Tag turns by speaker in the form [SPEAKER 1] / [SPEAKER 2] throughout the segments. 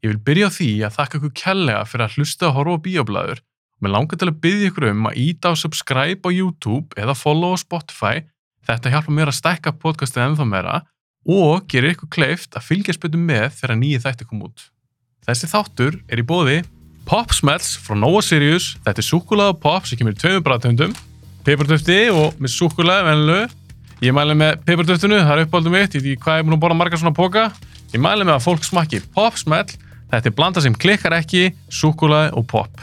[SPEAKER 1] Ég vil byrja á því að þakka ykkur kærlega fyrir að hlusta að horfa á bíoblæður og mér langar til að byrja ykkur um að íta á subscribe á YouTube eða follow á Spotify. Þetta hjálpa mér að stækka podcastið ennþá meira og gerir ykkur kleift að fylgjast betur með þegar nýji þætti kom út. Þessi þáttur er í bóði Pop Smells frá Nova Sirius. Þetta er súkkulaði og pop sem kemur í tveimur bræðtöndum, pipartöfti og með súkkulaði venlu. Ég mæli með pipartöftinu, það er uppáldum mitt, ég veit ekki hvað ég er búin að borða margar svona póka. Ég mæli með að fólk smakki pop smell, þetta er blanda sem klikkar ekki, súkkulaði og pop.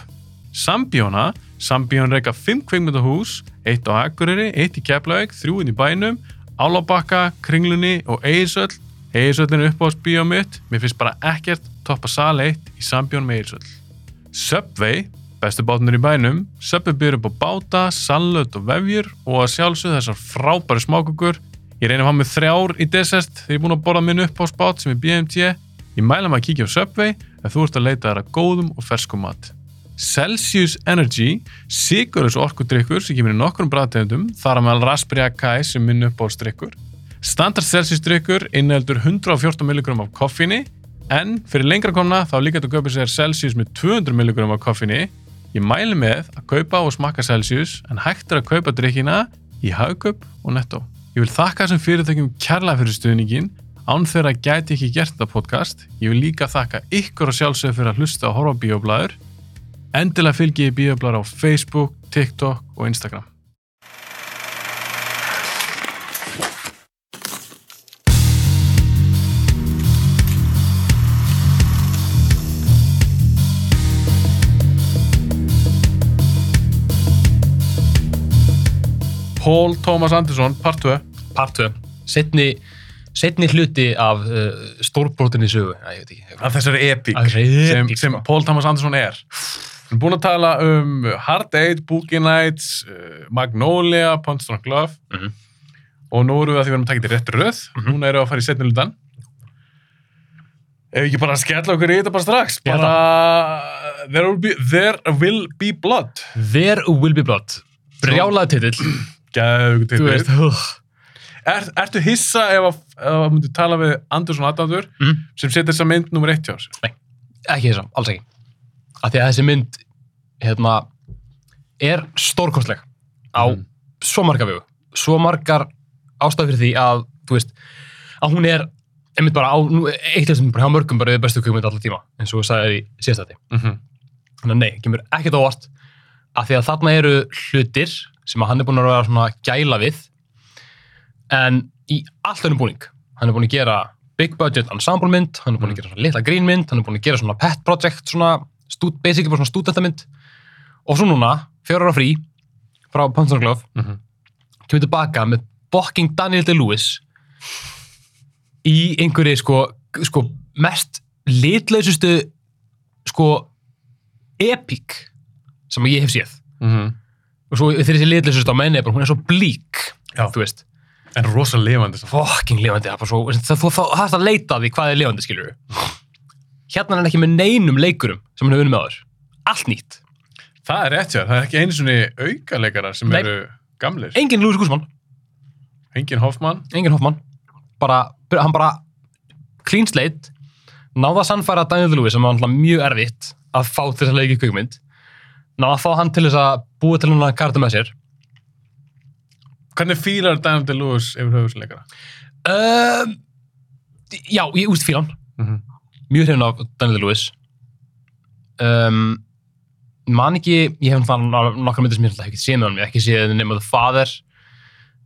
[SPEAKER 1] Sambjóna, Sambjón reyka 5 kveikmyndahús, 1 á Akureyri, 1 í Keflavík, 3 inn í bænum, Álabakka, Kringlunni og Eirsöll. Eirsöllin er uppáhaldsbíó mitt, mér finnst bara ekkert toppa sal 1 í Sambjón með Eirsöll. Subway, bestu bátnur í bænum. Subway byrjur upp á báta, salut og vefjur og að sjálfsög þessar frábæri smákukur. Ég reynir að hafa með þrjár í desert þegar ég er búin að borða minn upp á spát sem er BMT. Ég mæla maður að kíkja á Subway ef þú ert að leita þær að góðum og ferskum mat. Celsius Energy, sigurus orkudrykkur sem kemur í nokkrum bræðtegundum, þar að meðal Raspberry Akai sem minn upp á strykkur. Standard Celsius drykkur inneldur 114 mg af koffinni En fyrir lengra komna þá líka þetta að kaupa sér Celsius með 200 mg af koffinni. Ég mæli með að kaupa og smakka Celsius en hægt er að kaupa drikkina í Hagkaup og Netto. Ég vil þakka þessum fyrirtækjum kærlega fyrir stuðningin án þegar að gæti ekki gert þetta podcast. Ég vil líka þakka ykkur og sjálfsögur fyrir að hlusta og horfa á bíoblæður. Endilega fylgi ég bíoblæður á Facebook, TikTok og Instagram. Paul Thomas Anderson, part 2.
[SPEAKER 2] part 2 setni, setni hluti af uh, stórbrotinni sögu Æ, ég veit ekki
[SPEAKER 1] Af þessari epík.
[SPEAKER 2] Af þessari
[SPEAKER 1] sem,
[SPEAKER 2] epík,
[SPEAKER 1] sem
[SPEAKER 2] sko.
[SPEAKER 1] Paul Thomas Anderson er við erum búin að tala um Hard Eight, Boogie Nights uh, Magnolia, Punch Drunk Love
[SPEAKER 2] Mhm.
[SPEAKER 1] og nú erum við að því við erum að taka þetta í rétt röð núna erum við að fara í setni lutan ef við ekki bara að skella okkur í þetta bara strax
[SPEAKER 2] Ég held
[SPEAKER 1] bara there will, be, there will be blood
[SPEAKER 2] There will be blood brjálað titill
[SPEAKER 1] Gæðu,
[SPEAKER 2] þú veist uh.
[SPEAKER 1] er, ertu hissa ef að, ef að myndu tala við Anderson Adamdur
[SPEAKER 2] Mhm.
[SPEAKER 1] sem setja þessa mynd nummer eitt hjá sér
[SPEAKER 2] ekki þessum, alls ekki af því að þessi mynd hérna, er stórkostleg á
[SPEAKER 1] Mhm.
[SPEAKER 2] svo marga vegu svo margar ástæð fyrir því að þú veist, að hún er einmitt bara á, nú, eitt af þessum bara hjá mörgum bara yfir bestu kvikmynd allar tíma eins og þú sagði í síðastætti
[SPEAKER 1] mm -hmm.
[SPEAKER 2] þannig að nei, kemur ekkert óvart af því að þarna eru hlutir sem að hann er búin að vera svona að gæla við en í allt önnum búning hann er búin að gera big budget ensemble mynd, hann er búin að gera svona litla grínmynd hann er búin að gera svona pet project svona stúd, basically bara svona stúdentamynd og svo núna, fjórar á frí frá Pantzerglöf
[SPEAKER 1] Mhm.
[SPEAKER 2] kemur tilbaka með bokking Daniel Day-Lewis í einhverju sko, sko mest litlausustu sko epík sem ég hef séð
[SPEAKER 1] Mm -hmm.
[SPEAKER 2] og svo þegar þessi litlausustu á menni er bara, hún er svo blík
[SPEAKER 1] Já.
[SPEAKER 2] þú veist,
[SPEAKER 1] en rosa lifandi samt.
[SPEAKER 2] fucking lifandi það er bara svo, það, þú, þá þarfst að leita að því hvað er lifandi skilur hérna er hann ekki með neinum leikurum sem hann hefur unni með áður allt nýtt,
[SPEAKER 1] Það er rétt, já. Það er ekki einu svona aukaleikara sem
[SPEAKER 2] Nei.
[SPEAKER 1] eru gamlir.
[SPEAKER 2] engin Lúsi Gúsmann
[SPEAKER 1] Engin Hoffmann.
[SPEAKER 2] engin Hoffmann bara, hann bara clean slate náða að sannfæra Daniel Lewis sem var náttúrulega mjög erfitt að fá til þess að leiki kvikmynd náða að fá hann til þess að búa til hann að karta með sér
[SPEAKER 1] Hvernig fílar Daniel Day-Lewis yfir höfuð sem leikara?
[SPEAKER 2] um, já, ég úst fílan
[SPEAKER 1] Mm
[SPEAKER 2] mjög hrifin af Daniel Lewis um, man ekki ég hef hann nokkra myndir sem ég hef ekki séð með hann, ég hef ekki séð nema The Father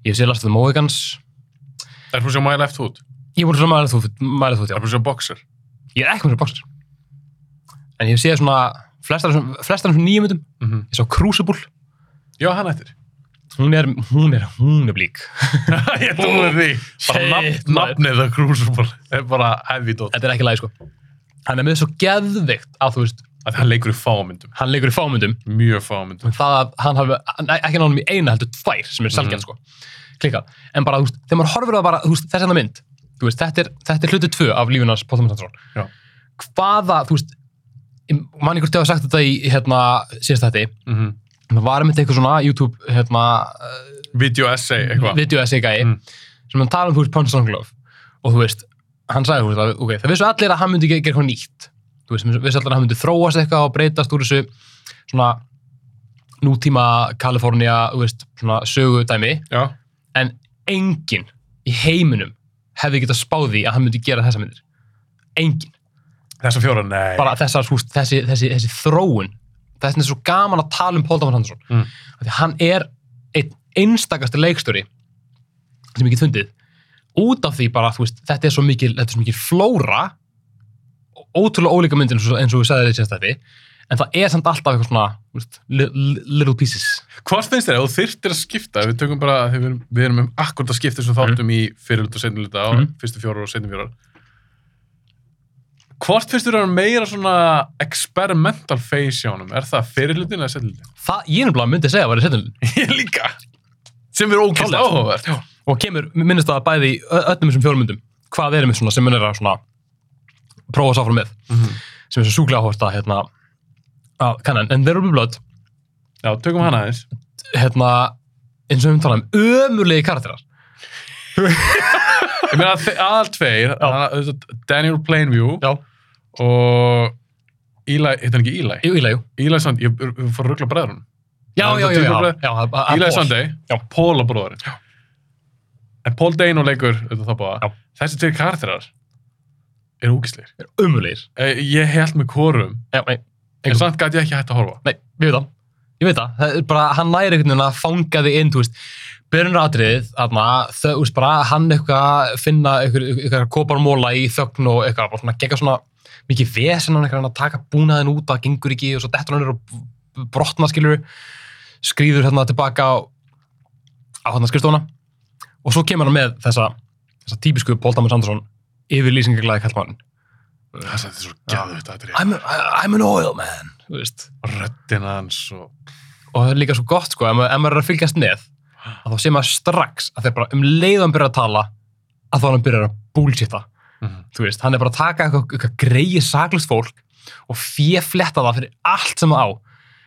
[SPEAKER 2] ég hef séð Last of the Mohicans
[SPEAKER 1] Það er búin að sjá My Left Hood.
[SPEAKER 2] ég voru svona mælið þú, mælið þú
[SPEAKER 1] Það
[SPEAKER 2] já,
[SPEAKER 1] er búin að sjá Boxer.
[SPEAKER 2] ég er ekki með þessar boxer en ég hef séð svona flestar af þessum- flestar af þessum nýjum myndum
[SPEAKER 1] Mm
[SPEAKER 2] ég sá Crucible,
[SPEAKER 1] Já, hann ættir.
[SPEAKER 2] hún er hún er, hún er blík
[SPEAKER 1] Ég trúið því. Bara nafn,
[SPEAKER 2] Shit, maður.
[SPEAKER 1] nafnið að Crucible. Það er bara heavy dot.
[SPEAKER 2] þetta er ekki lægi sko hann er með svo geðvikt að þú veist
[SPEAKER 1] Að hann leikur í fámyndum.
[SPEAKER 2] hann leikur í fámyndum
[SPEAKER 1] Mjög fámyndum.
[SPEAKER 2] en það að hann hafi hann- ekki nánum í eina heldur tvær sem er selgjant sko klikkað, en bara þú veist, þegar maður horfir á það bara þú veist, þess að mynd, þú veist, þetta er, þetta er hluti tvö af lífinars Paul Thomas
[SPEAKER 1] Já.
[SPEAKER 2] Anderson hvaða, þú veist mann ykkur til að hafa sagt þetta í hérna, síðast þetta,
[SPEAKER 1] Mm -hmm.
[SPEAKER 2] það var einmitt eitthvað svona YouTube hérna,
[SPEAKER 1] Video essay, eitthvað.
[SPEAKER 2] video essay gæi
[SPEAKER 1] Mm.
[SPEAKER 2] sem hann tala um þú veist Punch Drunk Love og þú veist, hann sagði þú veist að ok, það vissu allir að hann myndi ge- gera eitthvað nýtt þú þú veist, við sæltan að hann myndi þróast eitthvað og breytast úr þessu svona nútíma Kalifornia, þú veist, svona sögudæmi
[SPEAKER 1] Já.
[SPEAKER 2] en enginn í heiminum hefði getað spáði að hann myndi gera þessa myndir enginn,
[SPEAKER 1] Þessa fjóra, nei.
[SPEAKER 2] bara þessar, húst, þessi, þessi, þessi þróun þess er svo gaman að tala um Pól Dómar Handsson
[SPEAKER 1] Mm.
[SPEAKER 2] því hann er einn einstakasti leikstjóri sem ég get fundið út af því bara, þú veist, þetta er svo mikil þetta er svo mikil flóra ótrúlega ólíka myndin eins og- eins og við sagði þetta þetta en það er samt alltaf eitthvað svona þú veist, li- li- little pieces
[SPEAKER 1] Hvað finnst þér, ef þú þyrftir að skipta, við tökum bara, þegar við erum, við erum um akkurat að skipta þessum þáttum í fyrirlut og seinluta og
[SPEAKER 2] Mhm.
[SPEAKER 1] fyrstu fjórar og seinni fjórar. Hvort finnst þér að vera meira svona experimental face hjá honum? Er það fyrirlutin eða seinlutin?
[SPEAKER 2] það ég nefnilega myndi segja að vera setjum
[SPEAKER 1] Ég líka. Sem er ókvæmlega
[SPEAKER 2] Klálega.
[SPEAKER 1] áhugavert. Já.
[SPEAKER 2] og kemur, minnist það bæði í ö- öllum þessum fjórmyndum hvað erum við svona sem mun er að svona prófa sáfram með sem er svo súklega hórt að hérna að kannan, en þeir eru blöð
[SPEAKER 1] Já, tökum hana aðeins.
[SPEAKER 2] hérna, eins og við talaðum ömurlegi karakterar
[SPEAKER 1] Ég meina að þe- aðal tveir, að- auðvitað Daniel Plainview
[SPEAKER 2] já,
[SPEAKER 1] og Eli, heitir hann ekki Eli?
[SPEAKER 2] jú, ílægjú
[SPEAKER 1] Eli Sandi, ég ég fór að ruggla bræðrun.
[SPEAKER 2] já,
[SPEAKER 1] Það er það
[SPEAKER 2] já, já, já,
[SPEAKER 1] tímabil-
[SPEAKER 2] já, að- að-
[SPEAKER 1] Eli
[SPEAKER 2] Paul.
[SPEAKER 1] Sandi,
[SPEAKER 2] Já.
[SPEAKER 1] Paul og bróðurinn. En Paul Dano leikur, auðvitað það báða.
[SPEAKER 2] Já.
[SPEAKER 1] Þessi tveir karakterar eru úkisleir.
[SPEAKER 2] ömurlegir
[SPEAKER 1] Ég held með korum,
[SPEAKER 2] já, nei,
[SPEAKER 1] en
[SPEAKER 2] Engum.
[SPEAKER 1] samt gæti ég ekki hægt að horfa.
[SPEAKER 2] nei, ég veit það ég veit það, það er bara, hann læri einhvern veginn að fanga þig inn, þú veist byrjunaratriðið, þarna, þau, þú veist bara hann eitthvað að finna eitthvað, eitthvað koparmóla í þögn og eitthvað bara svona gegga svona mikið vesen hann eitthvað að taka búnaðin út, það gengur ekki og svo dettur hann er og brotna skilur skrýður hérna tilbaka á, á hann skrifstofuna og svo kemur hann með þessa, þessa típisku Pól Damas Andersson yfir lýsingaglæði kallmann
[SPEAKER 1] Það er þetta svo gæðvögt að þetta er.
[SPEAKER 2] I'm, a- I'm an oil man, þú veist
[SPEAKER 1] Röddinn hans og...
[SPEAKER 2] og það er líka svo gott sko, ef maður, ef maður er að fylgjast með að þá sé maður strax að þeir bara um leiðan byrja að tala að þá hann byrjar að bullshitta
[SPEAKER 1] Mhm.
[SPEAKER 2] þú veist, hann er bara að taka eitthvað, eitthvað greið saklust fólk og fjöfletta það fyrir allt sem það á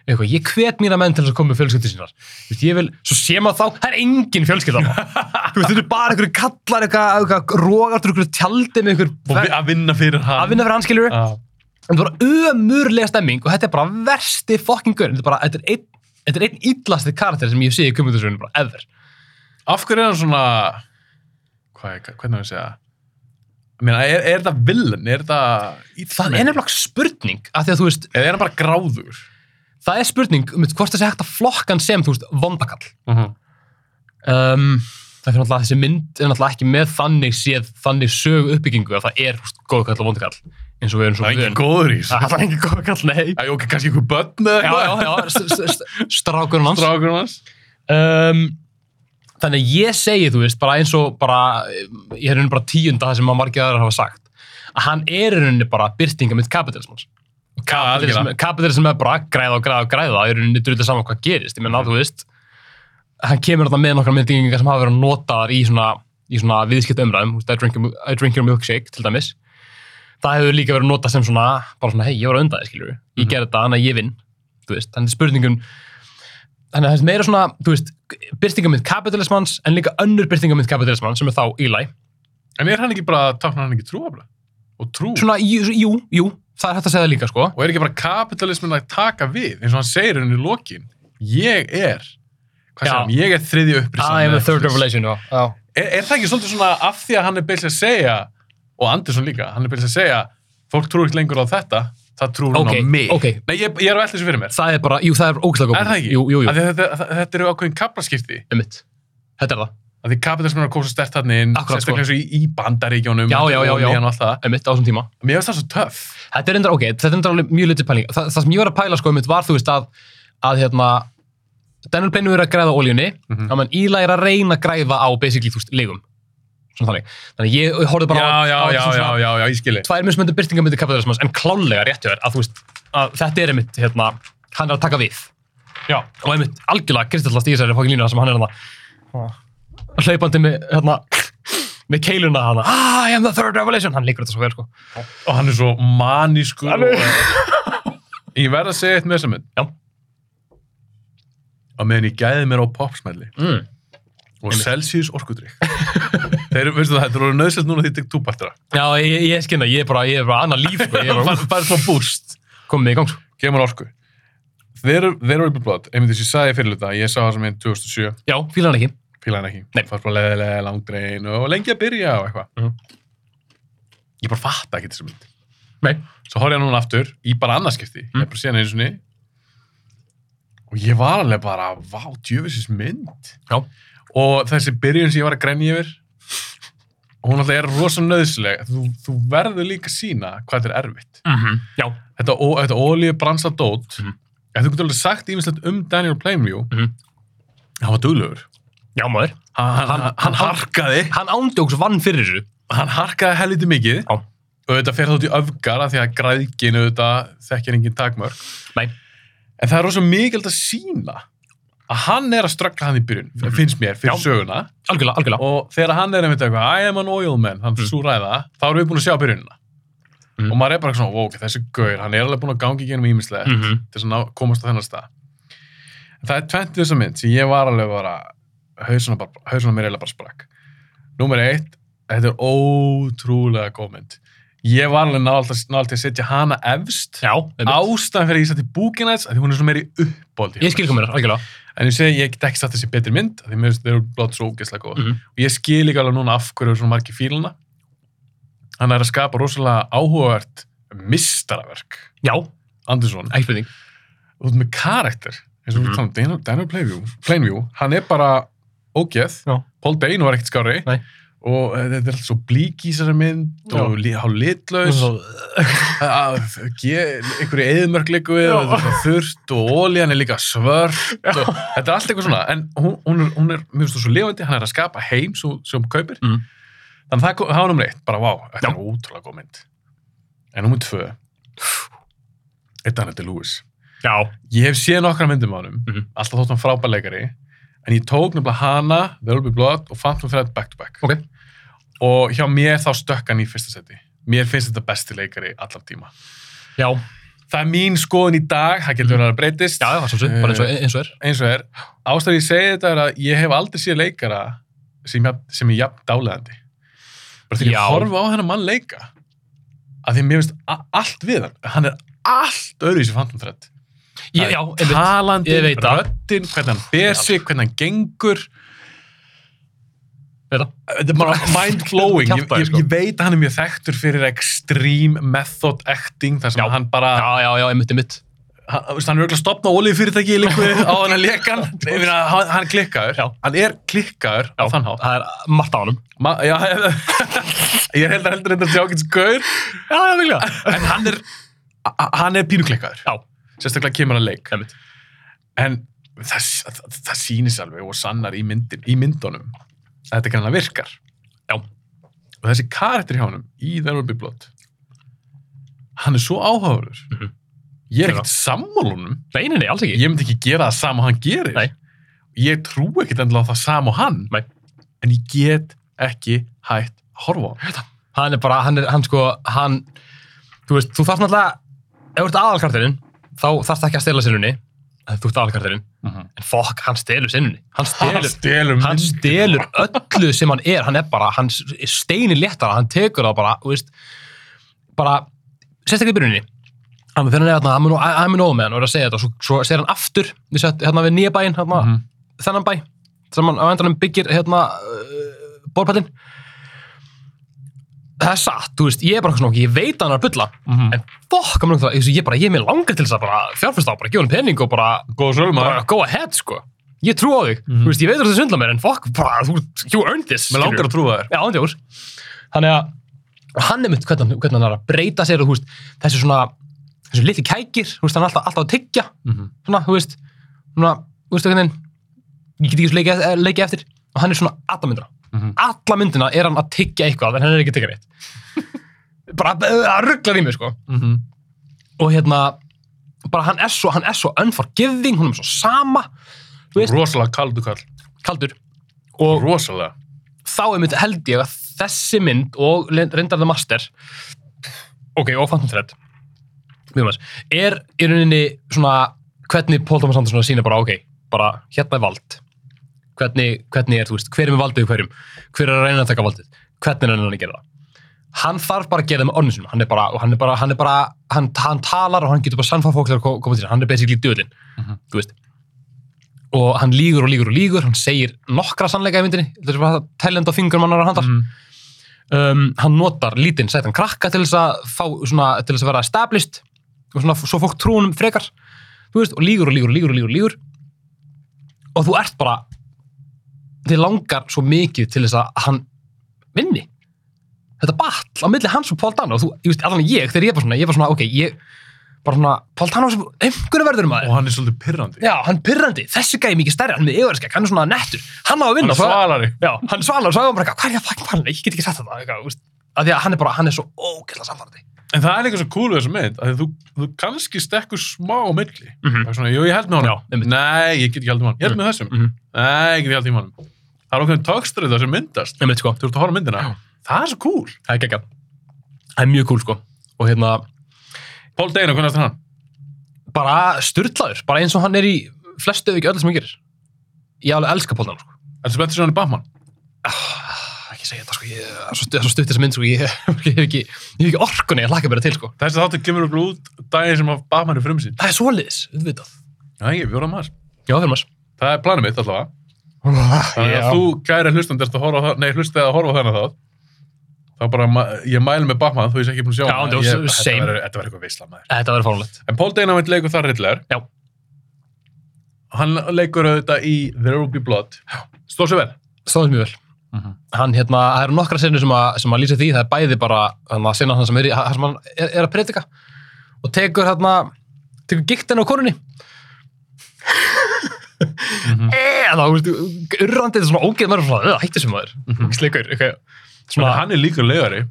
[SPEAKER 2] eitthvað, ég hvet mína menn til þess að koma með fjölskyldu sínar Þú veist, ég vil, svo sé maður þá það er engin fjölskylda þarna. þú veist, þetta er bara einhverju kallar, eitthvað, eitthvað rogartur, einhverju tjaldi með
[SPEAKER 1] Og vi-
[SPEAKER 2] einhverju
[SPEAKER 1] að vinna fyrir hann.
[SPEAKER 2] að vinna fyrir hans skilur
[SPEAKER 1] Já.
[SPEAKER 2] en það var ömurlega stemming og þetta er bara versti fucking gaur þetta er bara, þetta er einn Þetta er einn illasti karakter sem ég sé í kumundursunum bara ever.
[SPEAKER 1] Af hverju er hann svona hvað, er- hvernig á ég að segja Ég meina, er, er þetta villin, er þetta
[SPEAKER 2] Það er nefnilega spurning, af því að þú veist,
[SPEAKER 1] eða er hann bara gráður
[SPEAKER 2] það er spurning um hvort það sé hægt að flokkan sem, þú veist, vondakall.
[SPEAKER 1] uh -huh.
[SPEAKER 2] Um, það fyrir náttúrulega þessi mynd er náttúrulega ekki með þannig séð, þannig sögu uppbyggingu að það er, þú veist, góðkall og vondakall, eins og við erum
[SPEAKER 1] það
[SPEAKER 2] svo
[SPEAKER 1] er engin góður í þessu
[SPEAKER 2] Það er ekki góðkall, nei.
[SPEAKER 1] Það er ok, kannski einhver börn eða
[SPEAKER 2] Ah. Já, já, já, s- s- s- strákurinn hans.
[SPEAKER 1] strákur hans
[SPEAKER 2] um, þannig að ég segi þú veist bara eins og bara ég er raunin bara tíunda það sem að margir aðrar hafa sagt að hann er í rauninni bara byrtinga mitt kapitalismans
[SPEAKER 1] Kapitalism-
[SPEAKER 2] kapitalism er bara græða og græða og græða í rauninni drullið saman hvað gerist ég menna
[SPEAKER 1] Mhm.
[SPEAKER 2] þú veist hann kemur þarna með nokkra myndingar sem hafa verið notaðar í svona, í svona viðskipt umræðum I drink, your, I drink your milkshake til dæmis það hefur líka verið notað sem svona bara svona hei ég var að unda þið skilur ég
[SPEAKER 1] Mhm.
[SPEAKER 2] gerði þetta þannig að ég vinn þú veist þannig spurningum þannig að það er meira svona þú veist byrtingamynd kapitalismans en líka önnur byrtingamynd kapitalismans sem er þá Eli
[SPEAKER 1] en er hann ekki bara, táknar hann ekki trú og trú,
[SPEAKER 2] svona jú, jú, jú það er hægt að segja það líka sko
[SPEAKER 1] og er ekki bara kapitalismin að taka við, eins og hann segir henni í lokin ég er hvað
[SPEAKER 2] Já.
[SPEAKER 1] segir hann, ég er þriðja upprisan
[SPEAKER 2] I am the third
[SPEAKER 1] er,
[SPEAKER 2] revelation já, já.
[SPEAKER 1] er það ekki svolítið svona af því að hann er byrjast að segja og Andersson líka, hann er byrjast að segja fólk trúir ekki lengur á þetta það trúir hún
[SPEAKER 2] Ok,
[SPEAKER 1] á mig
[SPEAKER 2] ok.
[SPEAKER 1] Nei, ég, ég er að velta þessu fyrir mér
[SPEAKER 2] það er bara, jú það er ógæslega góð
[SPEAKER 1] Er það
[SPEAKER 2] punktur.
[SPEAKER 1] ekki?
[SPEAKER 2] Jú, jú,
[SPEAKER 1] Af
[SPEAKER 2] jú,
[SPEAKER 1] því að Þetta, þetta, þetta eru ákveðin kaplaskipti.
[SPEAKER 2] einmitt Þetta er það,
[SPEAKER 1] Af því kapitalismin er að kósa stert hann inn,
[SPEAKER 2] Akkurat, sko.
[SPEAKER 1] sérstaklega sko. í, í bandaríkjónum,
[SPEAKER 2] Já, já, já, já.
[SPEAKER 1] olían og allt það.
[SPEAKER 2] einmitt á þessum tíma
[SPEAKER 1] Mér finnst það svo töff.
[SPEAKER 2] Þetta er endur, ok, þetta er endur alveg mjög litið pæling Þa, Það sem ég var að pæla sko einmitt var þú veist að að hérna Daniel Pennu er að græða á olíunni mm
[SPEAKER 1] Mhm.
[SPEAKER 2] -hmm. menn Íla er að reyna að græða á basically þú veist, legum Svona þannig Þannig ég horfði bara
[SPEAKER 1] já,
[SPEAKER 2] á,
[SPEAKER 1] já,
[SPEAKER 2] á
[SPEAKER 1] já,
[SPEAKER 2] svona
[SPEAKER 1] já, já, já, ég skilji.
[SPEAKER 2] tvær mismöndu byrtingamöndi kapitalismans en klálega réttu þér að þú veist að þetta er einmitt hérna, hann er að taka við
[SPEAKER 1] Já.
[SPEAKER 2] og einmitt algjörlega kristallast í þessari fókin lína sem hann er hérna hlaupandi með hérna með keiluna hana ah, I am the third revelation, hann leikur þetta svo vel sko
[SPEAKER 1] Og hann er svo manískur.
[SPEAKER 2] Hann er-
[SPEAKER 1] og, ég verð að segja eitt með þessa mynd.
[SPEAKER 2] Já.
[SPEAKER 1] Og meðan ég gæði mér á popsmelli
[SPEAKER 2] mm.
[SPEAKER 1] og
[SPEAKER 2] Einmitt.
[SPEAKER 1] Celsius orkudrykk. Þeir, veistu það, þetta er orðið nöðsett núna því ég tek túpartara.
[SPEAKER 2] Já, ég, ég skynna, ég er bara, ég er bara annað líf, sko. ég er bara
[SPEAKER 1] Bara, bara svona búst.
[SPEAKER 2] komið í gang, sko.
[SPEAKER 1] Kemur orku. Þeir eru Rebel Blood, einmitt þess að ég sagði fyrir hluta, ég sá það sem einn 2007,
[SPEAKER 2] Já, fílar hann ekki.
[SPEAKER 1] fílaði hann ekki.
[SPEAKER 2] Nei.
[SPEAKER 1] Fannst bara leðilega langdrein og lengi að byrja og eitthvað.
[SPEAKER 2] Mhm.
[SPEAKER 1] Ég bara fatta ekki þessu mynd.
[SPEAKER 2] Nei.
[SPEAKER 1] Svo horfði ég núna aftur, í bara annarskipti,
[SPEAKER 2] Mm.
[SPEAKER 1] ég bara sé hann einu sinni og ég var alveg bara, vá, djöfisins mynd.
[SPEAKER 2] Já.
[SPEAKER 1] og þessi byrjun sem ég var að grenja yfir hún alltaf er rosa nöðsleg þú, þú verður líka að sína hvað þetta er erfitt
[SPEAKER 2] Mm Já.
[SPEAKER 1] þetta, ó- þetta ólíu bransa dót
[SPEAKER 2] Mhm.
[SPEAKER 1] ef þú getur alveg sagt ímislegt um Daniel Plainview
[SPEAKER 2] Mhm.
[SPEAKER 1] hann var duglegur
[SPEAKER 2] Já, maður.
[SPEAKER 1] hann, hann, hann,
[SPEAKER 2] Hann- hann-
[SPEAKER 1] harkaði
[SPEAKER 2] Hann ándjóks vann fyrir þessu.
[SPEAKER 1] hann harkaði helviti mikið
[SPEAKER 2] Já.
[SPEAKER 1] og þetta fer þá út í öfgar af því að græðginu þetta þekkir engin takmörk
[SPEAKER 2] Nei.
[SPEAKER 1] en það er rosa mikilvægt að sína að hann er að ströggla hann í byrjun finnst mér fyrir
[SPEAKER 2] Já.
[SPEAKER 1] söguna
[SPEAKER 2] Algjörlega, algjörlega.
[SPEAKER 1] og þegar hann er einmitt eitthvað I am an oil man, hann
[SPEAKER 2] Mm.
[SPEAKER 1] mm. ræða þá erum við búin að sjá byrjunina
[SPEAKER 2] Mm.
[SPEAKER 1] og maður er bara svona, ok, þessi gaur, hann er alveg búin að gangi genum ímislegt
[SPEAKER 2] Mm -hmm.
[SPEAKER 1] til að ná, komast á þennan stað En það er tvent við þessa mynd sem ég var alveg bara hausuna, bara, hausuna mér eiginlega bara sprakk Númer eitt, þetta er ótrúlega góð mynd ég var alveg nált að setja hana efst
[SPEAKER 2] Já, á,
[SPEAKER 1] ástæðan fyrir að ég setti Búkinæts að því hún er svona meiri uppbóldi
[SPEAKER 2] ég skil komið þér, algjörlega.
[SPEAKER 1] en ég segi, ég get ekki satt þessi betri mynd af því mér finnst þeir eru blótt svo ógeðslega góð
[SPEAKER 2] Mhm.
[SPEAKER 1] og ég skil ekki alveg núna af hverju eru svona margir fíluna hann er að skapa rosalega áhugavert mistaraverk
[SPEAKER 2] Já,
[SPEAKER 1] Andersson,
[SPEAKER 2] ekki spurning.
[SPEAKER 1] út með karakter eins og við
[SPEAKER 2] Mhm.
[SPEAKER 1] talum, Daniel, Daniel Plainview, Plainview hann er bara ógeð
[SPEAKER 2] Já.
[SPEAKER 1] Paul Dano var ekkert skári
[SPEAKER 2] Nei.
[SPEAKER 1] og eh, þetta er allt svo blík í þessari mynd
[SPEAKER 2] Já.
[SPEAKER 1] og li, há litlaus að- að ge- einhverju eðmörk liggur við
[SPEAKER 2] Já.
[SPEAKER 1] og þetta er þurrt og ólían er líka svört og þetta er allt eitthvað svona en hún, hún er, hún er mjög svo lifandi, hann er að skapa heim svo, sem hún kaupir
[SPEAKER 2] Mm.
[SPEAKER 1] þannig að það kom- það var nummer eitt, bara vá, þetta
[SPEAKER 2] Já.
[SPEAKER 1] er ótrúlega góð mynd en nummer tvö þetta er þetta Lewis
[SPEAKER 2] Já,
[SPEAKER 1] ég hef séð nokkra myndum á hann
[SPEAKER 2] Mhm.
[SPEAKER 1] alltaf þótt hann frábæleikari en ég tók nefnilega hana, The Will Be Blood og Phantom Thread back to back
[SPEAKER 2] Ok.
[SPEAKER 1] og hjá mér þá stökk hann í fyrsta seti mér finnst þetta besti leikari allar tíma
[SPEAKER 2] já,
[SPEAKER 1] það er mín skoðun í dag, það getur verið að breytist
[SPEAKER 2] Mhm. já, já, svo sem, bara eins og, eins og er.
[SPEAKER 1] eins og er, ástæður ég segi þetta er að ég hef aldrei séð leikara sem, jafn- sem er jafn dálæðandi bara því
[SPEAKER 2] Já.
[SPEAKER 1] að horfa á þennan mann leika að því að mér finnst a- allt við hann hann er allt öðru í sér Phantom Thread
[SPEAKER 2] Ég, já,
[SPEAKER 1] talandi,
[SPEAKER 2] einmitt. Ég veit það.
[SPEAKER 1] röddin, hvernig hann besi, hvernig hann gengur
[SPEAKER 2] Veit það.
[SPEAKER 1] þetta er bara mind-blowing ég,
[SPEAKER 2] Kjaftaði,
[SPEAKER 1] ég,
[SPEAKER 2] sko.
[SPEAKER 1] ég veit að hann er mjög þekktur fyrir extreme method acting þar sem
[SPEAKER 2] Já.
[SPEAKER 1] hann bara
[SPEAKER 2] Já, já, já, einmitt, einmitt.
[SPEAKER 1] hann, þú veist, hann er auðvitað að stopna olífyrirtæki í líku á hann að leka hann Ég meina, hann, hann er klikkaður,
[SPEAKER 2] Já.
[SPEAKER 1] hann er klikkaður á
[SPEAKER 2] Já,
[SPEAKER 1] þann hátt
[SPEAKER 2] það er margt á honum.
[SPEAKER 1] Ma, já, ég held að heldur þetta sé ákveðs gaur
[SPEAKER 2] Já, já, vilja.
[SPEAKER 1] en hann er, a- hann er pínuklikkaður
[SPEAKER 2] Já,
[SPEAKER 1] sérstaklega kemur hann leik
[SPEAKER 2] einmitt.
[SPEAKER 1] en það, það, það sýnis alveg og sannar í, myndin, í myndunum að þetta kannan virkar
[SPEAKER 2] Já.
[SPEAKER 1] og þessi karakter hjá honum í The Ruby Blood hann er svo áhafur
[SPEAKER 2] Mhm.
[SPEAKER 1] ég er ekkert sammálunum
[SPEAKER 2] Nei, nei, nei, alls ekki.
[SPEAKER 1] ég myndi ekki gera það sama og hann gerir
[SPEAKER 2] Nei.
[SPEAKER 1] ég trú ekkert endilega á það sama og hann
[SPEAKER 2] Nei.
[SPEAKER 1] en ég get ekki hægt að horfa á hann
[SPEAKER 2] hann er bara, hann er, hann sko, hann, þú veist, þú þarft náttúrulega, ef þú ert aðalkartirinn, þá þarft ekki að stela sinnunni, ef þú ert aðalkartirinn,
[SPEAKER 1] Mhm.
[SPEAKER 2] en fokk, hann stelur sinnunni, hann stelur,
[SPEAKER 1] stelur
[SPEAKER 2] hann stelur öllu sem hann er, hann er bara, hann er steini léttara, hann tekur það bara, þú veist, bara, sérstaklega í byrjunni, hann þegar hann er hérna, hann mun og- hann mun óð með hann og er að segja þetta, svo, svo segir hann aftur, við sett, hérna við nýja bæinn, hérna,
[SPEAKER 1] Mhm.
[SPEAKER 2] þennan bæ sem hann á endanum byggir hérna uh, borpallin það er satt, þú veist, ég er bara eitthvað svona ok, ég veit að hann er að bulla
[SPEAKER 1] Mhm.
[SPEAKER 2] en fokk, hann langt það, ég, ég bara, ég er mér langar til þess að bara fjárfyrsta á, bara gefa hann pening og bara,
[SPEAKER 1] góð sölumar
[SPEAKER 2] bara go ahead, sko ég trú á þig,
[SPEAKER 1] Mhm.
[SPEAKER 2] þú veist, ég veit að þetta svindla mér en fokk, bara, þú, you earned this
[SPEAKER 1] mér langar að trúa þér
[SPEAKER 2] Já, ándjóður. Þannig að og hann er mynd hvernig, hann- hvernig hann er að breyta sér og þú veist, þessi svona, þessi litli kækir, þú veist, hann er alltaf, alltaf að tyggja,
[SPEAKER 1] Mhm.
[SPEAKER 2] svona, þú veist, svona, þú veist, hvernig, ég get ekki svo leikið leiki eftir, og hann er svona alla myndina.
[SPEAKER 1] Mhm.
[SPEAKER 2] Alla myndina er hann að tyggja eitthvað, en hann er ekki að tyggja neitt. bara, e, það rugglar í mig, sko.
[SPEAKER 1] Mhm.
[SPEAKER 2] Og hérna, bara hann er svo, hann er svo unforgiving, hún er svo sama, þú veist,
[SPEAKER 1] rosalega kaldu kall
[SPEAKER 2] kaldur. Og
[SPEAKER 1] rosalega
[SPEAKER 2] þá einmitt held ég að þessi mynd og reyndar The Master ok, og Phantom Thread mjög maður, er í rauninni svona hvernig Paul Thomas Anderson er að sína bara ok, bara hérna er vald hvernig, hvernig er, þú veist, hver er með valdið í hverjum hver er að reyna að taka valdið, hvernig er hann að gera það hann þarf bara að gera það með orðinu sinum hann er bara, og hann er bara, hann er bara hann, hann talar og hann getur bara sannfæð fólk til að ko- koma til þess hann er basically döðlin,
[SPEAKER 1] Mhm.
[SPEAKER 2] þú veist og hann lígur og lígur og lígur hann segir nokkra sannleika í myndinni þetta er bara tellend á fingur mannar að handar
[SPEAKER 1] Mhm.
[SPEAKER 2] um, hann notar lítinn sætan krakka til þess að fá svona, til þess að vera established og svona, svo fólk trúnum frekar þú veist, og lígur og lígur og lígur og lígur og lígur og þú ert bara þið langar svo mikið til þess að hann vinni þetta batl á milli hans og Paul Dano og þú, ég veist, allan ég, þegar ég var svona ég var svona, ok, ég bara svona, Paul Dano sem einhverju verður maður
[SPEAKER 1] og hann er svolítið pirrandi
[SPEAKER 2] já, hann pyrrandi, þessi gæði mikið stærri hann er með yfirskæk, hann er svona nettur hann á að
[SPEAKER 1] hann
[SPEAKER 2] vinna
[SPEAKER 1] er svalari
[SPEAKER 2] Já, hann svalar og sagði hann bara eitthvað, hvað er ég að fucking fara ég get ekki sagt þetta, eitthvað, úst, að því að hann er bara, hann er svo ógæsla samfærandi.
[SPEAKER 1] en það er líka svo cool við þessu mynd að þú, þú kannski stekkur smá á milli
[SPEAKER 2] Mm
[SPEAKER 1] það er svona, jú ég held með honum
[SPEAKER 2] Já, einmitt.
[SPEAKER 1] nei, ég get ekki haldið með honum, ég held með þessum
[SPEAKER 2] Mhm.
[SPEAKER 1] nei, ég get ekki haldið með honum það er okkur tókstrið það sem myndast
[SPEAKER 2] Nei, veit, sko,
[SPEAKER 1] þú ert að horfa á myndina,
[SPEAKER 2] Já.
[SPEAKER 1] það er svo cool
[SPEAKER 2] það er geggja. Það er mjög cool, sko. Og hérna,
[SPEAKER 1] Paul Dano, hvernig er þetta hann?
[SPEAKER 2] bara styrlaður, bara eins og hann er í flestu ef ekki öllu sem hann gerir. Ég alveg elska Póldan, sko.
[SPEAKER 1] Er þetta betur sem hann er Batman?
[SPEAKER 2] Ah, Ekki segja þetta, sko, ég það er svo, það er svo stutt þessa mynd, sko, ég, ég hef ekki, ég hef ekki orkunni að hlaka mér til, sko.
[SPEAKER 1] Þessi þáttu kemur okkur út daginn sem að Batman er frumsýnd.
[SPEAKER 2] Það er svoleiðis, auðvitað.
[SPEAKER 1] Já, ég fjóra maður.
[SPEAKER 2] Já, fyrir maður.
[SPEAKER 1] Það er planið mitt allavega. Þannig
[SPEAKER 2] Já.
[SPEAKER 1] að þú gæri hlustandi erst að horfa á það, nei, hlustið að horfa á þennan þátt. Þá bara, ma- ég mæli með Batman þó ég sé ekki búin að sjá
[SPEAKER 2] Já,
[SPEAKER 1] hana.
[SPEAKER 2] það var
[SPEAKER 1] Ég-
[SPEAKER 2] s- same.
[SPEAKER 1] Þetta verður- þetta verður eitthvað veisla maður.
[SPEAKER 2] Þetta verður fáránlegt.
[SPEAKER 1] En Paul Dano veit leikur þar rillir.
[SPEAKER 2] Já.
[SPEAKER 1] Hann leikur auðvitað í There Will Be Blood. Stóð sér vel.
[SPEAKER 2] Stóðum mjög vel. hann hérna, það eru nokkra sinni sem að, sem að lýsa því, það er bæði bara hann að sinna hann sem er, í- það sem hann er, er að predika og tekur hérna tekur giktin á konunni
[SPEAKER 1] Mhm.
[SPEAKER 2] eða, Eh, þú veist, urrandi þetta er svona ógeð mér svona, eða, hættu sem maður
[SPEAKER 1] Mhm.
[SPEAKER 2] slikur, ok
[SPEAKER 1] Þannig að
[SPEAKER 2] svona, hann,
[SPEAKER 1] Sko, hann er líka leiðari.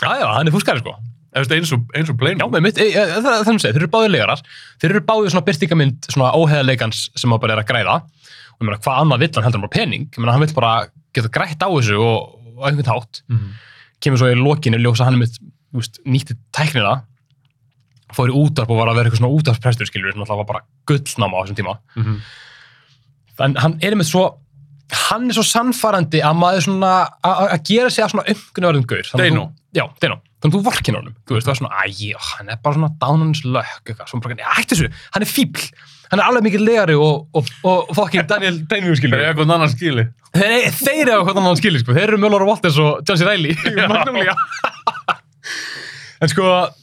[SPEAKER 2] já, já, hann er fúskari sko
[SPEAKER 1] Ef þú veist, Eins og, eins og Blaine.
[SPEAKER 2] já, með mitt, e, e, það það er þannig að þeir eru báðir leigarar þeir eru báðir svona byrtingamynd svona óheðarleikans sem að bara er að græða og ég meina, hvað annað vill hann heldur en bara pening ég meina, hann vill bara geta grætt á þessu og, og á einhvern hátt
[SPEAKER 1] Mhm.
[SPEAKER 2] kemur svo í lokinu ljósa hann einmitt þú veist, nýtti tæknina fór í útarp og var að vera eitthvað svona útarpsprestur skilur sem alltaf var bara gullnáma á þessum tíma
[SPEAKER 1] Mhm.
[SPEAKER 2] en hann er einmitt svo hann er svo sannfærandi að maður svona að að gera sig að svona umkunarverðum gaur Þannig að
[SPEAKER 1] Dano.
[SPEAKER 2] þú- Já, Deino, þannig að þú vorkin honum þú veist, það er svona, æj, hann er bara svona dánanins lökk, eitthvað, svona bara, "Nei, hættu þessu hann er fíbl, hann er alveg mikið legari og, og, og fokkin Daniel Daniel
[SPEAKER 1] Þegar
[SPEAKER 2] skilur
[SPEAKER 1] ég eitthvað annan skili.
[SPEAKER 2] Þeir, þeir eru eitthvað annan skilur, sko. Þeir eru Mjölvar og Walters og John C. Reilly.
[SPEAKER 1] Já.
[SPEAKER 2] Magnolia. en sko,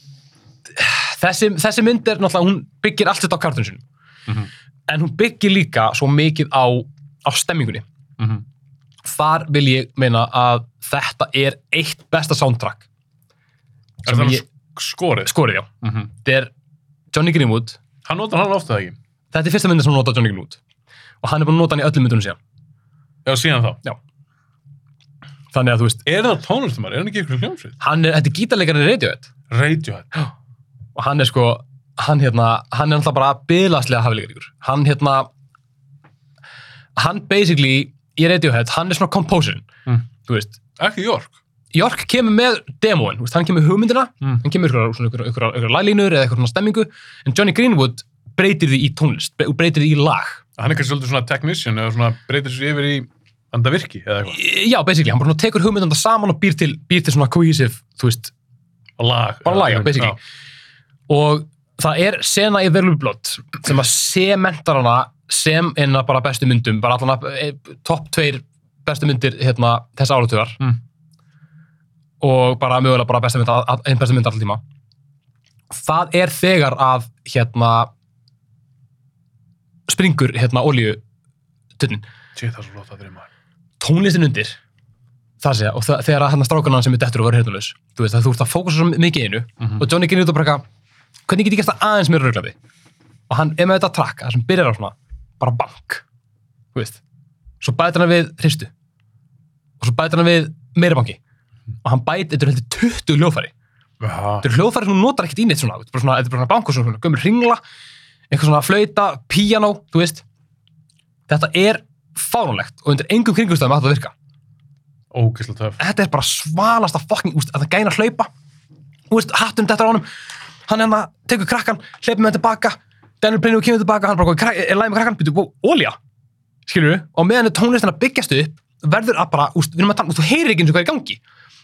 [SPEAKER 2] þessi, þessi mynd er náttúrulega, hún byggir allt þetta á kartun sinum.
[SPEAKER 1] Mhm.
[SPEAKER 2] En hún byggir líka svo mikið á, á stemmingunni.
[SPEAKER 1] Mhm.
[SPEAKER 2] Þar vil ég meina að þetta er eitt besta soundtrack.
[SPEAKER 1] Er
[SPEAKER 2] Sem
[SPEAKER 1] það
[SPEAKER 2] ég-
[SPEAKER 1] skorið?
[SPEAKER 2] Skorið, já.
[SPEAKER 1] Mhm.
[SPEAKER 2] Þetta er Johnny Greenwood.
[SPEAKER 1] Hann notar hann ofta það ekki.
[SPEAKER 2] Þetta er fyrsta myndin sem hún nota Johnny Greenwood. Og hann er búin að nota hann í öllum myndunum síðan.
[SPEAKER 1] Já, síðan þá.
[SPEAKER 2] Þannig að þú veist,
[SPEAKER 1] Er það tónlistumar? Er hann ekki ykkur hljómsveit?
[SPEAKER 2] hann er, þetta er gítarleikarinn í Radiohead.
[SPEAKER 1] Radiohead.
[SPEAKER 2] og hann er sko hann hérna, hann er alltaf bara byðlaslega hafileikaríkur, hann hérna hann basically í Radiohead, hann er svona composerinn
[SPEAKER 1] Mm.
[SPEAKER 2] þú veist,
[SPEAKER 1] Ekki York.
[SPEAKER 2] York kemur með demóin, þú veist, hann kemur með hugmyndina
[SPEAKER 1] Mm.
[SPEAKER 2] hann kemur ykkur, ykkur, ykkur, ykkur, ykkur lælínur eða ykkur svona stemmingu, en Johnny Greenwood breytir því í tónlist, bre- breytir því í lag
[SPEAKER 1] Hann er kannski svolítið svona technician eða svona breytir sér yfir í andavirki eða eitthvað.
[SPEAKER 2] Í- já, basically, hann bara svona tekur hugmyndina saman og býr til, býr til svona cohesive, þú veist
[SPEAKER 1] Lag.
[SPEAKER 2] Bara lag, já,
[SPEAKER 1] Já.
[SPEAKER 2] basically. og það er sena í Verlu Blott sem að sementar hana sem eina bara bestu myndum bara allan að e, topp tveir bestu myndir hérna, þess áratugar
[SPEAKER 1] Mm.
[SPEAKER 2] og bara mögulega bara bestu mynd, all- all- ein bestu mynd alltaf tíma það er þegar að hérna springur hérna olju
[SPEAKER 1] Shit, það er svo flott að dreyma.
[SPEAKER 2] tónlistin undir það segja, og það, þegar að hann strákanan sem er dettur og verður hérna þú veist að þú ert að fókusa svo mikið í einu
[SPEAKER 1] Mhm.
[SPEAKER 2] og Johnny Greenwood er bara eitthvað hvernig get ég gert það aðeins mér rauglandi og hann er með þetta track það sem byrjar á svona bara bank þú veist svo bætir hann við hristu og svo bætir hann við meira banki og hann bætir, þetta er heldur 20 hljófæri
[SPEAKER 1] Já.
[SPEAKER 2] þetta er hljófæri sem hún notar ekkert í neitt svona þetta er bara svona, þetta er bara svona bank og svona gömur ringla eitthvað svona flauta, píanó, þú veist þetta er fáránlegt og undir engum kringumstæðum að þetta virka
[SPEAKER 1] Ógislega töf.
[SPEAKER 2] þetta er bara svalasta fucking, úst, að það gæna hlaupa úst, hattum þetta á honum hann hérna, tekur krakkan, hleypum með tilbaka Daniel Plinu kemur tilbaka, hann bara er læg með krakkan, byrju, olja skilur og meðan er tónlistin að byggjast upp verður að bara, úst, við erum að tala, þú heyrir ekki eins og hvað er í gangi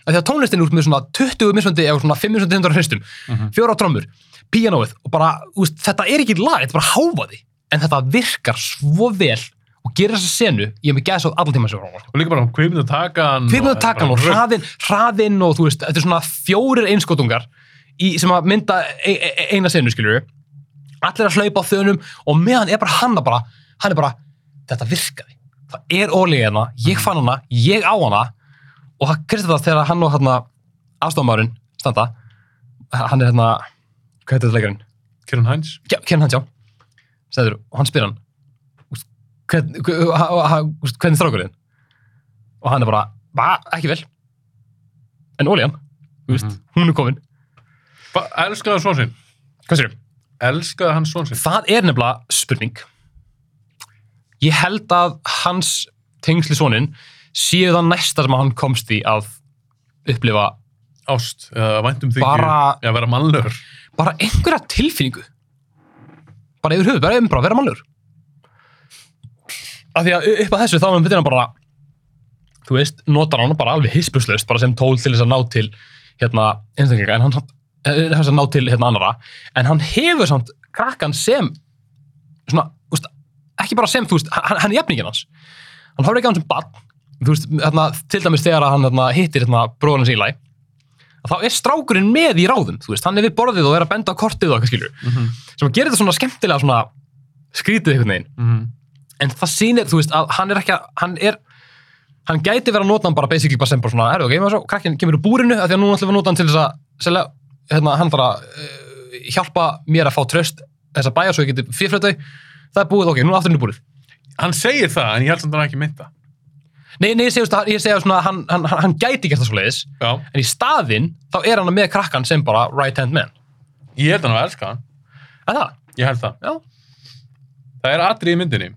[SPEAKER 2] af því að tónlistin er út með svona 20 mismöndi eða svona 5 mismöndi hundra hristum
[SPEAKER 1] Mhm.
[SPEAKER 2] fjóra trommur, píanóið og bara, úst, þetta er ekki lag, þetta er bara háfaði en þetta virkar svo vel og gerir þessa senu, ég hef mig gæðs á allan tíma sem
[SPEAKER 1] Og líka bara kvipnum takan.
[SPEAKER 2] fyrir að taka hann og hraðinn hraðin og þú veist, þetta er svona fjórir einskotungar í, sem að mynda e e e- eina senu, skilur allir að hlaupa á þönum og meðan er bara hann að bara, hann er bara þetta virkaði, það er ólíðið hérna ég fann hana, ég á hana og það kristið það þegar hann og hérna afstofamæðurinn standa hann er hérna, hvað heitir þetta leikarinn?
[SPEAKER 1] Kieran Hines.
[SPEAKER 2] Kjærn hans, já Sæður, og hann spyr hann úst, hvern- hv- ha- ha- ha- úst, hvernig strákurinn og hann er bara, "Va, ekki vel en Ólían mm.
[SPEAKER 1] Mhm.
[SPEAKER 2] hún er komin,
[SPEAKER 1] Ba elskaði svo sinn.
[SPEAKER 2] hvað sér
[SPEAKER 1] Elskaði hann svo sinn.
[SPEAKER 2] það er nefnilega spurning ég held að hans tengsli sonin séu það næsta sem hann komst í að upplifa
[SPEAKER 1] Ást. Eða væntum þykju.
[SPEAKER 2] Bara-
[SPEAKER 1] Já, vera mannlegur.
[SPEAKER 2] bara einhverja tilfinningu bara yfir höfuð, bara um bara að vera mannlegur af því að u- upp að þessu þá er hann bara þú veist, notar hann bara alveg hispurslaust bara sem tól til þess að ná til hérna, einstaklinga, en hann samt- eh, þess að ná til hérna annara, en hann hefur samt krakkan sem svona, úst, ekki bara sem, þú veist hann, hann er jafningin hans, hann horfir ekki á hann sem barn, þú veist, hérna, til dæmis þegar að hann hérna, hittir hérna, bróðan hans Eli að þá er strákurinn með í ráðum þú veist, hann er við borðið og er að benda á kortið og eitthvað skilur, sem að gera þetta svona skemmtilega svona skrítið einhvern veginn en það sýnir, þú veist, að hann er ekki að hann er, hann gæti verið að nota hann bara basically bara sem bara svona, herru, ok, maður svo krakkin kemur úr búrinu, af því að núna ætlum við að nota hann til þess að selja, hérna, hann þarf að uh, hjálpa mér að fá tröst þess að bæja svo ég geti fyrirflötu það er búið, ok, núna aftur inn í búrið
[SPEAKER 1] Hann segir það, en ég held samt að hann hafi ekki mynda.
[SPEAKER 2] nei, nei, ég segja, þú veist, að- ég segja svona, að hann, hann, hann, hann gæti gert það svoleiðis,
[SPEAKER 1] Já.
[SPEAKER 2] en í staðinn þá er hann með krakkan sem bara right hand man
[SPEAKER 1] Ég held hann að elska hann.
[SPEAKER 2] er það?
[SPEAKER 1] Ég held það.
[SPEAKER 2] Já.
[SPEAKER 1] Það er atrið í myndinni.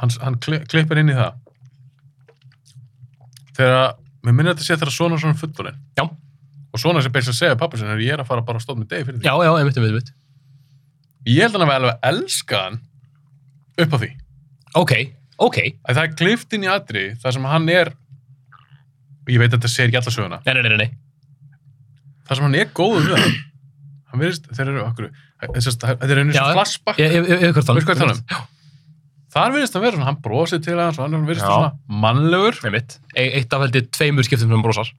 [SPEAKER 1] Hann, hann kli, klippir inn í það. Þegar, mér minnir þetta sé þegar svona svona fullorinn.
[SPEAKER 2] Já.
[SPEAKER 1] Og svona sem beins að segja pappa sinni, ég er að fara bara að stóð með degi fyrir því.
[SPEAKER 2] Já, já, einmitt, einmitt, einmitt.
[SPEAKER 1] Ég held hann að alveg elska hann upp á því.
[SPEAKER 2] Ok, ok.
[SPEAKER 1] að það er klift inn í atri þar sem hann er og ég veit að þetta segir ekki alla söguna
[SPEAKER 2] Nei, nei, nei, nei.
[SPEAKER 1] þar sem hann er góður við hann hann virðist, þeir eru okkur þetta er einu
[SPEAKER 2] Já,
[SPEAKER 1] svona
[SPEAKER 2] já.
[SPEAKER 1] flashback
[SPEAKER 2] Ég, ég, ég, ég,
[SPEAKER 1] Veistu hvað ég tala um? þar virðist hann vera svona, hann brosið til hans og hann virðist
[SPEAKER 2] Já.
[SPEAKER 1] svona mannlegur
[SPEAKER 2] Einmitt. E, eitt af heldur tveimur skiptum sem hann brosar.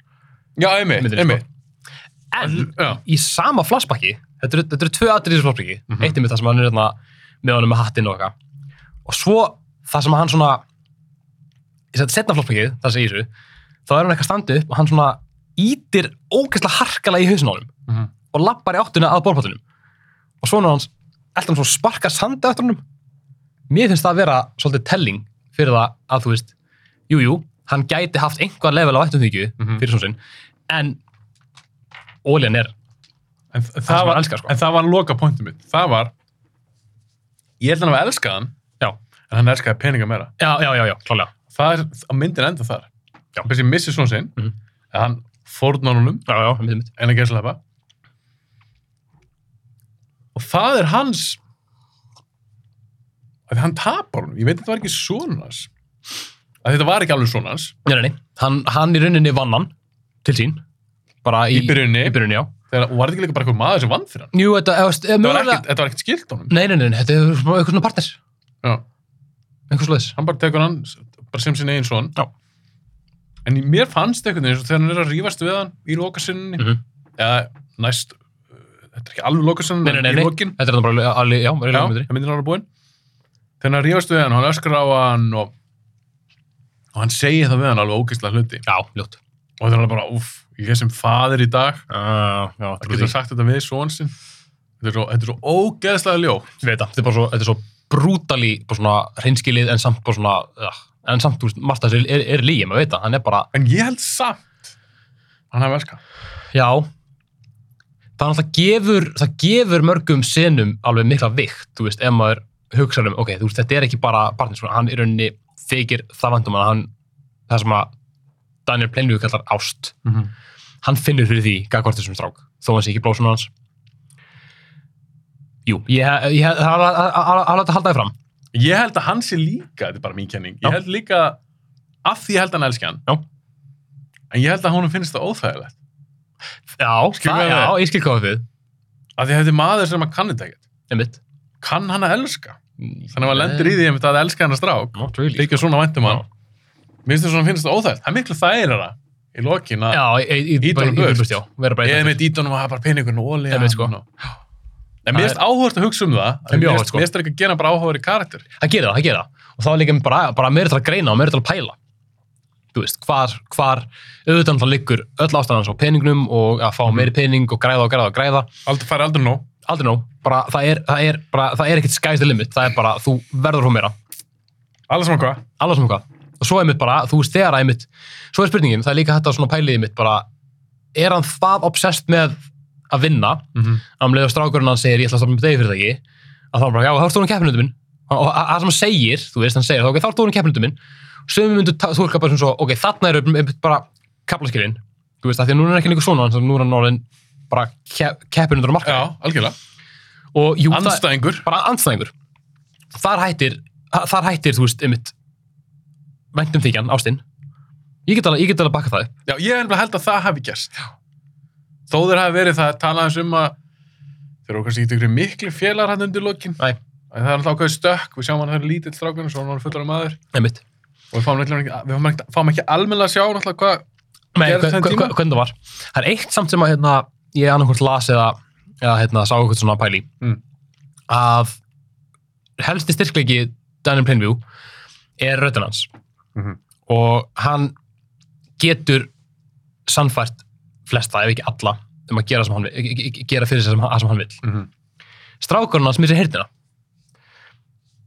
[SPEAKER 1] já, einmitt,
[SPEAKER 2] Myndinni, sko.
[SPEAKER 1] einmitt
[SPEAKER 2] En
[SPEAKER 1] já,
[SPEAKER 2] í sama flashbacki, þetta eru, þetta eru tvö atrið í þessu flashbacki.
[SPEAKER 1] Mhm.
[SPEAKER 2] Eitt er mitt það sem hann er hérna með honum með hattinn og eitthvað. Og svo það sem hann svona, ég seti setna flashbackið, það sem ég þessu, þá er hann eitthvað standið upp og hann svona ítir ógeðslega harkalega í hausin á honum
[SPEAKER 1] mhm.
[SPEAKER 2] og lappar í áttuna að borðpottunum. Og svona hans, alltaf svo sparka sandi eftir honum. Mér finnst það að vera svolítið telling fyrir það að þú veist, jú, jú, hann gæti haft einhvað level af ættumþykju
[SPEAKER 1] Mhm.
[SPEAKER 2] fyrir svona sinn, en óljan er
[SPEAKER 1] en, það
[SPEAKER 2] sem
[SPEAKER 1] það
[SPEAKER 2] hann
[SPEAKER 1] var,
[SPEAKER 2] elskar, sko.
[SPEAKER 1] en það var loka pointið mitt það var ég held hann að elska hann
[SPEAKER 2] Já.
[SPEAKER 1] en hann elskaði peninga meira
[SPEAKER 2] Já, já, já, já, klálega.
[SPEAKER 1] það er, að myndin enda þar
[SPEAKER 2] Já.
[SPEAKER 1] þessi missi svona sinn
[SPEAKER 2] Mhm.
[SPEAKER 1] að hann fórnánunum
[SPEAKER 2] Já, já, einmitt, einmitt.
[SPEAKER 1] en að gæslepa og það er hans að hann tapar honum ég veit að þetta var ekki svona hans að þetta var ekki alveg svona hans
[SPEAKER 2] Nei, nei, nei. Hann, hann í rauninni vann hann til sín. Bara í,
[SPEAKER 1] í byrjunni,
[SPEAKER 2] Í byrjunni, já.
[SPEAKER 1] þegar, og var þetta ekki líka bara eitthvað maður sem vann fyrir hann
[SPEAKER 2] Jú, þetta, eða, eða,
[SPEAKER 1] þetta var
[SPEAKER 2] mögulega...
[SPEAKER 1] ekkert, þetta var ekkert skilt honum
[SPEAKER 2] Nei, nei, nei, nei, þetta er svona eitthvað svona partner.
[SPEAKER 1] Já,
[SPEAKER 2] Eitthvað slúðis.
[SPEAKER 1] hann bara tekur hann bara sem sinni einn son
[SPEAKER 2] Já.
[SPEAKER 1] en í- mér fannst eitthvað eins og þegar hann er að rífast við hann í lokasinninni
[SPEAKER 2] Mhm.
[SPEAKER 1] eða næst uh, þetta er ekki alveg lokasinninni,
[SPEAKER 2] Nei, nei, nei,
[SPEAKER 1] en
[SPEAKER 2] nei.
[SPEAKER 1] í lokin
[SPEAKER 2] Þetta er þannig bara alveg, já, alveg
[SPEAKER 1] Já,
[SPEAKER 2] myndri.
[SPEAKER 1] það myndir ára búinn. Þegar hann rífast við hann, hann öskar á hann og, og hann segir það við hann alveg ógeðslega hluti.
[SPEAKER 2] Já, ljótt.
[SPEAKER 1] Og það er alveg bara, uff, ég er sem faðir í dag.
[SPEAKER 2] Uh, já,
[SPEAKER 1] Það getur sagt þetta við són sinn. Þetta er svo, þetta er svo ógeðslega ljó.
[SPEAKER 2] Ég veit það. Þetta er bara svo, þetta er svo brútali, bara svona reynskilið en samt bara svona, uh, en samt, þú veist, Marta er, er, er lígi, maður veit það. Hann er bara,
[SPEAKER 1] En ég held samt hann hafi elskað.
[SPEAKER 2] já, þannig að það gefur, það gefur mörgum senum alveg mikla vikt, þú veist, ef maður hugsa um, ok, þú veist, þetta er ekki bara barnið svona, hann í rauninni þykir það vandum að hann, það sem að Daniel Plainview kallar ást,
[SPEAKER 1] Mm -hmm.
[SPEAKER 2] hann finnur fyrir því gagvart þessum strák, þó hann sé ekki blósun hans Jú, ég, ég, ég það er alveg að halda það fram
[SPEAKER 1] Ég held að hann sé líka, þetta er bara mín kenning, ég
[SPEAKER 2] Já.
[SPEAKER 1] held líka, af því ég held að hann elski hann,
[SPEAKER 2] Já.
[SPEAKER 1] en ég held að honum finnst það óþægilegt.
[SPEAKER 2] Já,
[SPEAKER 1] Skilur
[SPEAKER 2] það,
[SPEAKER 1] við
[SPEAKER 2] já,
[SPEAKER 1] það?
[SPEAKER 2] ég skil hvað við við.
[SPEAKER 1] Af því að þetta er maður sem að kannu þetta ekkert.
[SPEAKER 2] Einmitt. Eh,
[SPEAKER 1] Kann hann að elska? Þannig að maður lendir í því einmitt að elska hann að strák,
[SPEAKER 2] Not really.
[SPEAKER 1] þykja svona væntum hann. Mér finnst það svona finnst það óþægilegt. Það er miklu þægilega í lokin að
[SPEAKER 2] Já, ég-
[SPEAKER 1] Ýta
[SPEAKER 2] ég- ég-
[SPEAKER 1] honum
[SPEAKER 2] ég-
[SPEAKER 1] burt.
[SPEAKER 2] burt, já. Vera bara
[SPEAKER 1] ég er
[SPEAKER 2] eitt.
[SPEAKER 1] með dítunum að hafa bara peningurinn og ólíðan.
[SPEAKER 2] Einmitt, sko.
[SPEAKER 1] En mér finnst áhugast að hugsa um það.
[SPEAKER 2] er
[SPEAKER 1] Mér
[SPEAKER 2] mjög áhugavert,
[SPEAKER 1] finnst-
[SPEAKER 2] sko.
[SPEAKER 1] mér finnst það ekki að gera bara áhugaður í karakter.
[SPEAKER 2] Það gera það, það gera það. Og þá er líka bara, bara meira til að greina og meira til að pæla. Þú veist, hvar, hvar, auðvitað náttúrulega liggur öll ástæðan hans á peningnum og að fá
[SPEAKER 1] Mhm.
[SPEAKER 2] meiri pening og græða og græða og græða.
[SPEAKER 1] Aldrei fær aldrei nóg.
[SPEAKER 2] Aldrei nóg. Bara, það er, það er, bara, það er ekkert skæðist limit. Það er bara, þú verður hún meira.
[SPEAKER 1] Allir saman hvað.
[SPEAKER 2] alveg svona hvað. Og svo einmitt bara, þú veist, þegar að einmitt, svo er spurningin, það er líka hægt að svona pæliði mitt bara, er hann það obsessed með að vinna,
[SPEAKER 1] Mhm.
[SPEAKER 2] að hann leiður um strákurinn hann segir, ég ætla að stoppa með degi fyrir það ekki, að þá er bara, já, þá ertu hún keppinundum minn, og að- að það sem hann segir, þú veist, hann segir, þá, ok, þá ertu hún keppinundum minn, sem við myndum túlka bara sem svo, ok, þarna eru einmitt bara kaplaskilin, þú veist, af því að núna er ekki líka svona, þannig að núna er hann orðin bara keppinundur á marka,
[SPEAKER 1] Já, algjörlega.
[SPEAKER 2] og jú, það-
[SPEAKER 1] Andstæðingur.
[SPEAKER 2] bara andstæðingur þar hættir, þar hættir þú veist, einmitt væntum þykjan, ástinn ég get alveg, ég get alveg bakka það upp
[SPEAKER 1] Já, ég er nefnilega held að það hafi gerst. Þó þeir hafi verið það talaðis um að þeir eru kannski ekki ykkur miklu félagar hann undir lokin.
[SPEAKER 2] Nei.
[SPEAKER 1] En það er alltaf ákveðið stökk, við sjáum hann þegar lítill strákun og svo hann var fullar af maður.
[SPEAKER 2] einmitt
[SPEAKER 1] Og við fáum, ekki, við fáum, ekki, fáum ekki almennilega að sjá náttúrulega hvað...
[SPEAKER 2] Nei,
[SPEAKER 1] Gerðist
[SPEAKER 2] hve-
[SPEAKER 1] þann
[SPEAKER 2] hve-
[SPEAKER 1] tíma?
[SPEAKER 2] hve- hvernig það var það er eitt samt sem að hérna, ég annarkvort las eða, eða hérna, sá eitthvað svona pæli
[SPEAKER 1] Mm.
[SPEAKER 2] að helsti styrkleiki Daniel Plainview er röddinn hans
[SPEAKER 1] Mhm.
[SPEAKER 2] og hann getur sannfært flesta ef ekki alla um að gera, sem hann, vill- gera fyrir sig sem, að sem hann vil
[SPEAKER 1] Mm -hmm.
[SPEAKER 2] strákurinn hans missir heyrnina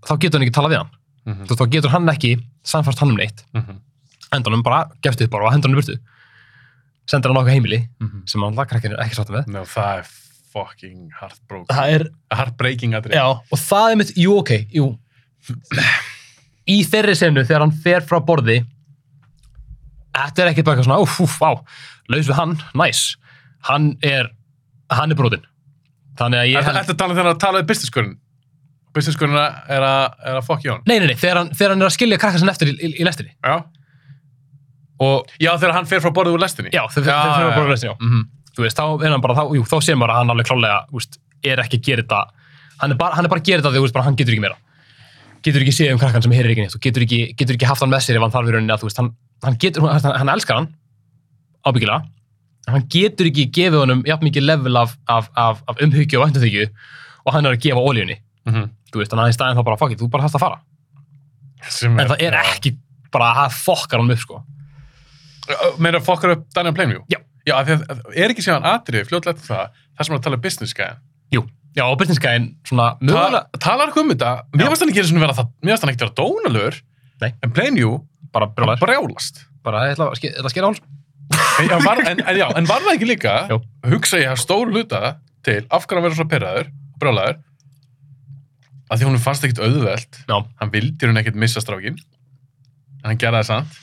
[SPEAKER 2] þá getur hann ekki talað við hann
[SPEAKER 1] Mhm.
[SPEAKER 2] Þú veist, þá getur hann ekki samfært hann um neitt hendur hann bara, gefst upp bara og hendur hann í burtu sendir hann á okkar heimili sem hann lagkrakkin er ekki sátt með
[SPEAKER 1] Ná, það er fucking heartbroken.
[SPEAKER 2] það er,
[SPEAKER 1] Heartbreaking aðrið.
[SPEAKER 2] já, og það er mitt, jú ok jú í þeirri senu þegar hann fer frá borði þetta er ekkert bara eitthvað svona úf, úf, á, laus við hann, næs hann er, hann er brotinn þannig að ég
[SPEAKER 1] Þetta er að tala um þegar að tala um businesskörun. Businesskörun er, að- er að fuck í hann.
[SPEAKER 2] nei, nei, nei, þegar hann, þegar hann er að skilja krakka sinna eftir í, í, í lestinni
[SPEAKER 1] Já.
[SPEAKER 2] og
[SPEAKER 1] Já, þegar hann fer frá borðið úr lestinni.
[SPEAKER 2] Já, þeir
[SPEAKER 1] Já,
[SPEAKER 2] fyrir
[SPEAKER 1] já,
[SPEAKER 2] að
[SPEAKER 1] já.
[SPEAKER 2] bara lesa, já.
[SPEAKER 1] Mhm.
[SPEAKER 2] Þú veist, þá er hann bara, þá, jú, þá sé maður að hann alveg klálega, úst, er ekki að gera þetta, hann er bara, hann er bara að gera þetta þegar, úst, bara hann getur ekki meira. Getur ekki séð um krakkan sem heyrir ekki neitt og getur ekki, getur ekki haft hann með sér ef hann þarf í rauninni að, þú veist, hann, hann getur, hann, hann elskar hann, ábyggilega, en hann getur ekki gefið honum jafn mikið level af, af, af, af umhyggju og væntumþykju og hann er að gefa ólíunni.
[SPEAKER 1] Mhm.
[SPEAKER 2] Þú veist, þannig að í staðin þá bara, fuck it, þú bara þarft að fara.
[SPEAKER 1] Sem
[SPEAKER 2] En það er ekki bara að það fokkar hann upp, sko.
[SPEAKER 1] meira fokkar upp Daniel Plainview?
[SPEAKER 2] Já.
[SPEAKER 1] Já, af því að að- er ekki síðan atrið fljótlega eftir það, það sem er að tala um business gæðan.
[SPEAKER 2] Jú. Já, og byrtinskæðin, svona,
[SPEAKER 1] Ta,
[SPEAKER 2] mögulega,
[SPEAKER 1] talar ekki um þetta,
[SPEAKER 2] Já.
[SPEAKER 1] mér finnst hann ekki einu sinni vera það, mér finnst hann ekki vera dónalur,
[SPEAKER 2] Nei.
[SPEAKER 1] en Plainview
[SPEAKER 2] bara brjólar.
[SPEAKER 1] brjálast.
[SPEAKER 2] bara ég ætla að ske- ég ætla að skera háls
[SPEAKER 1] En, já, var, en, en, já, en var það ekki líka,
[SPEAKER 2] Jú.
[SPEAKER 1] hugsa ég að stóru hluta til af hverju hann verður svona perraður, brjálaður, að því hún fannst ekkit auðvelt,
[SPEAKER 2] Já.
[SPEAKER 1] hann vildi hún ekkit missa strákin, en hann gerði það samt,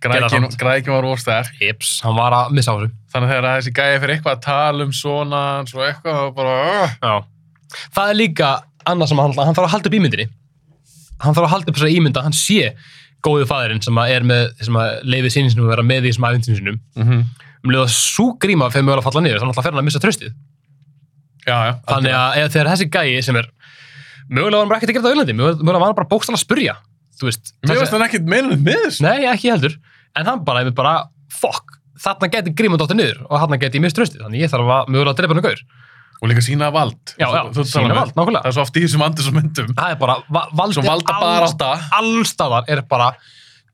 [SPEAKER 2] Gerði það
[SPEAKER 1] grækin,
[SPEAKER 2] samt.
[SPEAKER 1] grækin var óstær,
[SPEAKER 2] Eps, hann var að missa á þessu
[SPEAKER 1] þannig að þegar að þessi gæði fyrir eitthvað að tala um svona, svo eitthvað, þá bara, uh,
[SPEAKER 2] Já. það er líka annað sem hann, hann þarf að halda upp ímyndinni hann þarf að halda upp þessari ímynd að hann sé góðu fæðurinn sem að er með sem að leiði sinni sinum að vera með í þessum æfintin sinum um leið að sú gríma fyrir mögulega að falla niður þannig að fer hann að missa tröstið
[SPEAKER 1] já, já,
[SPEAKER 2] þannig að eða þegar þessi gæi sem er mögulega var hann bara ekkert að gera þetta á Írlandi mögulega mögulega var hann bara bókstala að spurja þú veist
[SPEAKER 1] mér finnst hann ekkit meinuð með þessu.
[SPEAKER 2] Nei, ekki heldur. En hann bara, einmitt bara, fuck, þarna geti grímund átti niður og þarna geti ég mist tröstið. Þannig ég þarf að mögulega að drepa hann gaur.
[SPEAKER 1] og líka sína vald
[SPEAKER 2] Já,
[SPEAKER 1] Þú-
[SPEAKER 2] já,
[SPEAKER 1] þú, þú
[SPEAKER 2] sýna vald, nákvæmlega.
[SPEAKER 1] það er svo oft í þessum Andersson myndum
[SPEAKER 2] Það er bara, va valdið
[SPEAKER 1] svo valda bara átta
[SPEAKER 2] allstaðar er bara,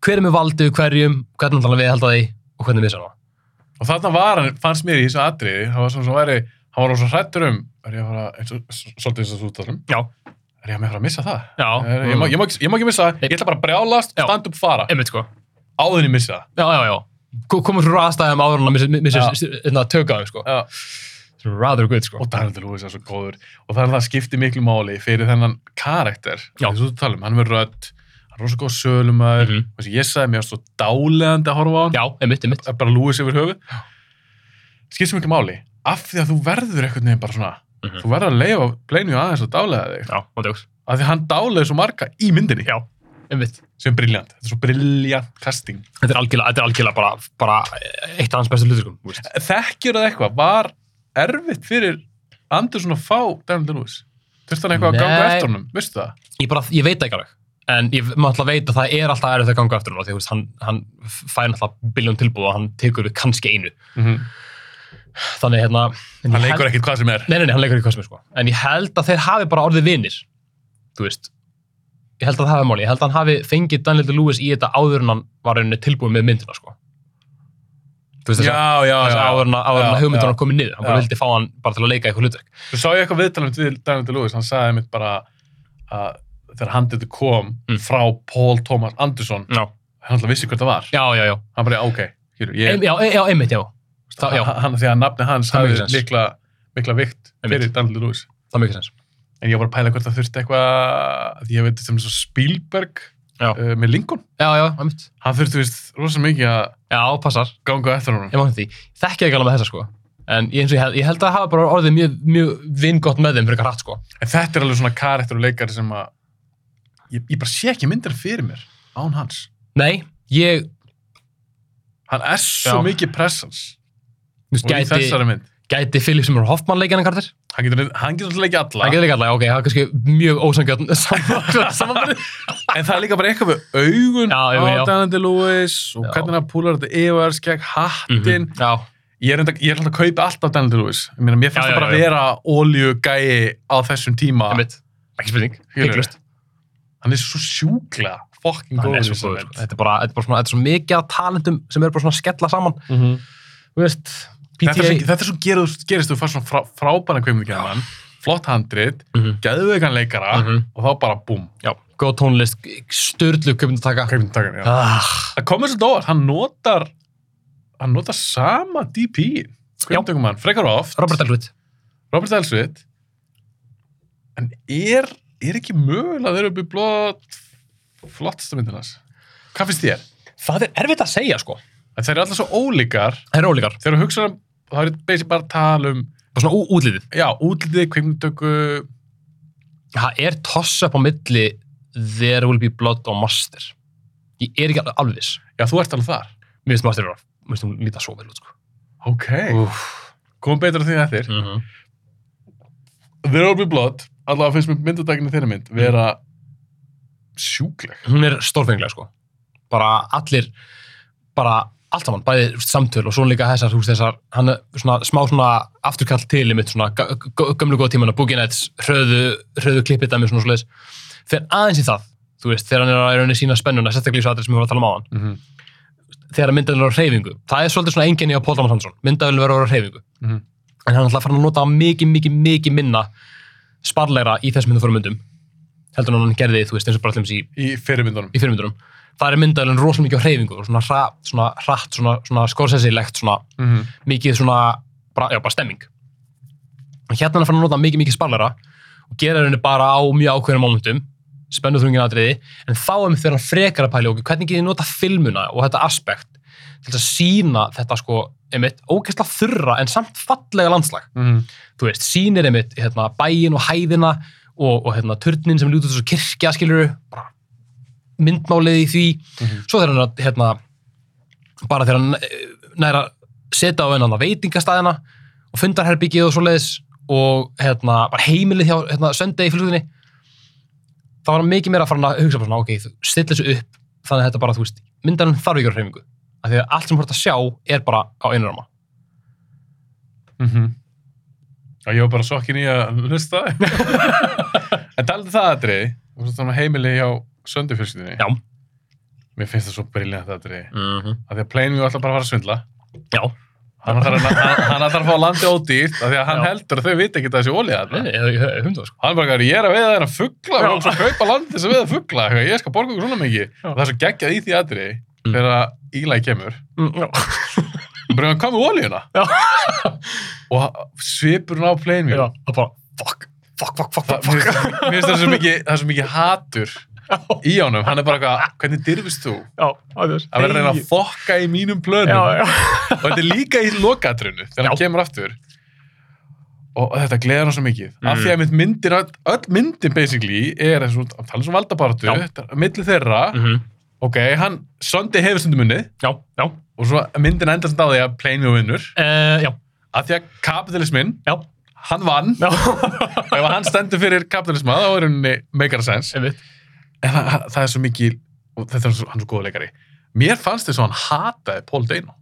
[SPEAKER 2] hver er með valdið, hverjum, hvernig hann við held að því og hvernig missa hann það.
[SPEAKER 1] og þarna var hann, fannst mér í þessu atriði hann var svona sem væri, hann var svo hrættur um er ég að fara, eins og, s- svolítið eins og þú talum
[SPEAKER 2] Já.
[SPEAKER 1] er ég að með fara að missa það
[SPEAKER 2] Já.
[SPEAKER 1] er, Eh, ég, má, ég, má, ekki- ég má ekki missa það, ég ætla bara að brjálast
[SPEAKER 2] Já.
[SPEAKER 1] stand upp fara,
[SPEAKER 2] Einmitt sko.
[SPEAKER 1] áðin ég missa það
[SPEAKER 2] Já, já, já. Ko- Komur frá aðstæðum áður en að missa
[SPEAKER 1] Já.
[SPEAKER 2] þetta tökaðum sko.
[SPEAKER 1] Já.
[SPEAKER 2] It's Rather good sko.
[SPEAKER 1] og Daniel Lewis er svo góður og það er það skipti miklu máli fyrir þennan karakter
[SPEAKER 2] Já.
[SPEAKER 1] eins og þú talum, hann er rödd hann er rosa góð sölumæður mm
[SPEAKER 2] Mhm.
[SPEAKER 1] -hmm. ég sagði mér svo dálegandi að horfa á hann
[SPEAKER 2] Já, einmitt, einmitt.
[SPEAKER 1] það er bara lúis yfir höfuð skipt sem ekki máli af því að þú verður einhvern veginn bara svona
[SPEAKER 2] Mhm.
[SPEAKER 1] þú verður að leifa plainu aðeins og dálega þig
[SPEAKER 2] Já, og djóks.
[SPEAKER 1] Af því hann dálega svo marga í myndinni.
[SPEAKER 2] Já. einmitt.
[SPEAKER 1] Sem briljant. Þetta er svo briljant casting.
[SPEAKER 2] Þetta er algjörlega, þetta er algjörlega bara, bara eitt af hans bestu hluturkum, þú veist.
[SPEAKER 1] Þekkjur það eitthvað? Var erfitt fyrir Anderson að fá Daniel Day-Lewis? Þurfti hann eitthvað að ganga
[SPEAKER 2] Nei.
[SPEAKER 1] eftir honum? Veistu það?
[SPEAKER 2] Ég bara, ég veit það ekki alveg. En ég má alltaf veit að það er alltaf erfið að ganga eftir hann, því þú veist, hann, hann fær náttúrulega biljón tilbúð og hann tekur við kannski einu.
[SPEAKER 1] Mhm.
[SPEAKER 2] Þannig, hérna...
[SPEAKER 1] Hann
[SPEAKER 2] en ég held-
[SPEAKER 1] leikur ekkert hvað sem er.
[SPEAKER 2] Nei, nei, nei, hann leikur í kosmi, sko. En ég held að þeir hafi bara orðið vinir, þú veist. Ég held að það hafi máli. Ég held að hann hafi fengið Daniel Lewis í þetta áður en hann var rauninni tilbúin með myndina, sko. Þú veist,
[SPEAKER 1] Já,
[SPEAKER 2] þess að
[SPEAKER 1] já, já.
[SPEAKER 2] þess að áður en að áður en
[SPEAKER 1] Já,
[SPEAKER 2] að hugmyndin
[SPEAKER 1] já.
[SPEAKER 2] hann komið niður. Hann bara
[SPEAKER 1] Já.
[SPEAKER 2] vildi fá hann bara til að leika eitthvað hlutverk.
[SPEAKER 1] Svo sá ég eitthvað viðtalum við Daniel Day-Lewis, hann sagði mitt bara að þegar handið kom
[SPEAKER 2] Mm.
[SPEAKER 1] frá Paul Thomas Anderson,
[SPEAKER 2] Já,
[SPEAKER 1] hann alltaf vissi hvað það var.
[SPEAKER 2] já, já, já.
[SPEAKER 1] Hann bara, ok, skilur,
[SPEAKER 2] Ein,
[SPEAKER 1] ég,
[SPEAKER 2] já, e- já einmitt, já. Þa, já,
[SPEAKER 1] hann, því að nafni hans
[SPEAKER 2] Það
[SPEAKER 1] hafði
[SPEAKER 2] makes sense.
[SPEAKER 1] mikla, mikla vikt
[SPEAKER 2] Einmitt.
[SPEAKER 1] fyrir Daniel Day-Lewis.
[SPEAKER 2] það er mikið sens.
[SPEAKER 1] En ég var bara að pæla hvort það þurfti eitthvað, því ég veit sem svo Spielberg
[SPEAKER 2] Já.
[SPEAKER 1] uh, með Lincoln.
[SPEAKER 2] Já, já, einmitt.
[SPEAKER 1] Hann þurfti, veist, rosalega mikið að
[SPEAKER 2] Já, passar.
[SPEAKER 1] ganga eftir honum.
[SPEAKER 2] Ég má því. Þekki ekki alveg með þessa, sko. En ég, eins og ég, held, ég held að hafa bara orðið mjög, mjög vingott með þeim fyrir eitthvað hratt, sko.
[SPEAKER 1] En þetta er alveg svona karakter og leikari sem að ég, ég bara sé ekki myndar fyrir mér án hans.
[SPEAKER 2] Nei, ég,
[SPEAKER 1] Hann er svo
[SPEAKER 2] Já.
[SPEAKER 1] mikið pressans
[SPEAKER 2] þú veist,
[SPEAKER 1] og í
[SPEAKER 2] gæti,
[SPEAKER 1] þessari mynd.
[SPEAKER 2] gæti Philip Seymour Hoffman leikja hann kartir?
[SPEAKER 1] Hann getur, hann getur alltaf ekki alla,
[SPEAKER 2] Hann getur ekki allavega, ok, það er kannski mjög ósangjötn samanbyrð.
[SPEAKER 1] en það er líka bara eitthvað við augun
[SPEAKER 2] Já, augun, já.
[SPEAKER 1] á Danandi Lewis og
[SPEAKER 2] Já.
[SPEAKER 1] hvernig hann púlar þetta yfir, skegg, hattin.
[SPEAKER 2] Mhm. Já,
[SPEAKER 1] Ég er reynda- ég er alltaf að kaupa allt af Danandi Lewis. Ég meina, mér fannst það
[SPEAKER 2] Já, já,
[SPEAKER 1] bara
[SPEAKER 2] já.
[SPEAKER 1] vera óljugæi á þessum tíma.
[SPEAKER 2] einmitt. Ah, Ekki spurning,
[SPEAKER 1] Skilurðu?
[SPEAKER 2] hygglust.
[SPEAKER 1] Hann er svo sjúkla fucking
[SPEAKER 2] Hann
[SPEAKER 1] góður
[SPEAKER 2] er svo góður. sko. Þetta er bara, þetta er bara svona, þetta er svo mikið af talentum sem eru bara svona að skella saman.
[SPEAKER 1] góður.
[SPEAKER 2] Þú veist,
[SPEAKER 1] Þetta er
[SPEAKER 2] PTA.
[SPEAKER 1] svo, þetta er svo gerist, gerist þú fannst svona frá, frábæna kveimundikæðan, flott handrit,
[SPEAKER 2] Mhm.
[SPEAKER 1] geðveikan leikara
[SPEAKER 2] Mhm.
[SPEAKER 1] og þá bara búm,
[SPEAKER 2] Já, góð tónlist, störlu köpindutaka.
[SPEAKER 1] kveimunditakarn, já.
[SPEAKER 2] Ah,
[SPEAKER 1] Það komið svo dóar, hann notar, hann notar sama DP, kveimundikumann, frekar oft,
[SPEAKER 2] Robert Elwood.
[SPEAKER 1] Robert Elsvit, en er, er ekki mögulega þeir eru upp í blóð flottasta myndin hans? Hvað finnst þér?
[SPEAKER 2] Það er erfitt að segja, sko.
[SPEAKER 1] Að Þeir eru alltaf svo ólíkar,
[SPEAKER 2] Það er ólíkar.
[SPEAKER 1] þegar þú hugsa um, þá er basically bara að tala um
[SPEAKER 2] Bara svona ú- útlitið.
[SPEAKER 1] já, útlitið, kveimtöku
[SPEAKER 2] Það er toss-up á milli There Will Be Blood og Master. Ég er ekki alveg alveg viss.
[SPEAKER 1] já, þú ert alveg þar
[SPEAKER 2] Mér finnst Master vera, mér finnst hún líta svo vel út, sko.
[SPEAKER 1] ok,
[SPEAKER 2] Úff.
[SPEAKER 1] komum betur að því eftir
[SPEAKER 2] Mm -hmm.
[SPEAKER 1] There Will Be Blood, allavega finnst mér myndadaginni þeirra mynd vera sjúkleg
[SPEAKER 2] hún er stórfenglega sko bara allir bara allt saman, bæði samtöl og svo líka þessar, þú veist þessar, hann er svona smá svona afturkall til í mitt svona gö- gö- gömlu góða tímana, Boogie Nights, hröðu hröðu klippið dæmi svona svoleiðis fyrir aðeins í það, þú veist, þegar hann er að rauninni sína spennuna, sérstaklega í svo aðrið sem við vorum að tala um á hann
[SPEAKER 1] mm -hmm.
[SPEAKER 2] þegar myndavélur eru á reyfingu, það er svolítið svona enginni á Pól Damas Hansson, myndavélur verður á reyfingu
[SPEAKER 1] Mhm.
[SPEAKER 2] en hann er alltaf farin að nota mikið, mikið, mikið minna sparlegra í þessum myndum heldur en hann gerði, þú veist, eins og bara allir í
[SPEAKER 1] í fyrirmyndunum
[SPEAKER 2] í fyrirmyndunum það er myndavélun rosalega mikið á hreyfingu og svona, hra, svona hratt, svona, svona skorsessilegt svona
[SPEAKER 1] mm -hmm.
[SPEAKER 2] mikið svona bara, já, bara stemming en hérna er hann að fara að nota mikið mikið sparlara og gera henni bara á mjög ákveðnum momentum spennu þrungin atriði en þá er mér þegar hann frekar að pæli okkur hvernig getið þið nota filmuna og þetta aspekt til þess að sína þetta sko einmitt ógeðslega þurra en samt fallega landslag
[SPEAKER 1] Mm -hmm.
[SPEAKER 2] þú veist, sýnir einmitt hérna, bæin og hæðina og, og hérna, turnin sem lútur þessu kirkja skilur bara myndmálið í því
[SPEAKER 1] Mhm.
[SPEAKER 2] svo þegar hann er að, hérna, bara þegar hann eh, nær að setja á einan veitingastæðina og fundarherbyggið og svoleiðis og hérna, bara heimilið hjá hérna, söndegi fylgðinni þá var hann mikið meira að fara að hugsa bara svona, ok, þú stilla þessu upp þannig að þetta bara, þú veist, myndarinn þarf ekki að reyfingu af því að allt sem þú ert að sjá er bara á einu rama
[SPEAKER 1] mhm. já, ég var bara sokkin í að hlusta en talaðu það aðrið og svo þannig heimili hjá söndufjölskyldinni
[SPEAKER 2] Já.
[SPEAKER 1] mér finnst það svo briljant aðrið
[SPEAKER 2] mm -hmm.
[SPEAKER 1] að því að Plainview alltaf bara að fara að svindla
[SPEAKER 2] Já,
[SPEAKER 1] hann ætlar að, hann, hann ætlar að fá landi ódýrt af því að hann
[SPEAKER 2] Já.
[SPEAKER 1] heldur að þau viti ekki þessi ólíða þarna.
[SPEAKER 2] Nei, ég- ég- ég- hundar, sko.
[SPEAKER 1] hann bara, ég er að veiða þeirra fuggla
[SPEAKER 2] Já.
[SPEAKER 1] og svo kaupa land þess að veiða fuggla eitthvað, ég skal borga okkur svona mikið og það er svo geggjað í því aðri
[SPEAKER 2] Mm.
[SPEAKER 1] þegar að Eli kemur
[SPEAKER 2] Mm, já.
[SPEAKER 1] og bara hann kom með ólíuna
[SPEAKER 2] Já.
[SPEAKER 1] og svipur hún á plain view
[SPEAKER 2] Já, það bara fuck, fuck, fuck, fuck,
[SPEAKER 1] Það-
[SPEAKER 2] fuck,
[SPEAKER 1] mér
[SPEAKER 2] fuck.
[SPEAKER 1] finnst- mér finnst það svo mikið það er svo mikið hatur í honum hann er bara eitthvað, hvernig dyrfist þú
[SPEAKER 2] Já, það er
[SPEAKER 1] að vera að reyna að fokka í mínum plönum
[SPEAKER 2] Já, já.
[SPEAKER 1] og þetta er líka í lokatrinu þegar hann
[SPEAKER 2] Já.
[SPEAKER 1] kemur aftur og þetta gleður hann svo mikið af
[SPEAKER 2] Mm.
[SPEAKER 1] því að mynd myndir, öll, öll myndin basically er eins og að tala svo valdabartu
[SPEAKER 2] Já.
[SPEAKER 1] milli þeirra,
[SPEAKER 2] -hmm.
[SPEAKER 1] ok, hann Söndi hefur stundum unnið
[SPEAKER 2] Já, já, og svo,
[SPEAKER 1] og myndin endast á því að Plainview vinnur
[SPEAKER 2] uh, já,
[SPEAKER 1] af því að kapitalismin,
[SPEAKER 2] já,
[SPEAKER 1] hann vann
[SPEAKER 2] já,
[SPEAKER 1] og ef hann stendur fyrir kapitalisma þá er henni meikara sens
[SPEAKER 2] einmitt.
[SPEAKER 1] en það, það er svo mikið og þetta er svo, hann er svo góð leikari mér fannst þess að hann hataði Paul Dano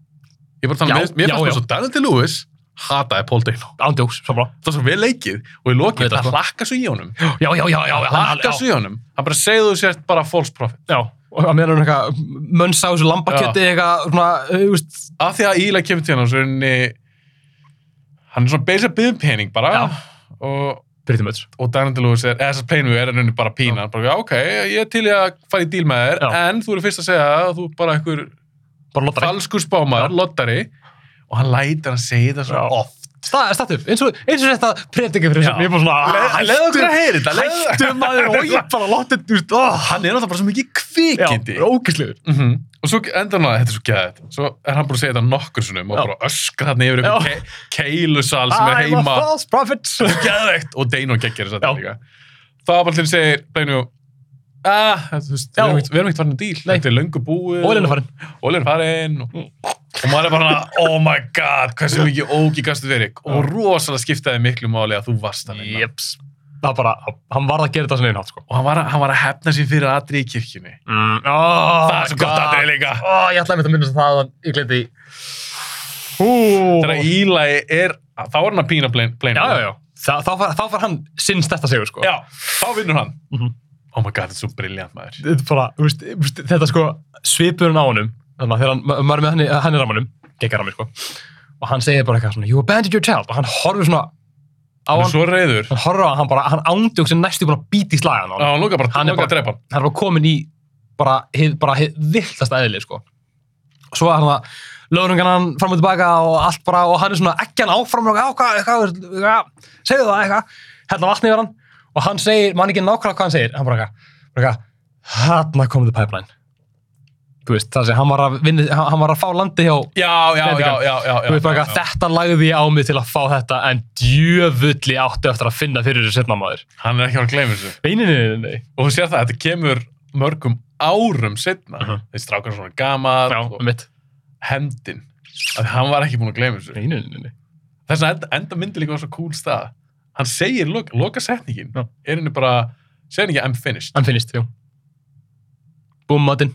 [SPEAKER 1] ég bara
[SPEAKER 2] Já,
[SPEAKER 1] þannig, mér, mér
[SPEAKER 2] já,
[SPEAKER 1] fannst
[SPEAKER 2] já.
[SPEAKER 1] þess að Daniel Lewis hataði Paul Dano
[SPEAKER 2] Ándjóks, samfélag.
[SPEAKER 1] það var svo vel leikið og í lokið,
[SPEAKER 2] Veit
[SPEAKER 1] það
[SPEAKER 2] það. sko.
[SPEAKER 1] hlakka svo í honum
[SPEAKER 2] Já, já, já, já, já, hann-
[SPEAKER 1] hlakka svo í honum, hann bara segðu þú sért bara false prophet,
[SPEAKER 2] já, og að meðan hann eitthvað mönns á þessu lambakjöti eitthvað, svona, eh, þú veist,
[SPEAKER 1] af því að Íla kemur til hann og svo er henni hann er svona beis að byggja pening bara
[SPEAKER 2] Já.
[SPEAKER 1] og,
[SPEAKER 2] Byrðumöts.
[SPEAKER 1] og Daniel Lewis er, eða þess að plainu er henni bara pína, hann bara, já, ok, ég er til í að fara í díl með þér,
[SPEAKER 2] Já.
[SPEAKER 1] en þú eru fyrst að segja að þú er bara einhver
[SPEAKER 2] Bara lottari.
[SPEAKER 1] falskur spámaður, lottari og hann lætir hann segja það svo
[SPEAKER 2] Já.
[SPEAKER 1] oft
[SPEAKER 2] Stað, staðtum, eins og, eins og þetta predikið fyrir
[SPEAKER 1] Já.
[SPEAKER 2] þessu, ég er bara svona, ah,
[SPEAKER 1] Le- leðu okkur að heyra þetta, leðu-
[SPEAKER 2] hættu maður, og ég bara lottið, þú veist, oh,
[SPEAKER 1] hann er alltaf bara svo mikið kvikindi
[SPEAKER 2] já, ógislegur.
[SPEAKER 1] mm og svo endur hann að þetta er svo gæðið svo er hann búin að segja þetta nokkur sinnum og
[SPEAKER 2] Já.
[SPEAKER 1] bara öskra hann yfir einhver
[SPEAKER 2] Já.
[SPEAKER 1] ke keilusal sem er
[SPEAKER 2] I'm
[SPEAKER 1] heima
[SPEAKER 2] a false prophet.
[SPEAKER 1] gæðvegt og Deino geggir þess
[SPEAKER 2] Já.
[SPEAKER 1] að líka þá er bara til að segja Deino ah, þú veist, við
[SPEAKER 2] Já.
[SPEAKER 1] erum ekkert- við erum ekkert farin að díl
[SPEAKER 2] Nei.
[SPEAKER 1] þetta er löngu búið
[SPEAKER 2] Ólinn er farin.
[SPEAKER 1] Ólin farin og,
[SPEAKER 2] Mm.
[SPEAKER 1] og maður er bara hana, oh my god hversu mikið ógi gastu verið og rosalega skiptaði miklu máli að þú varst að vinna
[SPEAKER 2] Jeps. Það var bara, hann varð að gera þetta sem einn hátt, sko.
[SPEAKER 1] og hann var, að- hann var að hefna sín fyrir aðri í kirkjunni
[SPEAKER 2] Mm, oh,
[SPEAKER 1] það er svo gott aðri líka
[SPEAKER 2] Oh, ég ætlaði mér að minna sem það að ég gleyndi í. Hú.
[SPEAKER 1] þegar Íla er þá er hann að pína plein, plein
[SPEAKER 2] Oh. Já, já, já. Þa, þá, far, þá far hann sinns þetta sigur, sko.
[SPEAKER 1] Já, þá vinnur hann.
[SPEAKER 2] Mhm.
[SPEAKER 1] Oh my god, þetta er svo briljant maður.
[SPEAKER 2] Þetta er bara, þú veist, þú veist, þetta sko svipurinn á honum, þannig að þegar hann, ma- maður er með hann, í- hann í ramanum, gekkar ramanum, sko, og hann segir bara eitthvað svona, you abandoned your child, og hann horfir svona
[SPEAKER 1] Hann
[SPEAKER 2] á
[SPEAKER 1] er
[SPEAKER 2] hann,
[SPEAKER 1] svo reyður.
[SPEAKER 2] hann horfir á hann, hann bara, hann ándjók sem næstu búin að býta í slagan
[SPEAKER 1] Já,
[SPEAKER 2] á hann.
[SPEAKER 1] hann lókar bara,
[SPEAKER 2] Hann
[SPEAKER 1] hann
[SPEAKER 2] er
[SPEAKER 1] lókar að drepa hann.
[SPEAKER 2] Hann er bara komin í bara, hið, bara hið villtasta eðli, sko. Og svo er hann að löðrungan hann fram og tilbaka og allt bara, og hann er svona ekki hann áfram og eitthvað, eitthvað, eitthvað, eitthvað, segðu það eitthvað, hella vatni yfir hann, og hann segir, mann ekki nákvæmlega hvað hann segir, hann bara eitthvað, bara eitthvað, hann að koma til pipeline. Þú veist, það sé, hann var að vinna, hann hann var að fá landi hjá,
[SPEAKER 1] Já, já, já,
[SPEAKER 2] Predikan.
[SPEAKER 1] já, já.
[SPEAKER 2] þú veist
[SPEAKER 1] já,
[SPEAKER 2] bara eitthvað,
[SPEAKER 1] já.
[SPEAKER 2] þetta lagði ég á mig til að fá þetta, en djöfulli áttu eftir að finna fyrir þessu setna maður.
[SPEAKER 1] Hann er ekki að gleyma þessu.
[SPEAKER 2] Nei, nei, nei, nei, nei.
[SPEAKER 1] Og þú sér það, þetta kemur mörgum árum setna. Uh
[SPEAKER 2] Mhm.
[SPEAKER 1] -huh. Þeir strákar svona gamað
[SPEAKER 2] Já,
[SPEAKER 1] og
[SPEAKER 2] mitt.
[SPEAKER 1] hendin. Að hann var ekki búin að gleyma þessu.
[SPEAKER 2] Nei, nei, nei, nei.
[SPEAKER 1] Þess að enda, enda myndi líka á svo cool stað. Hann segir, loka, loka setningin,
[SPEAKER 2] Já.
[SPEAKER 1] er henni bara, segir henni ekki I'm finished.
[SPEAKER 2] Hann finnist, já. Búum matinn,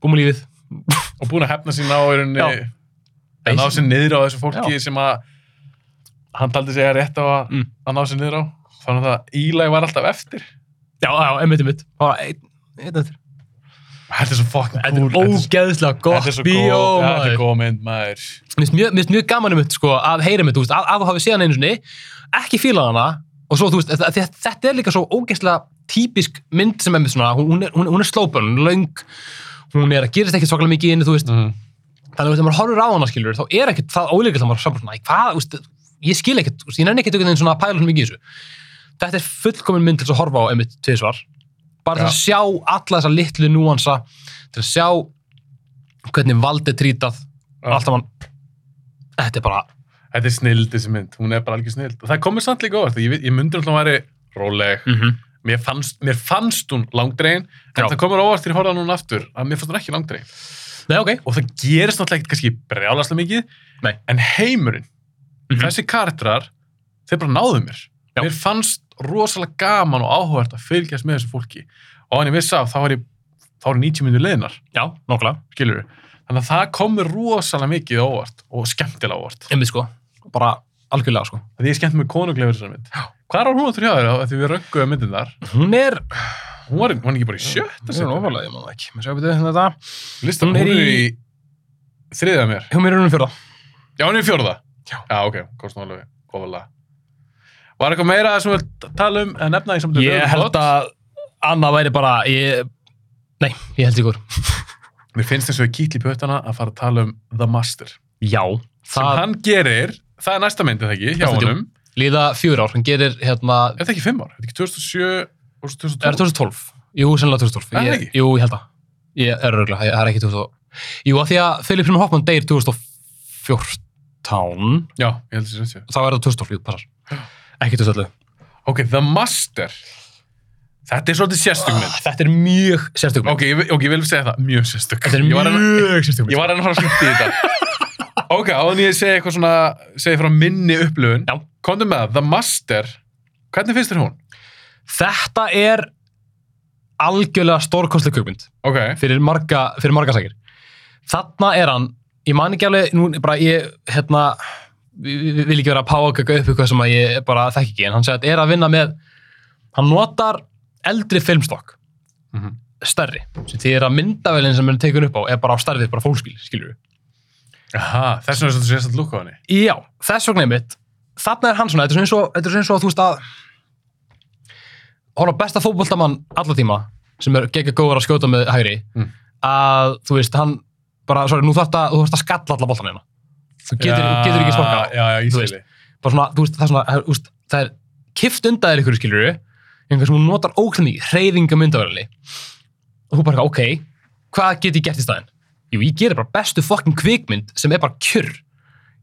[SPEAKER 2] búum lífið.
[SPEAKER 1] Og búin að hefna sín á henni,
[SPEAKER 2] Já.
[SPEAKER 1] að ná sér niður á þessu fólki
[SPEAKER 2] Já.
[SPEAKER 1] sem að hann taldi sig að rétt á að
[SPEAKER 2] Mm.
[SPEAKER 1] að ná sér niður á þannig að Eli var alltaf eftir
[SPEAKER 2] Já, já, einmitt, einmitt. Bara einn, einn eftir.
[SPEAKER 1] Þetta er svo fucking
[SPEAKER 2] Þetta
[SPEAKER 1] cool
[SPEAKER 2] er ógeðslega
[SPEAKER 1] þetta er
[SPEAKER 2] gott
[SPEAKER 1] svo
[SPEAKER 2] bíó,
[SPEAKER 1] góð- Þetta er
[SPEAKER 2] maður.
[SPEAKER 1] góð mynd maður
[SPEAKER 2] Mér finnst mjög- mér finnst mjög gaman um þetta, sko, að heyra um þetta, þú veist, að, að þú hafi séð hann einu sinni, ekki fílað hana, og svo, þú veist, þetta, þetta- þetta er líka svo ógeðslega típisk mynd sem er með svona, hún, hún er, hún, er- hún er slópun, hún er löng, hún er að gerist ekkert svakalega mikið inni, þú veist,
[SPEAKER 1] mm.
[SPEAKER 2] þannig að þegar maður horfir á hana skilur þá er ekkert það ólíkilt að maður er saman svona, "Æ, hvað, úst, ég skil ekkert, úst, ég nenni ekkert einhvern veginn svona að pæla svona mikið í þessu þetta er fullkomin mynd til þess að horfa á einmitt tvisvar bara til að sjá alla þessa litlu núansa til að sjá hvernig vald er trítað
[SPEAKER 1] Já.
[SPEAKER 2] allt að mann þetta er bara,
[SPEAKER 1] Þetta er snild þessi mynd, hún er bara algjör snild og það komið samt líka óvart, ég, veit- ég myndi alltaf að væri róleg,
[SPEAKER 2] mm -hmm.
[SPEAKER 1] mér fannst, mér fannst hún langdregin, en
[SPEAKER 2] Já.
[SPEAKER 1] það komur óvart þegar ég horfði á hún aftur, að mér fannst hún ekki langdregin
[SPEAKER 2] nei ok
[SPEAKER 1] og það gerist náttúrulega ekkert kannski brjálaslega mikið
[SPEAKER 2] Nei.
[SPEAKER 1] en heimurinn,
[SPEAKER 2] Mhm.
[SPEAKER 1] þessi karakterar þeir bara náðu mér
[SPEAKER 2] Já.
[SPEAKER 1] mér fannst rosalega gaman og áhugavert að fylgjast með þessu fólki og hann ég vissi af þá var ég þá var 90 minnur leiðinar,
[SPEAKER 2] já, nokkla,
[SPEAKER 1] skilur við þannig að það kom mér rosalega mikið óvart og skemmtilega óvart,
[SPEAKER 2] einmitt sko bara algjörlega sko
[SPEAKER 1] því ég skemmt með konunglega þessar mynd
[SPEAKER 2] Já.
[SPEAKER 1] hvað var hún að þrjá þér því við rönguðum myndin þar
[SPEAKER 2] hún er,
[SPEAKER 1] hún var, hún var ekki bara í sjötta
[SPEAKER 2] hún er
[SPEAKER 1] sæti?
[SPEAKER 2] ofalega, ég maður ekki Maður sjá, byrju, þetta.
[SPEAKER 1] Listan,
[SPEAKER 2] Hún
[SPEAKER 1] hún
[SPEAKER 2] er
[SPEAKER 1] er í, í þriðja mér
[SPEAKER 2] hún er unum fjóra
[SPEAKER 1] Já, hún er í fjórða?
[SPEAKER 2] Já.
[SPEAKER 1] ok, komst nú alveg ofalega. Var eitthvað meira sem við t- tala um en nefna í samt
[SPEAKER 2] Ég held að annað væri bara ég... Nei, ég held ykkur
[SPEAKER 1] Mér finnst þess að við kýtli í pötana að fara að tala um The Master.
[SPEAKER 2] Já,
[SPEAKER 1] Sem
[SPEAKER 2] það
[SPEAKER 1] hann gerir, það er næsta mynd, er það ekki, hjá
[SPEAKER 2] Næsta, jú.
[SPEAKER 1] honum.
[SPEAKER 2] líða fjör ár hann gerir hérna,
[SPEAKER 1] Er það ekki fimm ár? Er það ekki 2007 og
[SPEAKER 2] er
[SPEAKER 1] 2012?
[SPEAKER 2] 2012 Jú,
[SPEAKER 1] Er
[SPEAKER 2] sennilega 2012
[SPEAKER 1] það
[SPEAKER 2] ég,
[SPEAKER 1] ekki?
[SPEAKER 2] Jú, ég held að Ég er örgulega, það er ekki 2012 Jú, að því að Philip Rimmer Hoffman deyr 2014
[SPEAKER 1] Já, ég held þess að það sé.
[SPEAKER 2] þá er það 2012, jú, passar Ekki til svolítið.
[SPEAKER 1] Ok, The Master. Þetta Ah, er svolítið sérstök mynd.
[SPEAKER 2] Þetta er mjög sérstök mynd.
[SPEAKER 1] Ok, ég, vil- ok, ég vil segja það, mjög sérstök.
[SPEAKER 2] Þetta er
[SPEAKER 1] Ég var að-
[SPEAKER 2] mjög sérstök mynd.
[SPEAKER 1] Ég var enn að fara að hluti í þetta. ok, áðan ég segi eitthvað svona, segi frá minni upplöfun.
[SPEAKER 2] Já.
[SPEAKER 1] Komdu með það, The Master, hvernig finnst þér hún?
[SPEAKER 2] Þetta er algjörlega stórkostleg kjökmynd
[SPEAKER 1] Ok,
[SPEAKER 2] fyrir marga, fyrir marga sakir. Þarna er hann, ég man ekki alveg, nú bara ég, hérna, vi- vi- vil ekki vera að pákaka upp eitthvað sem að ég bara þekki ekki, en hann segir að er að vinna með, hann notar eldri filmstokk,
[SPEAKER 1] Mhm.
[SPEAKER 2] stærri, sem því er að myndavælinn sem hann tekur upp á er bara á stærðið, bara fólksbíl, skilur við.
[SPEAKER 1] Aha, þess vegna er svolítið sérstök lúk á henni.
[SPEAKER 2] Já, þess vegna einmitt þarna er hann svona, þetta er svona eins og, þetta er svona eins og að þú veist að horfa á besta fótboltamann alla tíma sem er gegn góður að skjóta með hægri
[SPEAKER 1] Mm.
[SPEAKER 2] að þú veist, hann bara, sorry, nú þarft að, þú þarft að skalla alla boltan hérna þú getur, getur ekki sparkað á.
[SPEAKER 1] Já, já, ég
[SPEAKER 2] Þú
[SPEAKER 1] skilji.
[SPEAKER 2] bara svona, þú veist, það er svona, það er, úst, það er kift undan þér ykkur skilur einhver sem hún notar óklæmni, hreyfinga myndavælinni og þú bara, eitthvað, ok, hvað get ég gert í staðinn? Jú, ég gerir bara bestu fokkin kvikmynd sem er bara kjurr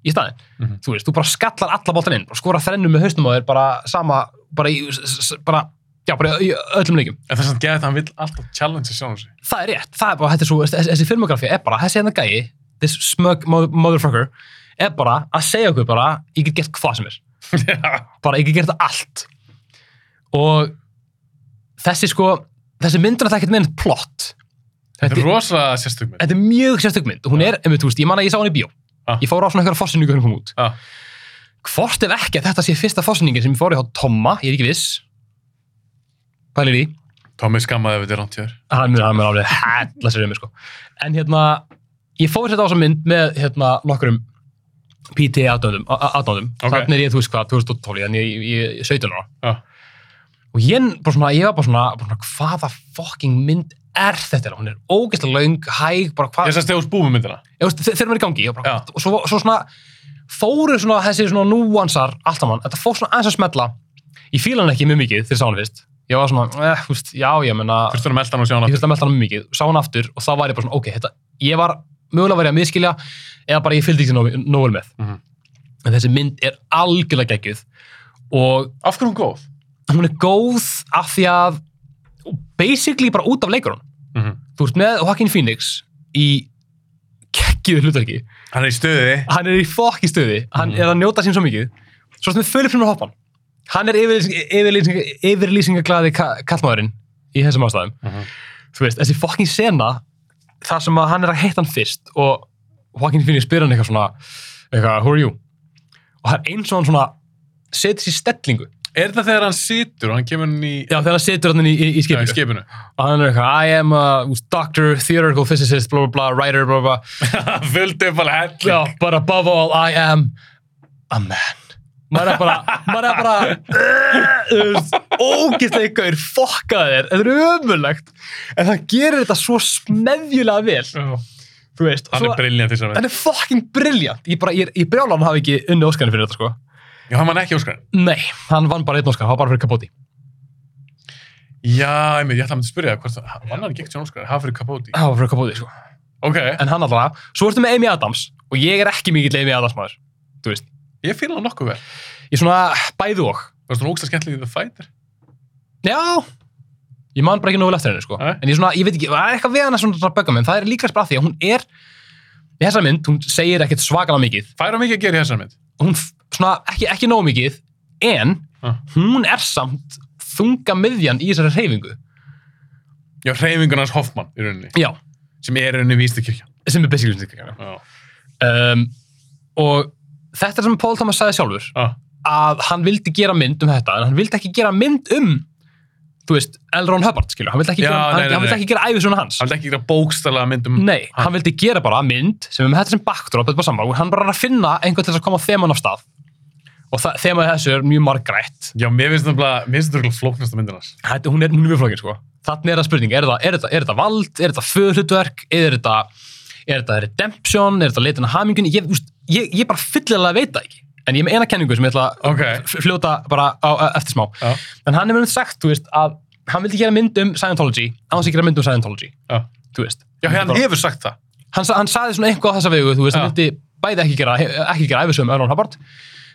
[SPEAKER 2] í staðinn.
[SPEAKER 1] Mhm.
[SPEAKER 2] Þú veist, þú bara skallar alla boltan inn, bara skora þrennum með haustum á þér bara sama, bara í, s- s- bara, já, bara í öllum leikjum.
[SPEAKER 1] En það er svona gæðið að hann vil alltaf challenge sjálfum sig.
[SPEAKER 2] Það er rétt, það er bara, þetta er svo, þessi, þessi filmografi er bara, þessi hérna gæi, this smug mo- motherfucker, er bara að segja okkur bara, ég get gert hvað sem er
[SPEAKER 1] já.
[SPEAKER 2] bara ekki gert allt og þessi sko þessi myndur að það ekkert með einn plott
[SPEAKER 1] Þetta
[SPEAKER 2] þetta,
[SPEAKER 1] er rosa sérstök mynd.
[SPEAKER 2] þetta er mjög sérstök mynd og hún er, einmitt, þú veist, ég manna að ég sá hann í bíó
[SPEAKER 1] Ah.
[SPEAKER 2] ég fór á svona eitthvað fórsyningu hann kom um út
[SPEAKER 1] Ah.
[SPEAKER 2] hvort ef ekki að þetta sé fyrsta fórsyningin sem ég fór í á Tomma, ég er ekki viss pælir í
[SPEAKER 1] Tommy skammaði ef þetta er rámt hjör.
[SPEAKER 2] hann hann er alveg hella sér um mig sko en hérna, ég fór þetta á þessa mynd með hérna nokkrum PT aðdóðum, aðdóðum.
[SPEAKER 1] Ok.
[SPEAKER 2] þannig er ég, þú veist hvað, 2012 þannig er ég, ég, ég 17 ára
[SPEAKER 1] Já.
[SPEAKER 2] og ég, bara svona, ég var bara svona, bara svona hvaða fucking mynd er þetta hún er ógeðslega laung, hæg bara
[SPEAKER 1] Ég
[SPEAKER 2] hvað,
[SPEAKER 1] sérst þegar spúfum myndina.
[SPEAKER 2] ég veist, þe- þegar maður er í gangi ég var bara,
[SPEAKER 1] Já.
[SPEAKER 2] og svo, svo svona fóru svona þessi svona núansar allt saman, þetta fór svona aðeins að smella ég fíla hann ekki mjög mikið þegar ég sá hann fyrst ég var svona, eh, þú veist, já, ég meina
[SPEAKER 1] Fyrst verður meldan og sjá hann
[SPEAKER 2] ég
[SPEAKER 1] aftur.
[SPEAKER 2] þurfti að melda hann mjög mikið, sá hann aftur og þá var ég bara svona, ok, þetta, ég var mögulega var ég að miskilja eða bara ég fylgdi ekki nógu nógu vel með
[SPEAKER 1] Mhm.
[SPEAKER 2] en þessi mynd er algjörlega geggjuð og
[SPEAKER 1] Af hverju er hún góð?
[SPEAKER 2] hún er góð af því að basically bara út af leikurun
[SPEAKER 1] Mm
[SPEAKER 2] þú ert með Joaquin Phoenix í kekkjuðu hlutverki
[SPEAKER 1] Hann er í stöði.
[SPEAKER 2] hann er í fokki stöði, hann
[SPEAKER 1] Mhm.
[SPEAKER 2] er að njóta sín svo mikið svo sem við fölum fyrir hoppan hann er yfirlýsing- yfirlýsing- yfirlýsingaglaði ka kallmaðurinn í þessum ástæðum þú veist, þessi fokkin sena þar sem að hann er að hitta hann fyrst og Joaquin Phoenix spyr hann eitthvað svona eitthvað, who are you? og hann eins og hann svona setur sér stellingu
[SPEAKER 1] Er það þegar hann situr og hann kemur inn í,
[SPEAKER 2] já, þegar hann setur hann í, í, í
[SPEAKER 1] í
[SPEAKER 2] skipinu
[SPEAKER 1] skipinu?
[SPEAKER 2] og hann er eitthvað, I am a úst, doctor, theoretical physicist, bla bla bla, writer, bla bla
[SPEAKER 1] Fullt upp alveg helling.
[SPEAKER 2] já, but above all, I am a man maður er bara, maður er bara "Ugh", þú veist, ógeðslega ykkur, fokka þér þetta er ömulegt en það gerir þetta svo smefjulega vel
[SPEAKER 1] Já.
[SPEAKER 2] þú veist, og
[SPEAKER 1] Hann
[SPEAKER 2] svo,
[SPEAKER 1] er briljant í þessari mynd.
[SPEAKER 2] hann er fucking brilljant ég bara, ég, ég brjála hann hafi ekki unni Óskarinn fyrir þetta sko,
[SPEAKER 1] Já, hann var ekki óskarinn.
[SPEAKER 2] nei, hann vann bara einn Óskar, hann var bara fyrir Kapoti
[SPEAKER 1] Já, einmitt, ég ætla að myndi spyrja það, hvort það, hann var hann ekki ekki óskarinn, hann fyrir Capote.
[SPEAKER 2] hann var fyrir Kapoti sko
[SPEAKER 1] Ok,
[SPEAKER 2] en hann allavega, svo ertu með Amy Adams og ég er ekki mikill Amy Adams maður þú veist,
[SPEAKER 1] ég fýla hann nokkuð vel.
[SPEAKER 2] ég svona bæði og
[SPEAKER 1] Það var svona ógsta skemmtileg í The Fighter.
[SPEAKER 2] já, ég man bara ekki nógu vel eftir henni sko.
[SPEAKER 1] Nei.
[SPEAKER 2] en ég svona, ég veit ekki, það er eitthvað við hana svona að bögga mig, en það er líka bara af því að hún er í þessa mynd, hún segir ekkert svakalega mikið
[SPEAKER 1] Færa mikið að gera í þessari mynd.
[SPEAKER 2] hún f- svona, ekki, ekki nógu mikið en
[SPEAKER 1] Ah.
[SPEAKER 2] hún er samt þunga miðjan í þessari hreyfingu
[SPEAKER 1] Já, hreyfingunars Hoffmann í rauninni,
[SPEAKER 2] já,
[SPEAKER 1] sem er í rauninni vístakirkja.
[SPEAKER 2] sem er basically svona
[SPEAKER 1] Já.
[SPEAKER 2] um, og þetta er sem Paul Thomas sagði sjálfur
[SPEAKER 1] Ah.
[SPEAKER 2] að hann vildi gera mynd um þetta en hann vildi ekki gera mynd um þú veist, L. Ron Hubbard skilur hann vildi ekki,
[SPEAKER 1] Já,
[SPEAKER 2] gera,
[SPEAKER 1] nei,
[SPEAKER 2] hann,
[SPEAKER 1] nei,
[SPEAKER 2] hann vildi ekki gera æfisuna hans
[SPEAKER 1] Hann vil ekki gera um bókstala myndum.
[SPEAKER 2] nei, hann vildi gera bara mynd sem er með þetta sem backdrop, þetta er bara saman hann bara er að finna einhvern til þess að koma þeman af stað og það- þemað þessu er mjög margrætt
[SPEAKER 1] Já, mér finnst nefnilega, mér finnst þetta flóknasta myndin hans.
[SPEAKER 2] Þetta- hún er hún er mjög flókin sko þannig er það spurning, er það, er það, er það vald er þetta föðhlutverk, er þetta er þetta redemption, er þetta leitin að hamingunni ég, úst, ég, ég bara fyllilega veit það ekki en ég er með eina kenningu sem ég ætla að
[SPEAKER 1] Ok.
[SPEAKER 2] f- fljóta bara á, á, eftir smá
[SPEAKER 1] Já.
[SPEAKER 2] en hann hefur sagt, þú veist, að hann vildi gera mynd um Scientology, á hans að gera mynd um Scientology
[SPEAKER 1] Já,
[SPEAKER 2] þú veist,
[SPEAKER 1] Já hann hefur sagt það.
[SPEAKER 2] hann, sa- hann saði svona eitthvað á þessa vegu, þú veist, hann
[SPEAKER 1] Já.
[SPEAKER 2] vildi bæði ekki gera, ekki gera æfisögum Örlón Hubbard,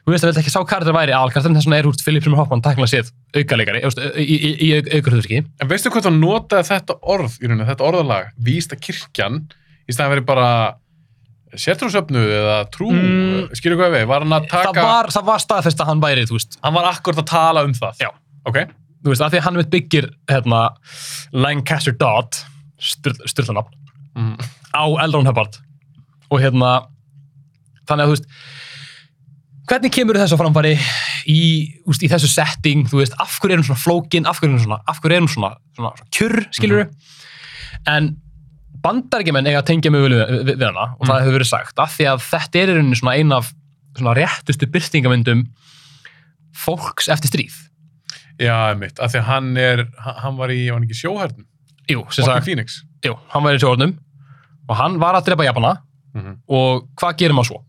[SPEAKER 2] þú veist að veldi ekki sá karakter væri aðalkartan þess vegna er húst Philip Rimmer Hoffman tæknilega séð aukaleikari þú veist, í, í, í, í aukarhugurki
[SPEAKER 1] En veistu hvort hann notaði þetta orð í rauninu, þetta orðalag, vísta kirkjan í staðan verið bara sértrúsöfnu eða trú
[SPEAKER 2] Mm.
[SPEAKER 1] skilur hvað við, var hann að taka
[SPEAKER 2] það var, það var staðfest að hann væri þú veist,
[SPEAKER 1] hann var akkurat að tala um það
[SPEAKER 2] Já.
[SPEAKER 1] ok,
[SPEAKER 2] þú veist, að því að hann mitt byggir hérna, Lancaster Dodd styrðanafn
[SPEAKER 1] mm.
[SPEAKER 2] á Eldron Hubbard og hérna þannig að þú veist hvernig kemur þessu á framfæri í, úst, í þessu setting, þú veist, af hverju er hún svona flókin, af hverju er hún svona, af hverju er hún svona, svona, svona kjurr, skilur en bandaríkjumenn eiga að tengja mjög vel við, við, við hana og það hefur verið sagt, af því að þetta er í rauninni svona ein af svona réttustu byrtingamyndum fólks eftir stríð
[SPEAKER 1] já, mitt, af því að hann er hann hann var í, var hann ekki í sjóhernum
[SPEAKER 2] Jú,
[SPEAKER 1] Joaquin
[SPEAKER 2] sem sagt,
[SPEAKER 1] Phoenix
[SPEAKER 2] jú, hann var í sjórnum og hann var að drepa Japana
[SPEAKER 1] Mhm.
[SPEAKER 2] og hvað gerir maður svo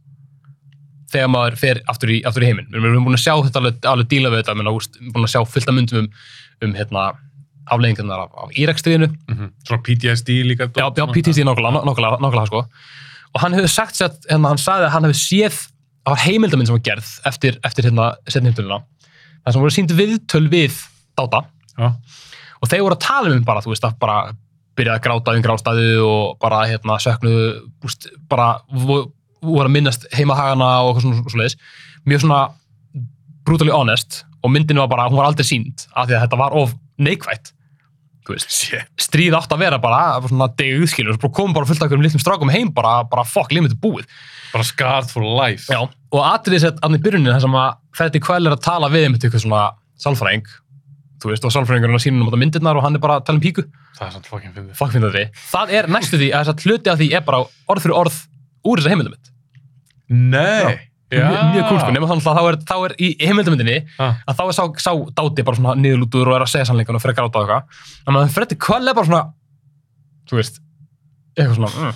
[SPEAKER 2] þegar maður fer aftur í, aftur í heiminn við erum búin að sjá þetta alveg, alveg díla við þetta menn, úst, búin að sjá fullt af myndum um, um hérna, afleggingarnar af, af Írakstíðinu
[SPEAKER 1] Mhm. svona PTSD líka
[SPEAKER 2] já, já PTSD nokkulega, nokkulega, nokkulega sko. og hann hefur sagt sér að hérna, hann sagði að hann hefur séð á heimildaminn sem var gerð eftir, eftir hérna, setningtöluna þar sem voru sínd viðtöl við dáta
[SPEAKER 1] Já.
[SPEAKER 2] og þeir voru að tala um bara, þú veist, að bara byrjaði að gráta um grástaði og bara hérna, söknuðu, úst, bara vo- voru að minnast heimahagana og eitthvað svona svo leiðis, mjög svona brutally honest og myndin var bara, hún var aldrei sínd af því að þetta var of neikvætt þú veist,
[SPEAKER 1] Shit.
[SPEAKER 2] stríð átt að vera bara svona degið skilur, svo komum bara fullt af einhverjum litlum strákum heim bara, bara fuck, limit er búið
[SPEAKER 1] bara scarred for life
[SPEAKER 2] Já, og atriðið sett annir byrjunin þar sem að Freddy Quell er að tala við einmitt ykkur svona sálfræðing þú veist, og sálfræðingurinn að sína um þetta myndirnar og hann er bara að tala um píku,
[SPEAKER 1] það er svona fucking fyndið
[SPEAKER 2] fuck finna því það er næstu því að þess að hluti af því er bara orð fyrir orð úr þessa heimildamind
[SPEAKER 1] nei,
[SPEAKER 2] mjög, mjög cool sko, nema þannig að þá er, þá er í heimildamindinni
[SPEAKER 1] Ha.
[SPEAKER 2] að þá er sá, sá dáti bara svona niðurlútur og er að segja sannleikan og fyrir að gráta og eitthvað þannig að Freddy Quell er bara svona þú veist, eitthvað svona mm,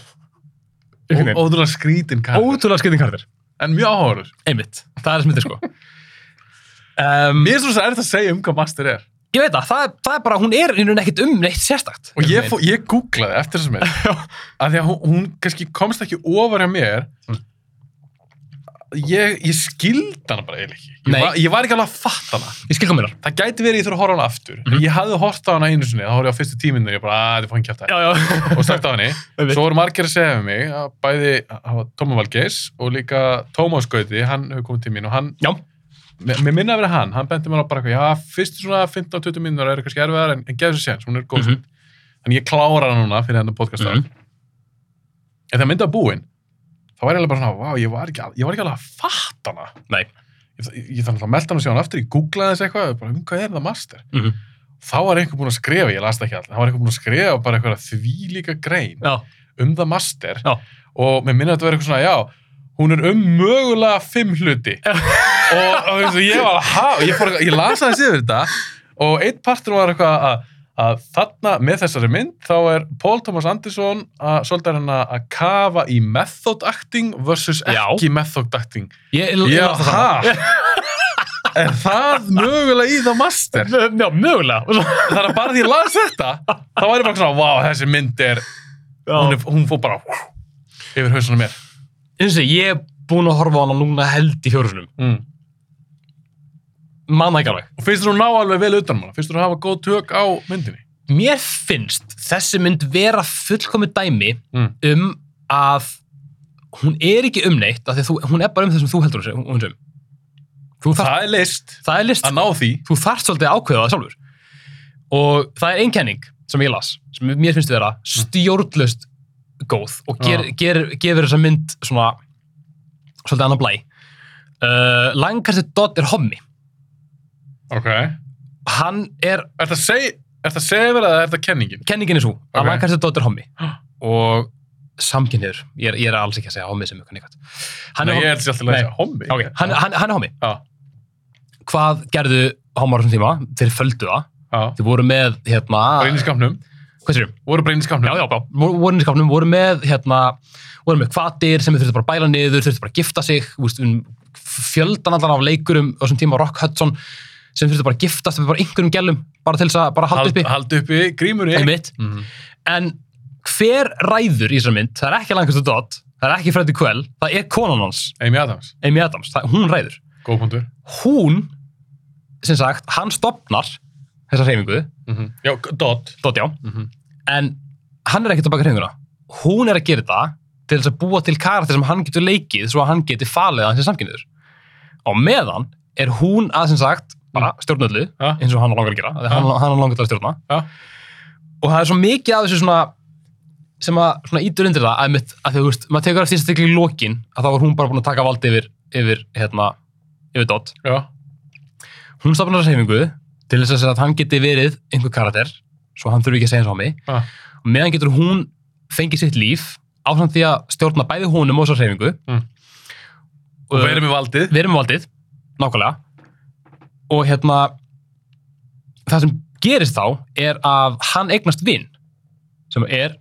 [SPEAKER 2] einhvern veginn.
[SPEAKER 1] ótrúlega skrítin kall
[SPEAKER 2] ótrúlega skeitin kardir
[SPEAKER 1] en mjög áhörður
[SPEAKER 2] einmitt, það er smittir sko um,
[SPEAKER 1] mér er svo erfitt að segja um hvað master er
[SPEAKER 2] ég veit það, það er, það er bara, hún er í rauninni ekkert um neitt sérstakt.
[SPEAKER 1] og ég, fó, ég googlaði eftir þessum mynd að því að hún, hún kannski komst ekki ofar hjá mér
[SPEAKER 2] Mm.
[SPEAKER 1] ég, ég skildi hana bara eiginlega ekki ég
[SPEAKER 2] Nei.
[SPEAKER 1] var, ég var ekki alveg að fatta hana
[SPEAKER 2] Ég skil kominar.
[SPEAKER 1] það gæti verið ég þurfa að horfa á hana aftur
[SPEAKER 2] Mhm.
[SPEAKER 1] en ég hafði hort á hana einu sinni, þá horfði ég á fyrstu tíminu og ég bara, að þetta fann kjæft það
[SPEAKER 2] já.
[SPEAKER 1] og sagt á henni,
[SPEAKER 2] Einmitt.
[SPEAKER 1] svo voru margir að segja við mig að bæði, það var Tóma Valgeis og líka Tómas Gauti, hann hefur komið til mín og hann,
[SPEAKER 2] já,
[SPEAKER 1] mér mér minna að vera hann hann bendi mér á bara eitthvað, já, fyrstu svona 15-20 mínútur eru kannski erfiðar en, en gefur sér séns, hún er góð mm
[SPEAKER 2] Mhm.
[SPEAKER 1] þannig ég klára hana núna fyrir hennar podcast mm
[SPEAKER 2] Mhm.
[SPEAKER 1] en það myndi að búin þá var ég alveg bara svona, vá, ég var ekki, al- ég var ekki alveg að fatta hana
[SPEAKER 2] Nei.
[SPEAKER 1] ég, ég, ég þannig að melda hana og sjá hana aftur, ég googlaði þess eitthvað bara, um hvað er það master þá var einhver búinn að skrifa, ég las það ekki alltaf, þá var einhver búinn að skrifa bara eitthvað þvílíka grein
[SPEAKER 2] já,
[SPEAKER 1] um það master
[SPEAKER 2] Já.
[SPEAKER 1] og mér minna að þetta verið eitthvað svona, já, hún er um mögulega fimm hluti og, og þessu, ég var að hafa, ég, fór, eitthvað- ég las aðeins yfir þetta og eitt partur var eitthvað að, að þarna með þessari mynd þá er Paul Thomas Anderson að svolítið er hann að að kafa í method acting versus
[SPEAKER 2] Já.
[SPEAKER 1] ekki method acting
[SPEAKER 2] ég, ég,
[SPEAKER 1] Já,
[SPEAKER 2] las það sama.
[SPEAKER 1] hæ? Er það mögulega í það master?
[SPEAKER 2] Mö- Já, mögulega. Og svo-
[SPEAKER 1] þannig að bara því ég las þetta þá var ég bara svona, vá, þessi mynd er hún, er, hún fór bara yfir hausunum mér
[SPEAKER 2] Eins og ég er búin að horfa á hana núna held í fjórusunum.
[SPEAKER 1] mm.
[SPEAKER 2] Manna ekki alveg.
[SPEAKER 1] og finnst þú ná alveg vel utan manna finnst þú hafa góð tök á myndinni
[SPEAKER 2] Mér finnst þessi mynd vera fullkomi dæmi
[SPEAKER 1] Mm.
[SPEAKER 2] um að hún er ekki um neitt, af því að þú, hún er bara um það sem þú heldur hún sé- hún sem. Þú þarft,
[SPEAKER 1] það er list
[SPEAKER 2] það er list.
[SPEAKER 1] að ná því
[SPEAKER 2] þú þarft svolítið að ákveða það sjálfur og það er ein kenning sem ég las, sem mér finnst vera stjórnlaust góð og ger,
[SPEAKER 1] Já.
[SPEAKER 2] ger, gefur þessa mynd svona svolítið annar blæ uh, Lancaster Dodd er hommi
[SPEAKER 1] ok er
[SPEAKER 2] hann er,
[SPEAKER 1] það að segja Er það segir eða er það kenningin?
[SPEAKER 2] kenningin er svo
[SPEAKER 1] Ok.
[SPEAKER 2] að Lancaster Dodd er hommi
[SPEAKER 1] Huh.
[SPEAKER 2] og samkynniður, ég er, ég er alls ekki að segja hommi sem ykkur neikvæmt hann,
[SPEAKER 1] Nei, ég
[SPEAKER 2] er hommi-
[SPEAKER 1] held sér alltaf að
[SPEAKER 2] Nei.
[SPEAKER 1] segja hommi.
[SPEAKER 2] Ok, hann, hann, hann er hommi
[SPEAKER 1] Já,
[SPEAKER 2] hvað gerðu homar á þessum tíma, þeir földu það
[SPEAKER 1] já.
[SPEAKER 2] þeir voru með hérna,
[SPEAKER 1] Bara inn í skamnum.
[SPEAKER 2] hvað sér
[SPEAKER 1] Voru bara inn í skamnum.
[SPEAKER 2] já, já, já, voru voru inn í skapnum, voru með hérna, voru með kvatir sem þau þurftu bara að bæla niður, þurftu bara að gifta sig úst, um, fjöldan allan af leikurum á þessum tíma Rock Hudson sem þurftu bara að giftast við bara einhverjum gælum bara til þess að bara halda uppi
[SPEAKER 1] Haldi uppi grímurinn.
[SPEAKER 2] einmitt,
[SPEAKER 1] Mhm.
[SPEAKER 2] en hver ræður í þessar mynd, það er ekki Lancaster Dodd það er ekki Freddy Quell, það er konan hans
[SPEAKER 1] Amy Adams.
[SPEAKER 2] Amy Adams, það, hún ræður
[SPEAKER 1] Góð punktur.
[SPEAKER 2] hún sem sagt, hann stopnar þessa hreyfingu,
[SPEAKER 1] Mm Já, dot.
[SPEAKER 2] Dotjá
[SPEAKER 1] Mm
[SPEAKER 2] en hann er ekkert að baka hreyfinguna hún er að gera þetta til þess að búa til karakter sem hann getur leikið svo að hann geti falið að hann sem samkynniður á meðan er hún að sem sagt bara stjórnöldu
[SPEAKER 1] Ja.
[SPEAKER 2] eins og hann langar að gera, ja. hann, hann langar til að stjórna
[SPEAKER 1] Ja.
[SPEAKER 2] og það er svo mikið af þessu svona sem að svona ítur undir það að, mitt, að því, þú veist, maður tekur eftir þess að í lokin að þá var hún bara búin að taka valdi yfir yfir, hérna, yfir Dot
[SPEAKER 1] Já.
[SPEAKER 2] hún stafnar reyfingu til þess að segja að hann geti verið einhver karakter, svo hann þurfi ekki að segja eins á mig
[SPEAKER 1] Ah.
[SPEAKER 2] og meðan getur hún fengið sitt líf á samt því að stjórna bæði honum og þessar reyfingu
[SPEAKER 1] Mm. Og
[SPEAKER 2] og
[SPEAKER 1] við erum í valdið.
[SPEAKER 2] við erum með valdið nákvæmlega og hérna það sem gerist þá er að hann eignast vinn sem er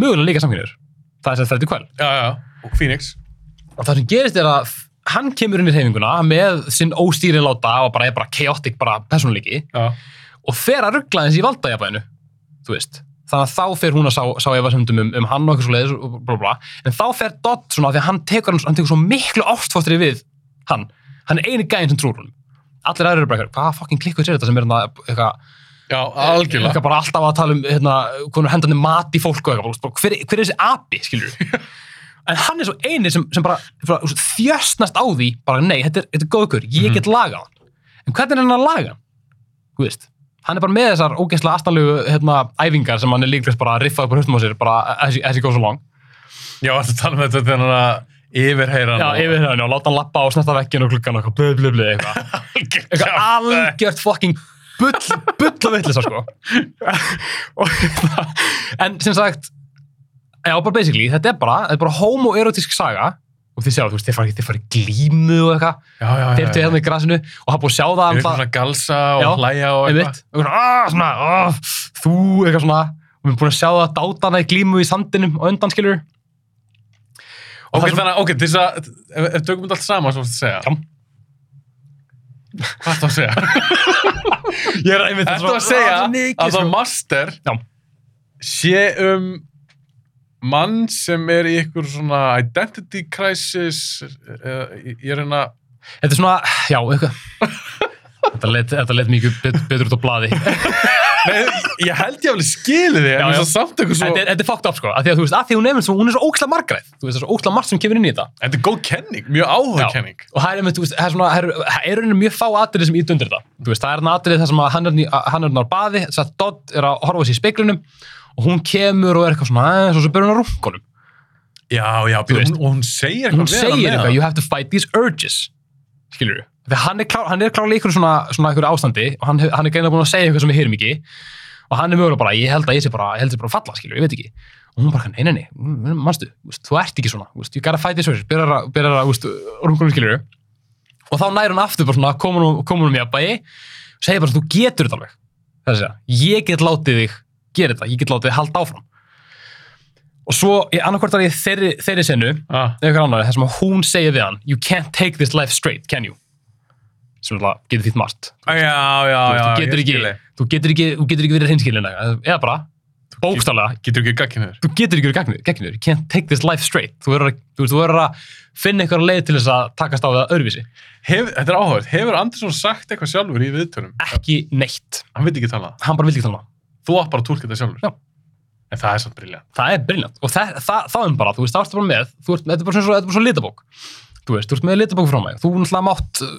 [SPEAKER 2] mögulega líka samkynur það er sem þetta er kvæl
[SPEAKER 1] Já, já. Og Phoenix.
[SPEAKER 2] og það sem gerist er að hann kemur inn í reyfinguna með sinn óstýrin láta og bara er bara chaotic bara persónuleiki
[SPEAKER 1] Já.
[SPEAKER 2] og fer að ruggla þessi í valdajafæðinu þú veist þannig að þá fer hún að sá, sá efasöndum um, um hann og eitthvað svo leiðis og blá blá en þá fer Dodd svona af því að hann tekur, hann tekur svo miklu ástfóttri við hann hann er eini gæinn sem trúr hún allir aðrir eru bara eitthvað, hvað fucking klikkuð sér þetta sem er hérna eitthvað,
[SPEAKER 1] Já, algjörlega.
[SPEAKER 2] eitthvað bara alltaf að tala um hérna, hvernig hendandi mat í fólk og eitthvað, bara, hver, hver er þessi api, skilur en hann er svo eini sem, sem bara, bara þú veist, þjösnast á því bara nei, þetta er, þetta er góðkur, ég
[SPEAKER 1] Mhm.
[SPEAKER 2] get lagað hann en hvernig er hann að laga hann? Þú veist, hann er bara með þessar ógeðslega astanlegu hérna, æfingar sem hann er líklegast bara að riffa upp á höstum á sér, bara as he- as he goes along
[SPEAKER 1] Já, þetta tala með þetta þegar hann að yfirheyra hann.
[SPEAKER 2] Já, yfir hérna og láta hann lappa á snetta vekkinu og klukkan og eitthvað, blöð, blöð, blöð, eitthvað
[SPEAKER 1] Algjör
[SPEAKER 2] eitthvað
[SPEAKER 1] kjaftaði.
[SPEAKER 2] algjört fucking bull, bull og vitlis sko. Og hérna, en sem sagt já, bara basically, þetta er bara, þetta er bara homoerotísk saga og þið sjá, þú veist, þeir fara, þeir fara í glímu og eitthvað,
[SPEAKER 1] Já, já, já.
[SPEAKER 2] þeir til hérna í grasinu og hafa búið að sjá það
[SPEAKER 1] Þeir
[SPEAKER 2] um
[SPEAKER 1] eru
[SPEAKER 2] það,
[SPEAKER 1] svona galsa og
[SPEAKER 2] Já,
[SPEAKER 1] hlæja og
[SPEAKER 2] einmitt og svona, "Ah, svona, ah, þú, eitthvað svona og við erum búin að sjá það að dáta hana í glímu í sandinum og undan skilur
[SPEAKER 1] Ok,
[SPEAKER 2] það er svo-
[SPEAKER 1] þannig að, ok, til þess að, ef ef tökum þetta allt saman, svo að segja.
[SPEAKER 2] Já.
[SPEAKER 1] Hvað ertu að segja?
[SPEAKER 2] ég er einmitt
[SPEAKER 1] Ertu að segja að það master
[SPEAKER 2] Já.
[SPEAKER 1] sé um mann sem er í ykkur svona identity crisis, eh, eða ég er hérna,
[SPEAKER 2] Þetta er svona, já, eitthvað. þetta, leit, þetta leit mikið bet, betur út á blaði.
[SPEAKER 1] nei, ég held ég alveg skilið þig,
[SPEAKER 2] Já,
[SPEAKER 1] en
[SPEAKER 2] já.
[SPEAKER 1] þess að samt eitthvað svo,
[SPEAKER 2] Þetta er, þetta er fucked up, sko. Af því að þú veist, af því hún er, með svo, hún er svo óksla margræð. Þú veist, það er svo óksla margt sem kemur inn í þetta.
[SPEAKER 1] þetta er góð kenning, mjög áhuga
[SPEAKER 2] Já.
[SPEAKER 1] kenning.
[SPEAKER 2] Og það er, einmitt, þú veist, það er svona, það eru- það eru er mjög fá atrið sem ítundir þetta. Þú veist, það er hann atrið þar sem að hann er, ný- hann er náður baði, þess að Dodd er að horfa sér í speiklunum og hún kemur og er eitthvað svona, aðeins og svo byrjar hún að rungunum.
[SPEAKER 1] Já, já,
[SPEAKER 2] Þú
[SPEAKER 1] býr,
[SPEAKER 2] veist.
[SPEAKER 1] hún, og hún segir
[SPEAKER 2] hún
[SPEAKER 1] eitthvað við hana
[SPEAKER 2] segir
[SPEAKER 1] með
[SPEAKER 2] eitthvað,
[SPEAKER 1] það.
[SPEAKER 2] you have to fight these urges skilur við þegar hann er, klár, hann er klárlega í einhverju svona, svona einhverju ástandi og hann, hef- hann er greinlega búin að segja eitthvað sem við heyrum ekki og hann er mögulega bara, ég held að ég sé bara, ég held að ég bara að falla, skilur, við, ég veit ekki og hún bara, nei, nei, nei, mm, manstu, þú veist, þú ert ekki svona þú veist, you gotta fight these urges, byrjar að, byrjar að, þú veist, orðungunum skilur við. og þá næri hann aftur bara svona, komur hún, komur hún í aðbæi og segir bara, þú getur þetta alveg þess að, ég get látið þig gera þetta, ég get látið þig halda áfram og svo, annarkvort að ég þeirri, þeirri senu
[SPEAKER 1] Ah,
[SPEAKER 2] eða eitthvað annar, þar sem að hún segir við hann you can't take this life straight, can you? sem er alltaf, getur þitt margt
[SPEAKER 1] Já, Ah, já,
[SPEAKER 2] Þú
[SPEAKER 1] já,
[SPEAKER 2] veist,
[SPEAKER 1] ég
[SPEAKER 2] þú, getur ekki,
[SPEAKER 1] skil þig.
[SPEAKER 2] þú getur ekki þú getur ekki verið hinskilina eða bara, bókstálega
[SPEAKER 1] Getur ekki gagkinnur.
[SPEAKER 2] þú getur ekki verið gagnir, gagnir, you can't take this life straight þú verður að, þú veist, þú verður að finna eitthvað leið til þess að takast á það öðruvísi
[SPEAKER 1] Hef, þetta er áhugað, hefur Andersson sagt eitthvað sjálfur í viðtölum?
[SPEAKER 2] ekki neitt,
[SPEAKER 1] Hann veit ekki tala það.
[SPEAKER 2] hann bara vil ekki tala um það.
[SPEAKER 1] Þú átt bara að tólka þetta sjálfur.
[SPEAKER 2] Já.
[SPEAKER 1] En það er samt briljant.
[SPEAKER 2] það er briljant og það, það, það er bara, þú veist, það ertu bara með þú ert, þetta er bara svona, svo- þetta er bara svona litabók þú veist, þú ert með litabók frá mig, þú náttúrulega mátt uh,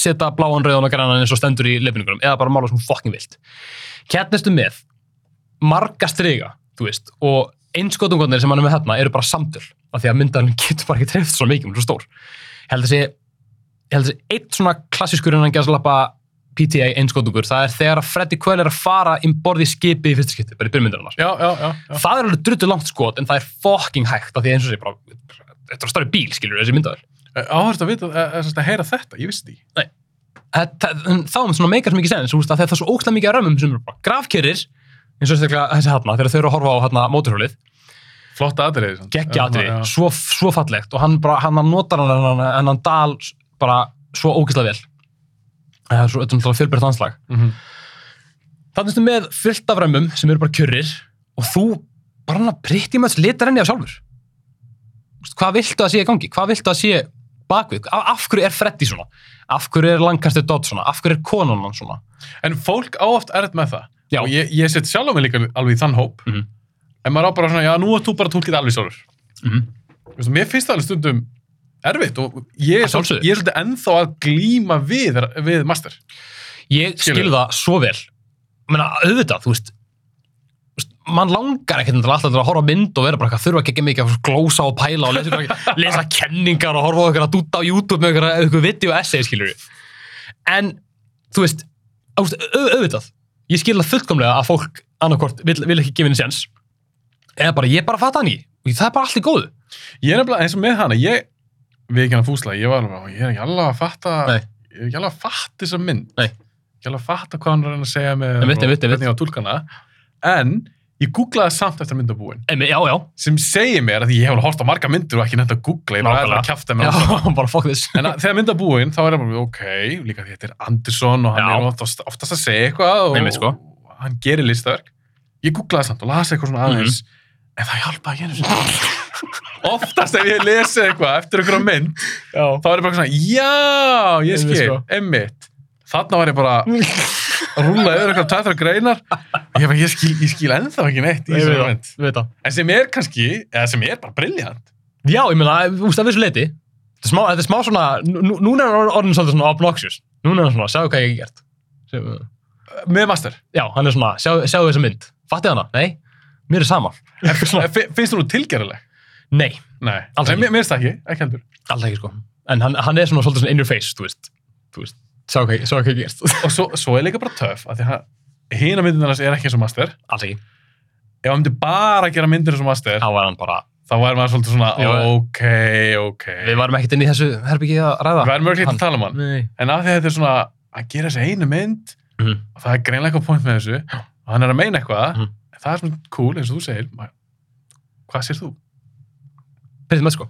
[SPEAKER 2] setja bláan, rauðan og grænan eins og stendur í lefningunum, eða bara mála sem þú fokkin vilt kjarnistu með marga striga, þú veist og einskotungarnir sem hann er með hérna eru bara samtöl af því að myndalinn getur bara ekki treyft svo mikið, hún er svo stór ég held að sé, ég held að sé eitt svona klassískur en hann gerðs PTA einskotungur, það er þegar að Freddy Quell er að fara um borð í skipi í fyrsta skipti, bara í byrjmyndarinnar
[SPEAKER 1] Já, já, já. já.
[SPEAKER 2] það er alveg drullu langt skot en það er fucking hægt af því eins og sé bara þetta er stærri bíl skilur þessi myndaður
[SPEAKER 1] Áhugað að vita, eh, að, að, að heyra þetta, ég vissi því.
[SPEAKER 2] þá er svona meikar sem ekki sens þú veist, af því að það er svo ókslega mikið að römmum sem eru bara grafkerir eins og sérstaklega þessi hana þegar þau eru að horfa á hana móturhjólið
[SPEAKER 1] Flott atriði. samt.
[SPEAKER 2] geggja atri,
[SPEAKER 1] Já, já.
[SPEAKER 2] svo, svo fallegt og hann, bara, hann notar hann hann, hann, hann dal bara svo ógeðslega vel það er svo þetta er náttúrulega fjölbreytt anslag
[SPEAKER 1] Mhm.
[SPEAKER 2] Þannig ertu með fullt af römmum sem eru bara kjurrir og þú bara hann að pritti mjög litar henni af sjálfur. Þú veist, Hvað viltu að sé í gangi? Hvað viltu að sé bakvið? Af, af hverju er Freddy svona? Af hverju er Lancaster Dodd svona? Af hverju er konan hann svona?
[SPEAKER 1] En fólk áaft erð með það.
[SPEAKER 2] Já.
[SPEAKER 1] Og ég, ég set sjálf á mig líka alveg í þann hóp.
[SPEAKER 2] Mhm.
[SPEAKER 1] En maður á bara svona, já, nú að þú bara tólkið alveg sjálfur.
[SPEAKER 2] Mm -hmm.
[SPEAKER 1] Veistu, mér finnst það alveg stundum erfitt og ég er,
[SPEAKER 2] Að
[SPEAKER 1] svol,
[SPEAKER 2] sjálfsögðu.
[SPEAKER 1] ég er svolítið ennþá að glíma við, við master.
[SPEAKER 2] Ég skil
[SPEAKER 1] Skilur.
[SPEAKER 2] það svo vel. Ég meina, auðvitað, þú veist, þú veist, mann langar ekkert til alltaf til að horfa á mynd og vera bara eitthvað þurfa ekki ekki mikið að glósa og pæla og lesa, ykkur- lesa kenningar og horfa á ykkur að dúta á YouTube með ykkur, ykkur video essay, skilur við. En, þú veist, á- þú veist, au- auðvitað, ég skil það fullkomlega að fólk annarkvort vil, vil ekki gefa henni séns. Eða bara, ég bara fatta hann í. Og það er bara allt í góðu.
[SPEAKER 1] Ég er nefnilega eins og með hana, ég við ekki hann fúsla, ég var alveg, "Ó, ég er ekki alveg að fatta
[SPEAKER 2] Nei.
[SPEAKER 1] ég er ekki alveg að fatta þessa mynd
[SPEAKER 2] Nei.
[SPEAKER 1] ég er alveg að fatta hvað hann er að reyna að segja með
[SPEAKER 2] Ég veit, ég veit, ég veit.
[SPEAKER 1] hvernig á tólkana en ég googlaði samt eftir myndabúin
[SPEAKER 2] Emi, já, já,
[SPEAKER 1] sem segir mér að því ég hef alveg hort á marga myndir og ekki nefnt að googla, ég bara er bara að kjafta
[SPEAKER 2] já,
[SPEAKER 1] með
[SPEAKER 2] bara fuck this.
[SPEAKER 1] En að, þegar myndabúin, þá er það bara, ok, líka því þetta er Andersson og hann
[SPEAKER 2] Já.
[SPEAKER 1] er oftast, oftast að segja eitthvað og,
[SPEAKER 2] Nei, mitt, sko.
[SPEAKER 1] og hann gerir listaverk. Ég googlaði samt og las eitthvað
[SPEAKER 2] Mhm.
[SPEAKER 1] svona aðeins, en það hjálpaði ekki einu sinni. oftast ef ég lesi eitthvað eftir einhverja mynd,
[SPEAKER 2] Já.
[SPEAKER 1] þá er ég bara svona, já, ég
[SPEAKER 2] Einmitt,
[SPEAKER 1] skil,
[SPEAKER 2] sko.
[SPEAKER 1] emmitt. Þarna var ég bara að rúla yfir eitthvað tættra greinar. Ég, bara, ég, skil, ég skil ennþá ekki neitt í
[SPEAKER 2] Ég veit
[SPEAKER 1] þessari
[SPEAKER 2] það,
[SPEAKER 1] mynd.
[SPEAKER 2] ég veit það.
[SPEAKER 1] En sem er kannski, eða sem er bara brilljant.
[SPEAKER 2] Já, ég meina, þú veist, að þessu leiti Þetta er smá, þetta er smá svona, nú- nú- núna er hann orðin svolítið svona obnoxious Núna er hann svona, sjáu hvað ég hef gert Sjáu-
[SPEAKER 1] Með master.
[SPEAKER 2] Já, hann er svona, sjáu, sjáu þessa mynd Fattið hana? Nei, mér er sama
[SPEAKER 1] En fi- Finnst þú nú tilgerðileg?
[SPEAKER 2] Nei,
[SPEAKER 1] Nei,
[SPEAKER 2] Alls
[SPEAKER 1] Nei,
[SPEAKER 2] ekki.
[SPEAKER 1] mér mér finnst það ekki, ekki heldur.
[SPEAKER 2] alltaf ekki sko En hann, hann er svona svolítið svona in your face, þú veist Þú veist, sjáu hvað, ég- sjáu hvað ég hef gert
[SPEAKER 1] Og svo, svo er líka bara töff, að því að hína myndin hans er ekki eins og master.
[SPEAKER 2] Alltaf ekki,
[SPEAKER 1] Ef hann myndi bara gera myndir eins og master,
[SPEAKER 2] þá var hann bara
[SPEAKER 1] þá væri maður svolítið svona,
[SPEAKER 2] Já.
[SPEAKER 1] ok, ok.
[SPEAKER 2] Við varum ekkert inn í þessu herbyggi að ræða
[SPEAKER 1] Við erum örglítið
[SPEAKER 2] hann-
[SPEAKER 1] að tala um hann.
[SPEAKER 2] Nei
[SPEAKER 1] En af því að þetta er svona, að gera þessi einu mynd,
[SPEAKER 2] Mhm.
[SPEAKER 1] og það er greinlega eitthvað point með þessu, og hann er að meina eitthvað,
[SPEAKER 2] Mhm.
[SPEAKER 1] en það er svona cool, eins og þú segir, maður, hvað sér þú?
[SPEAKER 2] Pretty much sko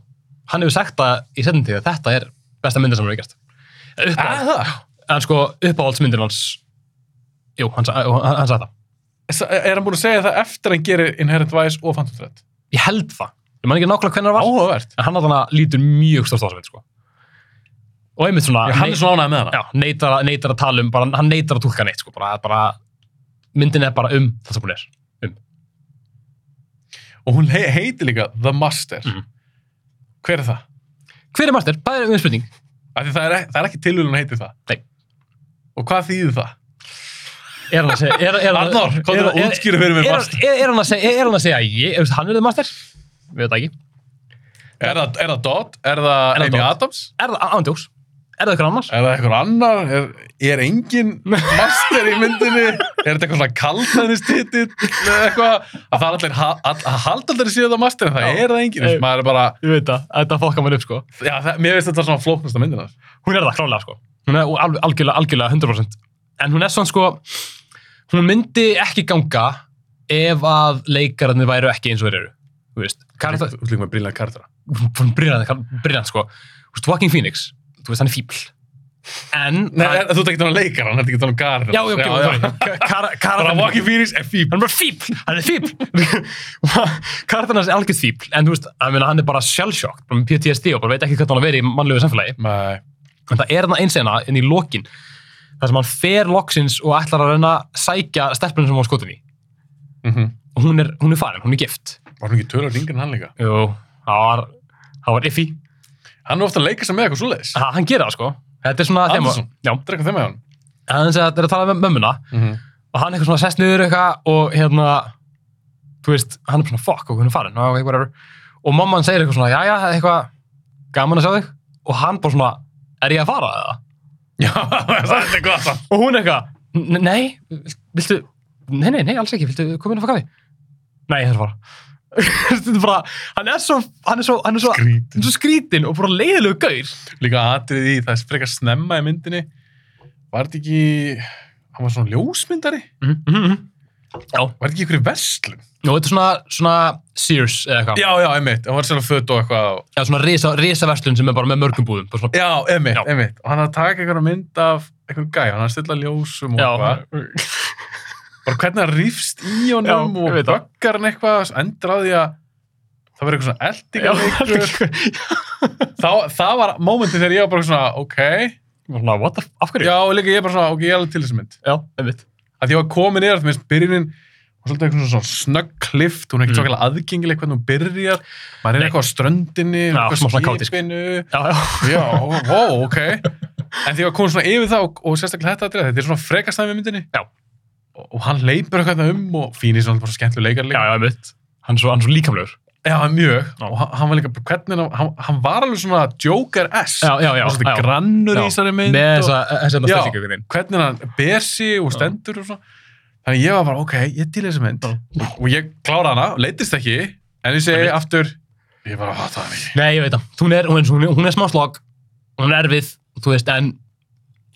[SPEAKER 2] Hann hefur sagt það í setjum tíð að þetta er besta myndin sem hann hefur gert Uppáhalds-
[SPEAKER 1] það?
[SPEAKER 2] en sko uppáhaldsmyndin hans jú, hann, sa- hann, hann sagði það
[SPEAKER 1] Er hann búin að segja það eftir að hann gerir Inherent Vice og Phantom Thread?
[SPEAKER 2] ég held það, ég man ekki nákvæmlega hvernig það var
[SPEAKER 1] Áhugavert.
[SPEAKER 2] en hann allan lítur mjög stórt á þessu mynd sko. og einmitt svona
[SPEAKER 1] Já, Hann er svona ánægð með hana.
[SPEAKER 2] já, neitar, að- neitar að tala um, bara, hann neitar að tólka neitt sko, bara, bara, myndin er bara um það sem hún er
[SPEAKER 1] og hún he heiti líka The Master
[SPEAKER 2] Mhm.
[SPEAKER 1] hver er það?
[SPEAKER 2] hver er Martir? það er um spurning
[SPEAKER 1] Af því Það er, e- það er ekki tilvíðun hún heiti það
[SPEAKER 2] Nei.
[SPEAKER 1] og hvað þýðir það?
[SPEAKER 2] er hann að segja er, er, hann-
[SPEAKER 1] Arnór, komdu
[SPEAKER 2] er-
[SPEAKER 1] og
[SPEAKER 2] er-
[SPEAKER 1] útskýrðu fyrir mér
[SPEAKER 2] er-
[SPEAKER 1] Master.
[SPEAKER 2] er, er, hann að segja- er, er hann að segja að ég, er, hann er Martir? við veit það ekki
[SPEAKER 1] Er það, er það Dodd? Er það
[SPEAKER 2] Er það
[SPEAKER 1] Amy
[SPEAKER 2] Dodd?
[SPEAKER 1] Adams?
[SPEAKER 2] er það ándjós? er það eitthvað annars?
[SPEAKER 1] Er það eitthvað annar? Er, er engin master í myndinni? Er þetta eitthvað svona kaldnæðnistitill? Eitthvað að það er allir ha- all, að haldaldari séu það master en það
[SPEAKER 2] Já.
[SPEAKER 1] er það engin.
[SPEAKER 2] Nei.
[SPEAKER 1] Nei. Maður er bara,
[SPEAKER 2] ég veit það, þetta fokkar maður upp sko
[SPEAKER 1] já, það, mér veist þetta er svona flóknasta myndina.
[SPEAKER 2] hún er það klálega sko hún er alveg, algjörlega, algjörlega 100% en hún er svona sko hún myndi ekki ganga ef að leikararnir væru ekki eins og þeir eru þú veist, karakter,
[SPEAKER 1] Þú líka með brillan kardara.
[SPEAKER 2] hún brillant, brillant sko þú veist, Joaquin Phoenix, þú veist hann er fíbl en
[SPEAKER 1] Nei, er, þú ert ekki þannig leikar, hann er ekki um þannig garðar.
[SPEAKER 2] já, já, já, já. Kar, kar,
[SPEAKER 1] Bara Walkie Phoenix er fíbl.
[SPEAKER 2] hann er bara fíbl, hann er fíbl karakterinn hans er algjörð fíbl en þú veist, að meina, hann er bara sjálfsjókt bara með PTSD og bara veit ekki hvernig hann á að vera í mannlegu samfélagi
[SPEAKER 1] Nei.
[SPEAKER 2] en það er þarna einsena inn í lokin þar sem hann fer loksins og ætlar að reyna að sækja stelpunum sem hún var skotin í
[SPEAKER 1] Mm
[SPEAKER 2] og hún er, hún er farin, hún er gift
[SPEAKER 1] Var hún ekki tölur yngri en hann líka?
[SPEAKER 2] Jú, það var, það var iffi
[SPEAKER 1] Hann er ofta að leika sig með eitthvað svoleiðis.
[SPEAKER 2] ha, hann gera það sko þetta er svona þema-
[SPEAKER 1] Anderson.
[SPEAKER 2] já, Mhm.
[SPEAKER 1] Þetta er eitthvað þeim með hann.
[SPEAKER 2] hann segir að þetta er að tala með mömmuna
[SPEAKER 1] -hmm.
[SPEAKER 2] og hann eitthvað svona sest niður eitthvað og hérna þú veist, hann er bara svona fuck og hún er farin og, whatever. og mamman segir eitthvað svona, jæja, eitthvað gaman að sjá þig og hann bara svona, er ég að fara eða?
[SPEAKER 1] Já, það er eitthvað það.
[SPEAKER 2] og hún eitthvað, "N- nei, viltu, nei, nei, nei, alls ekki, viltu koma inn og fá kaffi? Nei, ég þarf að fara. Þetta er bara, hann er svo, hann er svo, hann er svo, hann
[SPEAKER 1] Grít.
[SPEAKER 2] er svo skrítin og bara leiðilegu gaur.
[SPEAKER 1] Líka atrið í, það er frekar snemma í myndinni. Var þetta ekki, hann var svona ljósmyndari?
[SPEAKER 2] Mm -hmm. Já,
[SPEAKER 1] Var þetta ekki ykkur í verslun?
[SPEAKER 2] og þetta er svona, svona Sears eða eitthvað.
[SPEAKER 1] Já, já, einmitt. Hann var svona född og eitthvað. og-
[SPEAKER 2] Já, svona risa, risa verslun sem er bara með mörgum búðum. Bara svona,
[SPEAKER 1] Já, einmitt,
[SPEAKER 2] Já.
[SPEAKER 1] einmitt. Og hann er að taka einhverja mynd af einhverjum gæ, hann er að stilla ljósum og eitthvað. Bara hvernig hann rýfst í honum
[SPEAKER 2] Já, ég
[SPEAKER 1] og
[SPEAKER 2] veit það.
[SPEAKER 1] böggar hann eitthvað, endur á því að það var eitthvað svona eldingarleikur
[SPEAKER 2] Ég
[SPEAKER 1] Þá- það var mómentið þegar ég var bara svona ok,
[SPEAKER 2] var svona, what the, f- af hverju?
[SPEAKER 1] já og líka ég bara svona ok, ég er alveg til þessi mynd
[SPEAKER 2] Já, einmitt.
[SPEAKER 1] að því ég var komin yfir að minnst byrjunin og svolítið eitthvað svona snögg klift hún er ekkert
[SPEAKER 2] Mm.
[SPEAKER 1] mm. svo aðgengileg hvernig hún byrjar maður er
[SPEAKER 2] Nei.
[SPEAKER 1] eitthvað á ströndinni
[SPEAKER 2] Já, smá svona
[SPEAKER 1] eitthvað
[SPEAKER 2] kátísk.
[SPEAKER 1] skipinu
[SPEAKER 2] Já, já.
[SPEAKER 1] já, wow, ok en því ég var komin svona yfir það og, og sérstaklega þetta atriði, þetta er svona frekast það með myndinni
[SPEAKER 2] Já.
[SPEAKER 1] og, og hann leipur eitthvað þarna um og fínir svona bara skemmtileg leikar
[SPEAKER 2] Já,
[SPEAKER 1] líka
[SPEAKER 2] já, einmitt. Hann er svo, hann er svo líkamlegur.
[SPEAKER 1] já, mjög
[SPEAKER 2] Já.
[SPEAKER 1] og hann, hann var líka bara hvernig hann- hann, hann var alveg svona Joker-s
[SPEAKER 2] Já, já, já.
[SPEAKER 1] og svona
[SPEAKER 2] já.
[SPEAKER 1] grannur
[SPEAKER 2] Já.
[SPEAKER 1] í þessari mynd
[SPEAKER 2] Með
[SPEAKER 1] og-
[SPEAKER 2] þessa, eh, þessa
[SPEAKER 1] Já.
[SPEAKER 2] steltingu einhvern veginn.
[SPEAKER 1] hvernig hann ber sig og
[SPEAKER 2] Já.
[SPEAKER 1] stendur og svona. Þannig ég var bara, ok, ég til þessi mynd. Og ég klára hana, leittist ekki, en ég segi
[SPEAKER 2] Einmitt.
[SPEAKER 1] aftur, ég bara hata hann ekki.
[SPEAKER 2] Nei, ég veit það. Hún er, hún er, hún er, hún er smá slag, hún er erfið, þú veist, en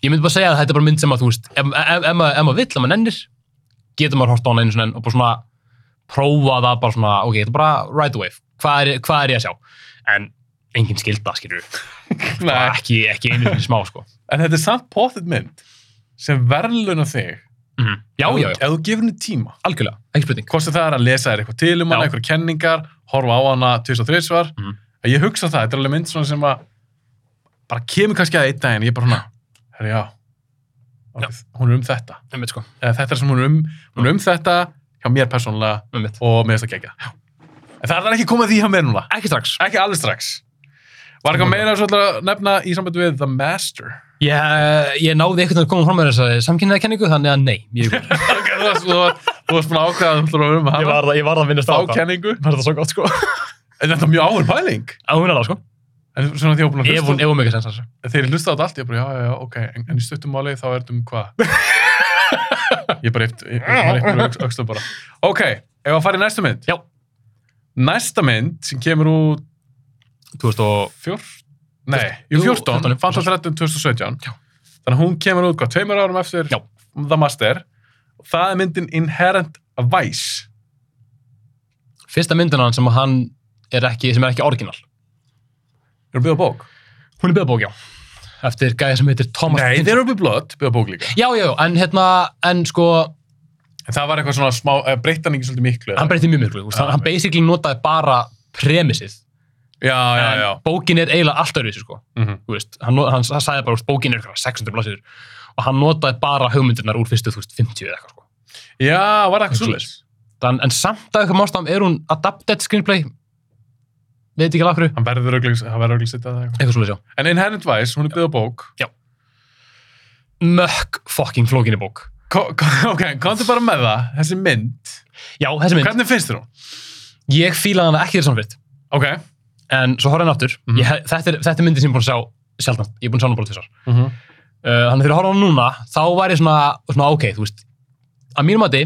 [SPEAKER 2] ég myndi bara segja að þetta er bara mynd sem að, þú veist, ef, ef, ef, maður- ef maður vill, ef maður nennir, getur maður hort á hana einu svona enn og bara svona prófa það bara svona, ok, þetta er bara ride the wave. Hvað er, hvað er ég að sjá? En engin skilda, skilur við.
[SPEAKER 1] Nei,
[SPEAKER 2] Ekki, ekki einu sinni smá, sko.
[SPEAKER 1] en þetta er samt potið mynd sem verðluna þig.
[SPEAKER 2] Mm. Já, já, já,
[SPEAKER 1] Ef þú gefur henni tíma.
[SPEAKER 2] algjörlega, ekki spurning.
[SPEAKER 1] Hvort sem það er að lesa þér eitthvað til um hana,
[SPEAKER 2] Já.
[SPEAKER 1] eitthvað kenningar, horfa á hana 2003 svar.
[SPEAKER 2] Mhm.
[SPEAKER 1] Ég hugsa það, þetta er alveg mynd svona sem að bara kemur kannski að einn daginn, ég bara svona, herri já,
[SPEAKER 2] Já.
[SPEAKER 1] okay, hún er um þetta.
[SPEAKER 2] Um mitt, sko,
[SPEAKER 1] Eða, þetta er sem hún er um, hún er um þetta, hjá mér persónulega,
[SPEAKER 2] um mitt.
[SPEAKER 1] og mér finnst það gegja. En það er ekki komið því hjá mér núna.
[SPEAKER 2] Ekki strax.
[SPEAKER 1] Ekki alveg strax. Var eitthvað meira svo að nefna í samband við The Master.
[SPEAKER 2] Ég, ég náði einhvern veginn að koma fram með þessari samkynnaða kenningu, þannig að nei. Ég, ég,
[SPEAKER 1] Ok, þú varst- þú varst- þú varst búin að ákveða að þú ætlar að vera um hana.
[SPEAKER 2] var, ég var það að minnast
[SPEAKER 1] Þá kenningu.
[SPEAKER 2] Var það svo gott, sko.
[SPEAKER 1] En þetta er mjög áhver pæling.
[SPEAKER 2] Já, hún er það, sko.
[SPEAKER 1] En svona því að ég var búin að
[SPEAKER 2] Ef
[SPEAKER 1] hlusta.
[SPEAKER 2] hún, ef hún mikið sens þessu.
[SPEAKER 1] Þegar ég hlusta á þetta allt, ég bara, já, já, já, ok. En, en í stuttumáli þá er þetta um hvað? ég bara eftir, ég bara eftir aukslu bara. Ok, ef að fara í næsta mynd.
[SPEAKER 2] Já.
[SPEAKER 1] Næsta mynd sem kemur úr
[SPEAKER 2] 2000 og...
[SPEAKER 1] fjór... Nei, jú,
[SPEAKER 2] Jú,
[SPEAKER 1] 14,
[SPEAKER 2] 14,
[SPEAKER 1] Phantom 13 2017.
[SPEAKER 2] Já.
[SPEAKER 1] Þannig að hún kemur út hvað, tveimur árum eftir
[SPEAKER 2] Já.
[SPEAKER 1] The Master. Það er myndin Inherent Vice.
[SPEAKER 2] Fyrsta myndin hann sem hann er ekki, sem er ekki orginal.
[SPEAKER 1] Eru byggða bók?
[SPEAKER 2] Hún er byggðabók, já. Eftir gæja sem heitir Thomas...
[SPEAKER 1] Nei,
[SPEAKER 2] Hinton.
[SPEAKER 1] þeir eru byggða blött, byggða bók líka.
[SPEAKER 2] Já, já, já, en hérna, en sko,
[SPEAKER 1] En það var eitthvað svona smá, eh, breytti hann ekki svolítið miklu.
[SPEAKER 2] hann breytti mjög miklu. þú veist,
[SPEAKER 1] Já,
[SPEAKER 2] Hann, hann basically notaði bara premissið.
[SPEAKER 1] Já, já,
[SPEAKER 2] En
[SPEAKER 1] já.
[SPEAKER 2] Bókin er eiginlega allt öðruvísi, sko.
[SPEAKER 1] Mm
[SPEAKER 2] Þú veist, hann, not- hann, hann sagði bara, þú veist, bókin er eitthvað 600 blaðsíður og hann notaði bara hugmyndirnar úr fyrstu, þú veist, 50 eða eitthvað, sko.
[SPEAKER 1] Já, var það eitthvað
[SPEAKER 2] Eitthvað
[SPEAKER 1] svolítið?
[SPEAKER 2] En, en samt að eitthvað mástam er hún adapted screenplay, veit ekki alveg af hverju,
[SPEAKER 1] Hann verður örugglega- hann verður auðvitað sittað eitthvað.
[SPEAKER 2] eitthvað svolítið, já.
[SPEAKER 1] En Inherent Vice, hún er byggða bók.
[SPEAKER 2] Mökk fucking flókinni bók.
[SPEAKER 1] Ko- ko- Ok, komdu bara með það, þessi mynd.
[SPEAKER 2] Já, þessi mynd,
[SPEAKER 1] Hvernig finnst þér hún?
[SPEAKER 2] ég fílaði hana ekki þér samfitt,
[SPEAKER 1] Ok.
[SPEAKER 2] en svo horfði hann aftur,
[SPEAKER 1] Mhm.
[SPEAKER 2] ég, hef- þetta, er, þetta er myndi sem ég er búin að sjá sjaldan, ég er búin að sjá hann bara tvisar. Uh, þannig þegar ég horfði á hann núna, þá var ég svona, svona ok, þú veist, að mínum mati,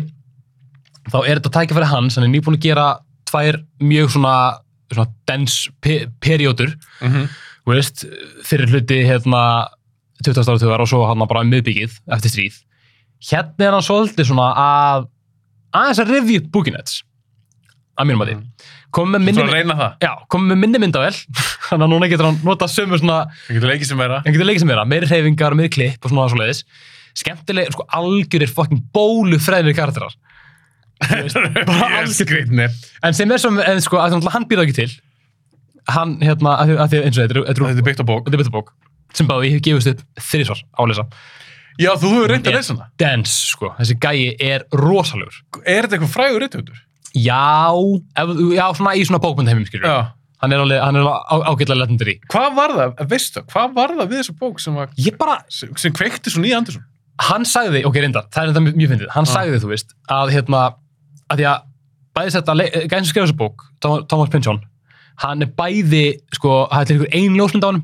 [SPEAKER 2] þá er þetta tækifæri hans, hann er nýbúin að gera tvær mjög svona, svona dense pe periódur,
[SPEAKER 1] Mhm.
[SPEAKER 2] þú veist, fyrir hluti hérna 20. áratugar og svo hann bara um miðbyggið eftir stríð. Hérna er hann svolítið svona að aðeins að rifja upp búkinets, að mínum mati.
[SPEAKER 1] Mhm.
[SPEAKER 2] Komum með
[SPEAKER 1] Þú
[SPEAKER 2] minni...
[SPEAKER 1] ætlar að reyna það.
[SPEAKER 2] Já, komum við minni myndavel, þannig að núna getur hann notað sömu svona,
[SPEAKER 1] Það getur leikið sem vera.
[SPEAKER 2] hann getur leikið sem vera, meiri hreyfingar, meiri klipp og svona svo leiðis. Skemmtileg, sko, algjörir fucking bólu freðinir karakterar. Þú veist, bara
[SPEAKER 1] Ég er
[SPEAKER 2] algjör-
[SPEAKER 1] skrýtni.
[SPEAKER 2] En sem er sem, en sko, að þannig að hann býr það ekki til, hann, hérna, að því, að því eins og þetta er- þetta
[SPEAKER 1] Þetta
[SPEAKER 2] er,
[SPEAKER 1] er byggt á bók.
[SPEAKER 2] þetta er betur bók, sem báði, ég hef gefist upp þrísvar á að lesa.
[SPEAKER 1] Já, þú hefur reyndið að
[SPEAKER 2] Ég-
[SPEAKER 1] lesa hana.
[SPEAKER 2] Dance, sko, þessi gæi er rosalegur.
[SPEAKER 1] Er þetta eitthvað frægur reytthundur?
[SPEAKER 2] Já, ef, já, svona í svona bókmyndaheimum, skilur.
[SPEAKER 1] Já.
[SPEAKER 2] Hann er alveg, hann er alveg á- ágætlega letendur í.
[SPEAKER 1] Hvað var það, veistu, hvað var það við þessa bók sem, var,
[SPEAKER 2] Ég bara,
[SPEAKER 1] sem, sem kveikti svo nýja Andersson?
[SPEAKER 2] hann sagði, ok, reyndar, það er þetta mjög- mjög fyndið, hann
[SPEAKER 1] Ah.
[SPEAKER 2] sagði, þú veist, að hérna, að því að bæði þetta, eh, gæðin sem skrifa þessu bók, Thom- Thomas Pynchon, hann er bæði, sko, það er til ykkur ein ljósmynd á hann,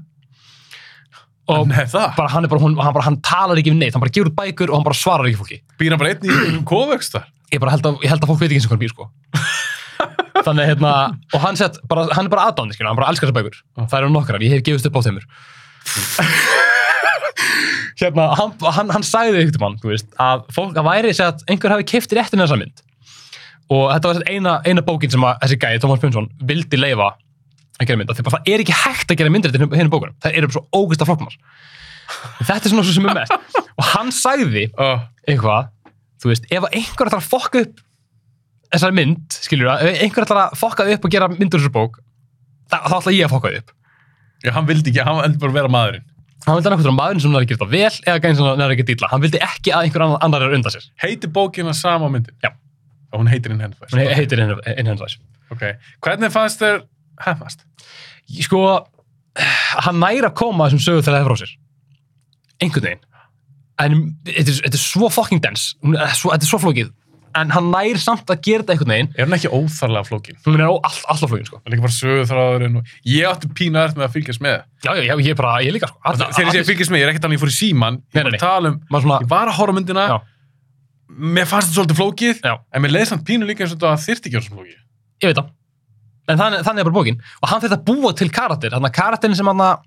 [SPEAKER 2] og
[SPEAKER 1] Nei, það.
[SPEAKER 2] bara, hann er bara, hún, hann bara, hann talar ekki við neitt, hann bara gefur út bækur og hann bara svarar ekki fólki.
[SPEAKER 1] Býr hann bara einn í einhverjum koföks þar?
[SPEAKER 2] Ég bara held að, ég held að fólk veit ekki eins og hvað hann býr, sko. Þannig, að, hérna, og hann sett, bara, hann er bara aðdáðandi, skilja, hann bara elskar þessar bækur.
[SPEAKER 1] Ah.
[SPEAKER 2] Það eru nokkrar, ég hef gefist upp á þeimur. hérna, hann, hann, hann sagði ykkur mann, þú veist, að fólk að væri sér að einhver hafi keift réttin þessa mynd og þetta var sem sagt eina, eina bókin sem að, þessi gæði, Tómas Pjónsson, vildi leifa að gera mynd, af því bara það er ekki hægt að gera myndir þetta hérna bókunum, það eru bara svo ógust af flokknar þetta er svona svo sem er mest og hann sagði
[SPEAKER 1] Uh,
[SPEAKER 2] eitthvað, þú veist, ef einhver þarf að fokka upp þessari mynd, skilur við, ef einhver ætlar að fokka þig upp og gera myndur þessari bók, þá, þá ætla ég að fokka þig upp.
[SPEAKER 1] Já, hann vildi ekki, hann vildi bara vera maðurinn.
[SPEAKER 2] Hann vildi annað hvort vera maðurinn sem næri að gera þetta vel eða gæðin sem næri að gera dýla. Hann vildi ekki að einhver annar, annar er undan sér.
[SPEAKER 1] Heiti bókina sama á myndin?
[SPEAKER 2] Já.
[SPEAKER 1] Og hún heitir inn hendfæst?
[SPEAKER 2] Hún heitir Inhenslæs.
[SPEAKER 1] Ok. Hvernig fannst þér hefnast?
[SPEAKER 2] Sko, hann næri að koma þessum sögur þegar það frá sér. Einhvern veginn. En þetta er- þetta er svo fucking dense. Hún- Þetta er svo- þetta er svo flókið. En hann næri samt að gera þetta einhvern veginn.
[SPEAKER 1] Er hún ekki óþarlega flókin?
[SPEAKER 2] Hún er all, all, alltaf flókin, sko.
[SPEAKER 1] Það er ekki bara sögurþráðurinn og... Ég átti pína aðeins með að fylgjast með.
[SPEAKER 2] Já, já, já, ég er bara, ég er líka, sko. Alla-
[SPEAKER 1] Þegar ég segi
[SPEAKER 2] allir-
[SPEAKER 1] fylgjast með, ég er ekkert alveg ég fór í síman.
[SPEAKER 2] Nei,
[SPEAKER 1] Ég var
[SPEAKER 2] nei,
[SPEAKER 1] að tala um...
[SPEAKER 2] maður svona-
[SPEAKER 1] Ég var að horfa á myndina.
[SPEAKER 2] Já.
[SPEAKER 1] Mér fannst þetta svolítið flókið.
[SPEAKER 2] Já.
[SPEAKER 1] En mér leiði samt pínu líka eins og þetta þyrfti ekki á svona flókið.
[SPEAKER 2] ég veit það en þannig, þannig er bara bókin og hann þurft að búa til karakter þannig að karakterin sem hann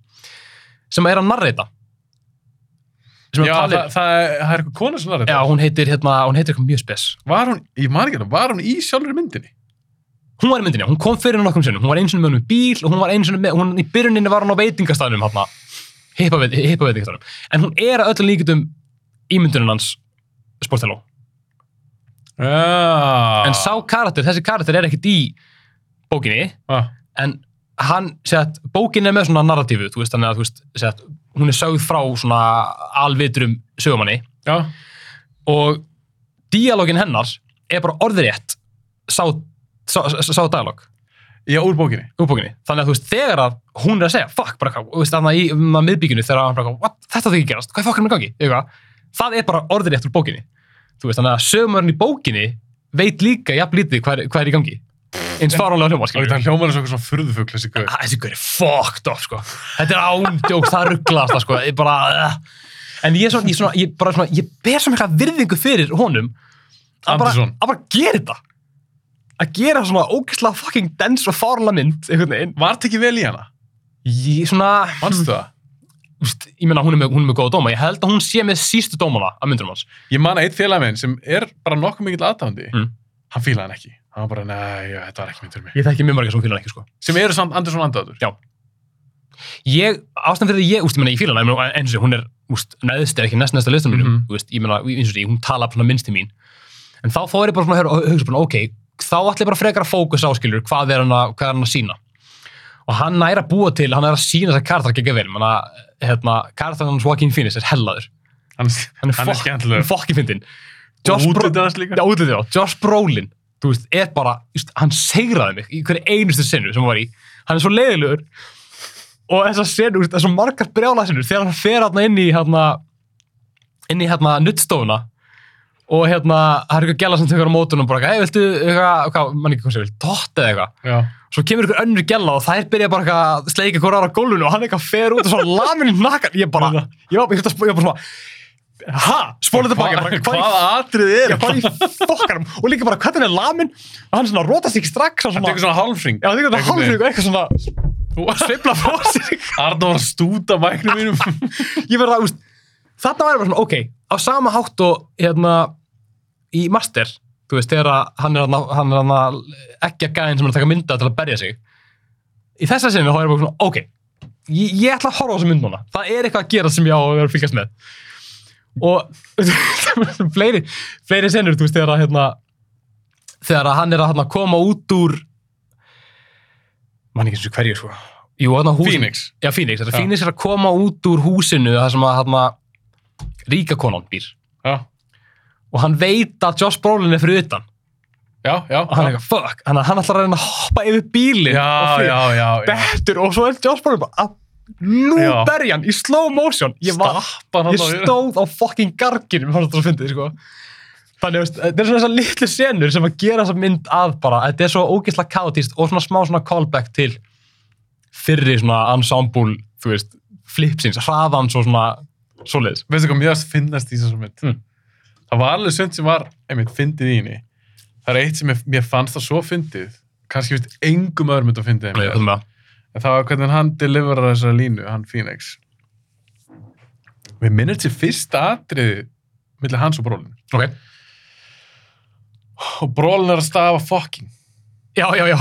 [SPEAKER 2] sem er að narrita sem
[SPEAKER 1] Já,
[SPEAKER 2] er
[SPEAKER 1] það,
[SPEAKER 2] talið
[SPEAKER 1] það, er- það er eitthvað kona sem lærði
[SPEAKER 2] já,
[SPEAKER 1] þetta.
[SPEAKER 2] hún heitir hérna hún heitir eitthvað mjög spes
[SPEAKER 1] Var hún, ég man ekki hérna, var hún í sjálfur myndinni?
[SPEAKER 2] hún var í myndinni hún kom fyrir hann nokkrum sinnum hún var eins og með hann með bíl og hún var eins og með hún í byrjuninni var hún á veitingastæðnum hérna hippaveitingastæðnum en hún er að öllum líkitum ímyndunum hans sporteló
[SPEAKER 1] Já.
[SPEAKER 2] en sá karakter þessi karakter er ekkit í bókinni
[SPEAKER 1] Ah.
[SPEAKER 2] en hann, sett, bókin er með svona narratífu, þú veist, þannig að þú veist, sett, hún er sögð frá svona alvitrum sögumanni
[SPEAKER 1] Já.
[SPEAKER 2] og díalógin hennar er bara orðrétt sá, sá, sá, sá dialóg
[SPEAKER 1] Já, úr bókinni.
[SPEAKER 2] úr bókinni, þannig að þú veist, þegar að hún er að segja, fuck, bara hvað, þú veist, þannig að í um, miðbyggjunni þegar hann bara, eitthvað, what, þetta þau ekki gerast, hvað fokkur er með gangi, eitthvað, það er bara orðrétt úr bókinni, þú veist, þannig að sögumörn í bókinni veit líka jafn lítið hvað er, hvað er í gangi, eins faranlega hljóma,
[SPEAKER 1] Og
[SPEAKER 2] skiljum
[SPEAKER 1] þetta hljómar eins og eitthvað svona furðufugl þessi guður.
[SPEAKER 2] Ah, þessi gaur er fucked up sko. þetta er ándjóks, það rugglast sko. ég bara uh. en ég, er svona, ég, er svona, ég, bara, svona, ég ber svona eitthvað virðingu fyrir honum að bara,
[SPEAKER 1] Andersson.
[SPEAKER 2] að bara gera þetta að gera svona ógeðslega fucking dance og farla mynd einhvern veginn
[SPEAKER 1] Var þetta ekki vel í hana?
[SPEAKER 2] ég, svona,
[SPEAKER 1] Manstu það?
[SPEAKER 2] úst, ég meina hún er, með, hún er með góða dóma ég held að hún sé með sístu dómana að myndunum hans
[SPEAKER 1] Ég man að eitt félag minn sem er bara nokkuð mikill aðdándi.
[SPEAKER 2] Mm.
[SPEAKER 1] Hann fílaði hann ekki. Hann var bara, nei, já, þetta var ekki myndur mig.
[SPEAKER 2] ég þekki mjög margir sem fílan ekki sko.
[SPEAKER 1] Sem eru samt Andersson andáður.
[SPEAKER 2] ég, ástæðan fyrir því ég, úst, ég meina, ég fíla hana, ég meina, eins og sé, hún er, úst, neðst eða ekki næst næsta listan mínum, mm
[SPEAKER 1] Mhm.
[SPEAKER 2] úst, ég meina, eins og sé, hún tala svona minnst til mín, en þá fór ég bara svona að höra- hugsa bara, ok, þá ætla ég bara frekar að fókus áskilur, hvað er hann að, hvað er hann að sína og hann er að búa til hann er að sína þess að kartar ekki vel menna, hérna, kartar hans Joaquin Phoenix er hellaður
[SPEAKER 1] Hann,
[SPEAKER 2] hann er,
[SPEAKER 1] hann er
[SPEAKER 2] fokk-
[SPEAKER 1] skemmtilegur.
[SPEAKER 2] fokkin fyndin
[SPEAKER 1] Og
[SPEAKER 2] Josh, Bro
[SPEAKER 1] útlitið hans líka.
[SPEAKER 2] Já, útlitið, já. Josh Brolin þú veist, er bara, just, hann segraði mig í hverju einustu sinu sem hann var í hann er svo leiðilegur og þessar sinu, úst, þessar margar brjála sinu þegar hann fer hann inn í hérna, inn í hérna nuttstofuna og hérna, það er eitthvað gæla sem tekur á mótunum bara, hei, viltu, eitthvað, hvað, mann ekki hvað sem vil tótt eða eitthvað
[SPEAKER 1] Já.
[SPEAKER 2] svo kemur ykkur önnur gæla og þær byrja bara eitthvað að sleika hvora ára á gólfinu og hann eitthvað fer út og svo lamin í nakkan ég bara, ég var ég var bara, ég var bara svona ha, spóla þetta baka bara, hvað í
[SPEAKER 1] Hvaða atrið er
[SPEAKER 2] ég
[SPEAKER 1] þetta?
[SPEAKER 2] bara í fokkarum og líka bara hvernig hann er lamin og hann svona rótast ekki strax hann
[SPEAKER 1] Hann
[SPEAKER 2] svona,
[SPEAKER 1] tekur svona hálfring.
[SPEAKER 2] já þig þetta hálfrið og eitthvað svona sveifla frá sér
[SPEAKER 1] Arna var að stúta mæknum mínum.
[SPEAKER 2] ég verða að, úst, þetta var bara svona, ok á sama hátt og hérna í master, þú veist, þegar að hann er hann, hann er hann ekki að gæðin sem er að taka mynda til að berja sig í þessa sinni þá er ég bara svona, ok ég, ég ætla að horfa á þessu mynd núna það er eitthvað að gera sem ég á að vera að fylgjast með og fleiri, fleiri senur, þú veist, þegar að hérna, þegar að hann er að hérna, koma út úr mann ekki eins og hverju, sko Jú, hérna hús
[SPEAKER 1] Phoenix.
[SPEAKER 2] Já, Phoenix. Þetta
[SPEAKER 1] Já.
[SPEAKER 2] Phoenix er að koma út úr húsinu þar sem að hana, ríka konan býr.
[SPEAKER 1] Já.
[SPEAKER 2] Og hann veit að Josh Brolin er fyrir utan.
[SPEAKER 1] Já, já.
[SPEAKER 2] Og hann er
[SPEAKER 1] já.
[SPEAKER 2] eitthvað, fuck. Hann, hann ætlar að reyna að hoppa yfir bílinn.
[SPEAKER 1] Já,
[SPEAKER 2] og
[SPEAKER 1] já, já, já.
[SPEAKER 2] Bettur. Og svo er Josh Brolin bara að nú
[SPEAKER 1] Já.
[SPEAKER 2] berja hann í slow motion. Ég, var,
[SPEAKER 1] Stappan hann
[SPEAKER 2] ég stóð á fucking garginum. Mér fannst þetta að fyndi, sko. Þannig, veist, þetta er svona þessar litlu senur sem að gera þessa mynd að bara. Þetta er svo ógeðslega kaotíst og svona smá svona callback til fyrri svona ensemble, þú veist, flipsins, hraðans og svona svoleiðis.
[SPEAKER 1] veistu hvað mjögast finnast í þessum mynd
[SPEAKER 2] Mm.
[SPEAKER 1] það var alveg sönd sem var einmitt fyndið í henni það er eitt sem ég, mér fannst það svo fyndið kannski veist engum öðrum þetta fyndið en
[SPEAKER 2] Nei,
[SPEAKER 1] mér.
[SPEAKER 2] höldum við það.
[SPEAKER 1] en það var hvernig hann deliverar þessari línu hann Phoenix við minnir til fyrsta atriði millir hans og brólin
[SPEAKER 2] Ok.
[SPEAKER 1] og brólin er að stafa fucking
[SPEAKER 2] Já, já, já.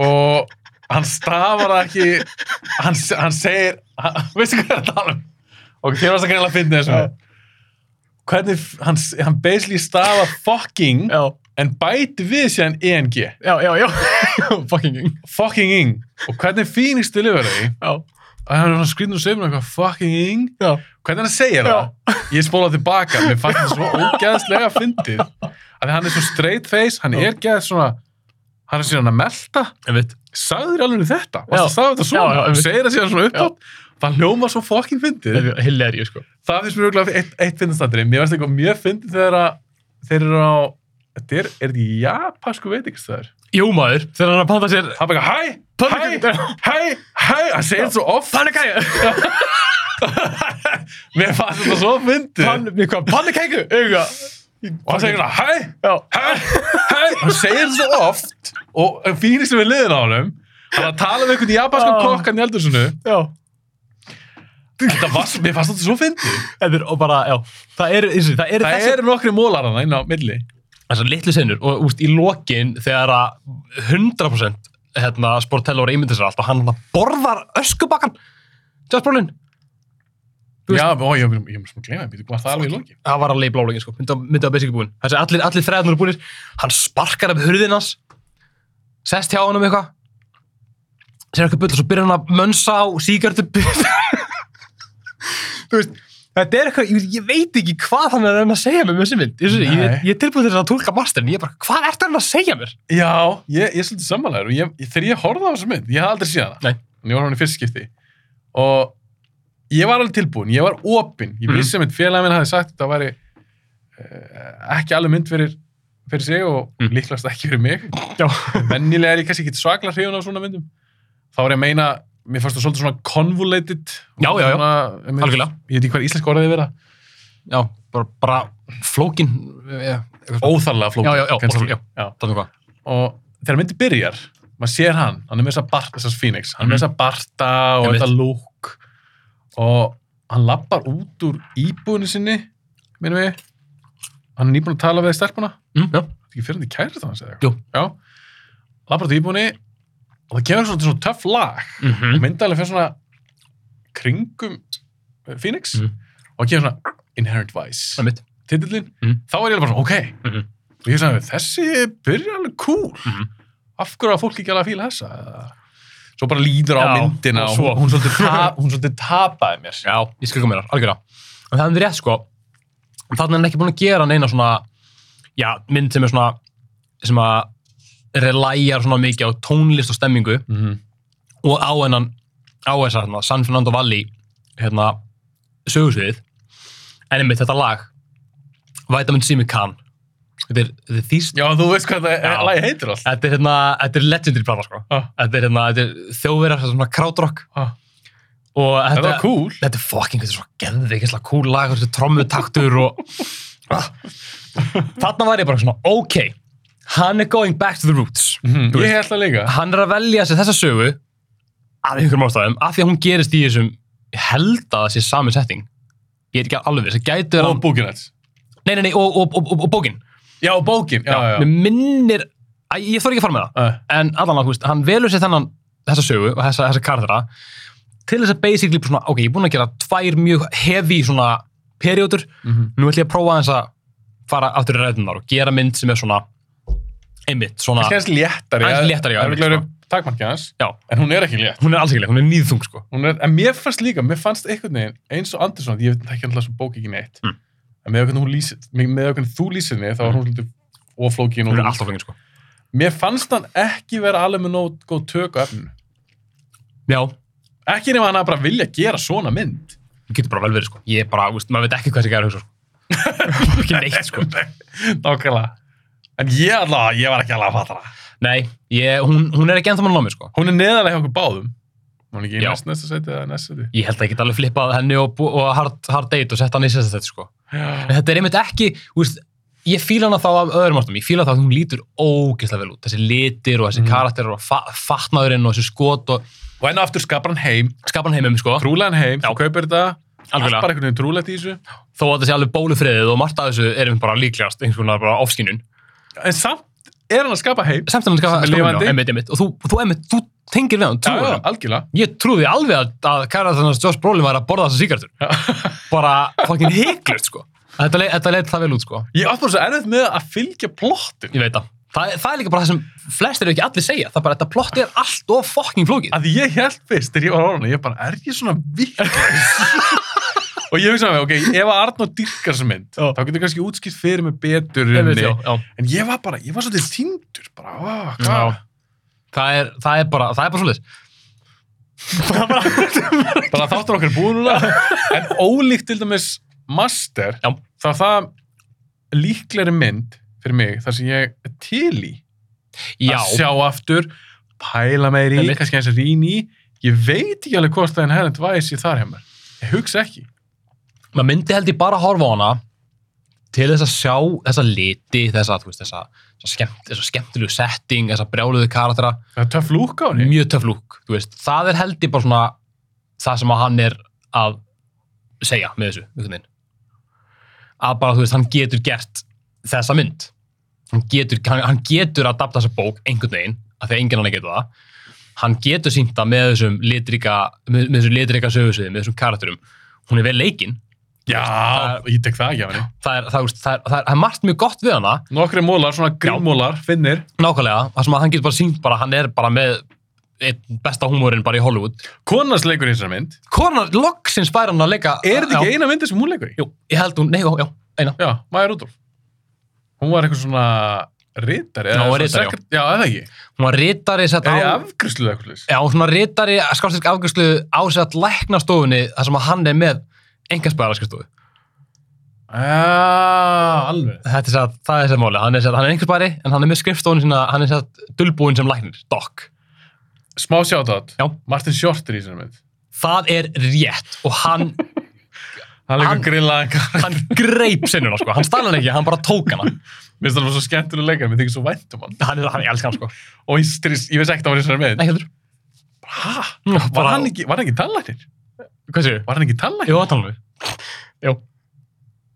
[SPEAKER 1] og hann stafar það ekki hann, hann segir hann, veistu hvað ég er að tala um ok, þér varst að greinlega að finna þessu
[SPEAKER 2] Já.
[SPEAKER 1] hvernig f- hann, hann basically stafar fucking
[SPEAKER 2] Já.
[SPEAKER 1] en bæti við síðan ENG
[SPEAKER 2] Já, já, já. Fucking king.
[SPEAKER 1] fucking ing og hvernig Phoenix deliverar því
[SPEAKER 2] Já.
[SPEAKER 1] og hann er svona skrýtnum sömur eitthvað fucking ing
[SPEAKER 2] Já.
[SPEAKER 1] hvernig hann segir
[SPEAKER 2] Já.
[SPEAKER 1] það ég spóla tilbaka, mér fannst þetta svo ógeðslega fyndið að því hann er svo straight face hann
[SPEAKER 2] Já.
[SPEAKER 1] er geð svona hann er síðan að melta
[SPEAKER 2] Ég veit.
[SPEAKER 1] sagður þér alveg þetta,
[SPEAKER 2] Já.
[SPEAKER 1] varst að sagða þetta
[SPEAKER 2] Já, já,
[SPEAKER 1] svona
[SPEAKER 2] einmitt.
[SPEAKER 1] segir það síðan svona uppátt það hljóma svo fucking fyndið
[SPEAKER 2] Þetta er hilarious, sko.
[SPEAKER 1] það finnst mér auðvitað eitt, eitt fyndastandri mér finnst eitthvað mjög fyndið þegar að þeir eru á þetta er, er þetta í japansku veitingastæður
[SPEAKER 2] Jú, maður. Þegar hann er að panta sér...
[SPEAKER 1] það er bara hæ, hæ, hæ, hæ hann segir þetta svo oft
[SPEAKER 2] Pannekæju.
[SPEAKER 1] mér fannst þetta svo fyndið
[SPEAKER 2] Pann, mér hvað, pannekæku? Auga.
[SPEAKER 1] og hann segir svona hæ,
[SPEAKER 2] Já.
[SPEAKER 1] hæ, hæ hann segir þetta svo oft og fínist við liðin á honum hann er að tala við einhvern japanskan
[SPEAKER 2] Já.
[SPEAKER 1] kokkan í eldursunu
[SPEAKER 2] Já.
[SPEAKER 1] þetta var, svo- mér fannst þetta svo fyndið
[SPEAKER 2] Þetta er, og bara, já. Það er, þessi, það er
[SPEAKER 1] það eru nokkri mólar hann inn á milli
[SPEAKER 2] þessar litlu sinnur og úst, í lokin þegar að 100% hérna, Sportello er ímyndið sér allt og hann hann borðar öskubakkan Josh Brolin, Þú veist-
[SPEAKER 1] já, ó, ég ég- ég sem að gleyma, býtu, var það alveg í loki
[SPEAKER 2] það var alveg í blálogin sko, myndið myndi á basic búin þessi allir, allir þræðnur búinir, hann sparkar af hurðin hans sest hjá hann um eitthvað sér eitthvað bull og svo byrjar hann að mönsa á sígartu þú veist Þetta er eitthvað, ég, ég veit ekki hvað hann er að reyna að segja mér með þessi mynd. Ég, ég,
[SPEAKER 1] Nei.
[SPEAKER 2] ég er tilbúið þess að tólka masterinn, ég er bara, hvað ertu að reyna að segja mér?
[SPEAKER 1] Já, ég, ég er svolítið sammálaður og ég, ég, þegar ég horfði á þessu mynd, ég hafði aldrei séð hana
[SPEAKER 2] Nei.
[SPEAKER 1] en ég var hann í fyrst skipti og ég var alveg tilbúin, ég var opinn ég
[SPEAKER 2] Mhm.
[SPEAKER 1] vissi að mitt félagin minn hafði sagt að þetta væri uh, ekki alveg mynd fyrir, fyrir sig og
[SPEAKER 2] Mm.
[SPEAKER 1] líklast ekki fyrir mig
[SPEAKER 2] Já.
[SPEAKER 1] mennilega er ég kannski ekki svakla hrifun á svona myndum þá er ég að meina, mér fannst það svolítið svona convoluted
[SPEAKER 2] Já, já, já.
[SPEAKER 1] svona, einmitt-
[SPEAKER 2] Algjörlega.
[SPEAKER 1] ég veit ekki hvað íslensk orðið vera
[SPEAKER 2] Já, bara, bara flókin Já,
[SPEAKER 1] óþarlega flókið
[SPEAKER 2] já, já,
[SPEAKER 1] kannski.
[SPEAKER 2] óþarlega, já.
[SPEAKER 1] já.
[SPEAKER 2] það er hvað
[SPEAKER 1] og þegar myndi byrjar maður sér hann, hann er með þess að barta þessars Phoenix, hann er með
[SPEAKER 2] Mhm.
[SPEAKER 1] þess að barta og
[SPEAKER 2] Einmitt.
[SPEAKER 1] þetta lúk og hann lappar út úr íbúinu sinni minnum við hann er nýbúin að tala við stelpuna
[SPEAKER 2] mm, Já,
[SPEAKER 1] þetta er ekki fyrir hann í kærið þannig að
[SPEAKER 2] Jú.
[SPEAKER 1] segja lappar út úr íbúinu og það kemur svona, svona töff lag
[SPEAKER 2] mm
[SPEAKER 1] og mynda alveg fyrir svona kringum eh, Phoenix
[SPEAKER 2] Mhm.
[SPEAKER 1] og það kemur svona Inherent Vice
[SPEAKER 2] það er mitt
[SPEAKER 1] titillin,
[SPEAKER 2] Mhm.
[SPEAKER 1] þá er ég alveg bara svona, ok
[SPEAKER 2] Mhm.
[SPEAKER 1] og ég sagði, þessi byrja alveg cool
[SPEAKER 2] Mhm.
[SPEAKER 1] af hverju að fólk ekki alveg að fíla þessa Eða- svo bara líður á
[SPEAKER 2] Já,
[SPEAKER 1] myndina
[SPEAKER 2] og
[SPEAKER 1] og
[SPEAKER 2] svo.
[SPEAKER 1] hún, hún, svolítið ta, hún svolítið tapaði mér
[SPEAKER 2] Já, ég skil komið þar, algjörlega En það er rétt sko Þannig er hann ekki búin að gera neina svona Já, mynd sem er svona sem að relæjar svona mikið á tónlist og stemmingu
[SPEAKER 1] Mhm.
[SPEAKER 2] og á hennan á þessa hérna, San Fernando Valley hérna, sögursviðið en einmitt þetta lag Vitamin C Can Þetta er, þetta er þýst
[SPEAKER 1] já, þú veist hvað það
[SPEAKER 2] Já.
[SPEAKER 1] er, lagi heitir allt
[SPEAKER 2] Þetta er hérna, þetta er legendary plana sko
[SPEAKER 1] ah,
[SPEAKER 2] Þetta er hérna, þetta er þjóðverðar, þetta er svona krautrock
[SPEAKER 1] ah.
[SPEAKER 2] og
[SPEAKER 1] þetta
[SPEAKER 2] þetta,
[SPEAKER 1] var cool
[SPEAKER 2] þetta er fucking, þetta er svo geðveikislega cool lag, þessi trommutaktur og ah. þarna var ég bara svona, ok, hann er going back to the roots.
[SPEAKER 1] Mhm.
[SPEAKER 2] Þú
[SPEAKER 1] ég held það líka
[SPEAKER 2] Hann er að velja sér þessa sögu af einhverjum ástæðum, af því að hún gerist í þessum, ég held að það sé sami setting. Ég er ekki alveg viss, það gæti verið
[SPEAKER 1] og
[SPEAKER 2] hann,
[SPEAKER 1] bókinæts
[SPEAKER 2] nei, nei, nei, og, og, og, og, og bókin.
[SPEAKER 1] já, og bókin já, já, já.
[SPEAKER 2] Mér minnir, Æ, ég þarf ekki að fara með það.
[SPEAKER 1] Uh,
[SPEAKER 2] en allan að hann velur sér þennan þessa sögu og þessa, þessa karðra til þess að basically bara svona, ok, ég er búinn að gera tvær mjög heavy svona periodur,
[SPEAKER 1] mhm.
[SPEAKER 2] nú ætlum ég að prófa þess að fara aftur í ræðunar og gera mynd sem er svona einmitt, svona,
[SPEAKER 1] kannski aðeins léttari eh.
[SPEAKER 2] Aðeins Ah. léttari, já,
[SPEAKER 1] já,
[SPEAKER 2] einmitt,
[SPEAKER 1] já takmarkið hans
[SPEAKER 2] já,
[SPEAKER 1] en hún er ekki létt
[SPEAKER 2] hún er alls ekki leik, hún er nýðþung sko
[SPEAKER 1] Hún er, en mér fannst líka, mér fannst einhvern veginn eins og Andersson, ég veit ekki alltaf svo bók ekki neitt
[SPEAKER 2] Mm.
[SPEAKER 1] en með okkur, lýsir, með, með okkur þú lýsir henni þá var hún svolítið oflókin
[SPEAKER 2] Hmm. hún
[SPEAKER 1] og
[SPEAKER 2] er alltaf fengið sko,
[SPEAKER 1] mér fannst hann ekki vera alveg með nót góð tök á efninu
[SPEAKER 2] já,
[SPEAKER 1] ekki nema hann að bara vilja gera svona mynd
[SPEAKER 2] hún getur bara vel verið sko ég er bara, veist, maður veit ekki hvað þessi gæra hugsa sko ekki neitt sko
[SPEAKER 1] nákvæmlega en ég allavega, ég var ekki alveg að fatta það
[SPEAKER 2] nei, ég, hún, hún er ekki ennþá mann á mig sko
[SPEAKER 1] hún er neðarlega hjá okkur báðum hún er ekki í
[SPEAKER 2] Já.
[SPEAKER 1] næst næsta seti eða næst seti
[SPEAKER 2] ég held að ég get alveg flippað henni og, bú- og hard, hard date og sett hann í sérstætt sko En
[SPEAKER 1] Já.
[SPEAKER 2] þetta er einmitt ekki, þú veist, ég fíla hana þá af öðrum ástum, ég fíla þá að hún lítur ógeðslega vel út, þessi litir og þessi
[SPEAKER 1] Mhm.
[SPEAKER 2] karakterar og fa fatnaðurinn og þessi skot og
[SPEAKER 1] og enn og aftur skapar hann heim
[SPEAKER 2] skapan heimum, sko,
[SPEAKER 1] trúlegan heim,
[SPEAKER 2] Já.
[SPEAKER 1] þú kaupir þetta allt
[SPEAKER 2] Algjörlega.
[SPEAKER 1] bara einhvern veginn trúlegt í þessu
[SPEAKER 2] þó að þetta sé alveg bólufriðið og margt af þessu er einmitt bara líklegast, einhvers konar bara ofskynun.
[SPEAKER 1] en samt er hann að skapa heim
[SPEAKER 2] Samt að hann
[SPEAKER 1] Sem
[SPEAKER 2] skapa
[SPEAKER 1] er lifandi.
[SPEAKER 2] einmitt, einmitt, og þú, og þú einmitt, þú tengir við hann,
[SPEAKER 1] Já,
[SPEAKER 2] trúir
[SPEAKER 1] já,
[SPEAKER 2] hann.
[SPEAKER 1] algjörlega
[SPEAKER 2] Ég trúði alveg að, að kæra þannig að Josh Brolin var að borða þessa síkartur, bara fucking hygglust, sko. Þetta, leit, þetta leit það vel út, sko.
[SPEAKER 1] Ég átt bara svo erfið með að fylgja plottin.
[SPEAKER 2] Ég veit það. Það, það er líka bara það sem flestir eru ekki allir segja. Það er bara, þetta plott er allt of fucking flókið.
[SPEAKER 1] Að ég held fyrst þegar ég var orðin, ég bara, er ég svona viklaus? og ég hugsaði með, ok, ef að Arnóð dyrkar sem mynd,
[SPEAKER 2] Já.
[SPEAKER 1] þá getur ég kannski útskipt fyrir mig betur
[SPEAKER 2] Ég
[SPEAKER 1] henni.
[SPEAKER 2] veit, já, já.
[SPEAKER 1] En ég var bara, ég var svolítið týndur, bara, ó, hvað?
[SPEAKER 2] Já. Það er, það er bara, það er bara svolítið.
[SPEAKER 1] bara þáttur okkar er búið núna. en ólíkt til dæmis master,
[SPEAKER 2] Já.
[SPEAKER 1] þá er það líklegri mynd fyrir mig, þar sem ég er til í
[SPEAKER 2] Já,
[SPEAKER 1] að sjá aftur, pæla meir í,
[SPEAKER 2] Einmitt.
[SPEAKER 1] kannski eins að rýn í. Ég veit ekki alveg hvort það er herrend væs í þar hjá mér. Ég hugsa ekki.
[SPEAKER 2] maður myndi held ég bara að horfa á hana til þess að sjá þessa liti, þessa, þú veist, þessa, þessa, skemmt, þessa skemmtilegu setting, þessa brjáluðu karaktera,
[SPEAKER 1] Það er töff lúk á henni.
[SPEAKER 2] mjög töff lúk, þú veist, það er held ég bara svona það sem að hann er að segja með þessu, einhvern veginn. Að bara, þú veist, hann getur gert þessa mynd. Hann getur, hann, hann getur að adapta þessa bók einhvern veginn, af því að enginn hann getur það. Hann getur sýnt það með þessum litrika, með, með þessum litrika sögursviði, með þessum karakterum. Hún er vel leikinn,
[SPEAKER 1] Já, ég tek það ekki af henni.
[SPEAKER 2] það er, það, úst, það, er, það, er, það er margt mjög gott við hana
[SPEAKER 1] Nokkri mólar, svona grimmólar, finnir.
[SPEAKER 2] nákvæmlega, það sem að hann getur bara sínt bara, hann er bara með einn besta húmórin bara í Hollywood
[SPEAKER 1] Konans leikur í þessari mynd.
[SPEAKER 2] konar loksins fær hann að leika
[SPEAKER 1] Er þetta
[SPEAKER 2] Já.
[SPEAKER 1] ekki eina myndi sem hún leikur í?
[SPEAKER 2] Jú, ég held hún, nei, já, já, eina
[SPEAKER 1] Já, Maja Rudolf. Hún var eitthvað svona rítari.
[SPEAKER 2] Já, hún var ritari, já.
[SPEAKER 1] Já, eða ekki.
[SPEAKER 2] hún var rítari sett
[SPEAKER 1] Er ég
[SPEAKER 2] á
[SPEAKER 1] afgriðsluð eitthvað slags?
[SPEAKER 2] já, svona rítari, skástrík afgjörslu á sett læknastofunni þar sem að hann er með engarspæðaraskastofu
[SPEAKER 1] Já, alveg.
[SPEAKER 2] þetta er satt, það er sett máli, hann er sett, hann er engarspæðari en hann er með skrifstofun sína, hann er sett dulbúin sem læknir, doc
[SPEAKER 1] Smá sjátátt.
[SPEAKER 2] Já.
[SPEAKER 1] Martin Short er í þessari mynd.
[SPEAKER 2] það er rétt og hann
[SPEAKER 1] Hann leikur
[SPEAKER 2] Hann-
[SPEAKER 1] grillaðan kar.
[SPEAKER 2] hann greip sinnuna sko, hann stæla hann ekki, hann bara tók hana
[SPEAKER 1] Mér finnst það alveg svo skemmtilega leikar, mér þykir svo vænt um hann.
[SPEAKER 2] hann er, hann, ég elska hann sko
[SPEAKER 1] Og ég, strís, ég veist ekki að hann var í þessari mynd.
[SPEAKER 2] ekki heldur
[SPEAKER 1] Hæ? Var
[SPEAKER 2] bara
[SPEAKER 1] hann ekki, var hann ekki tannlæknir?
[SPEAKER 2] hvað séu?
[SPEAKER 1] Var hann ekki tannlæknir?
[SPEAKER 2] jú, það talar við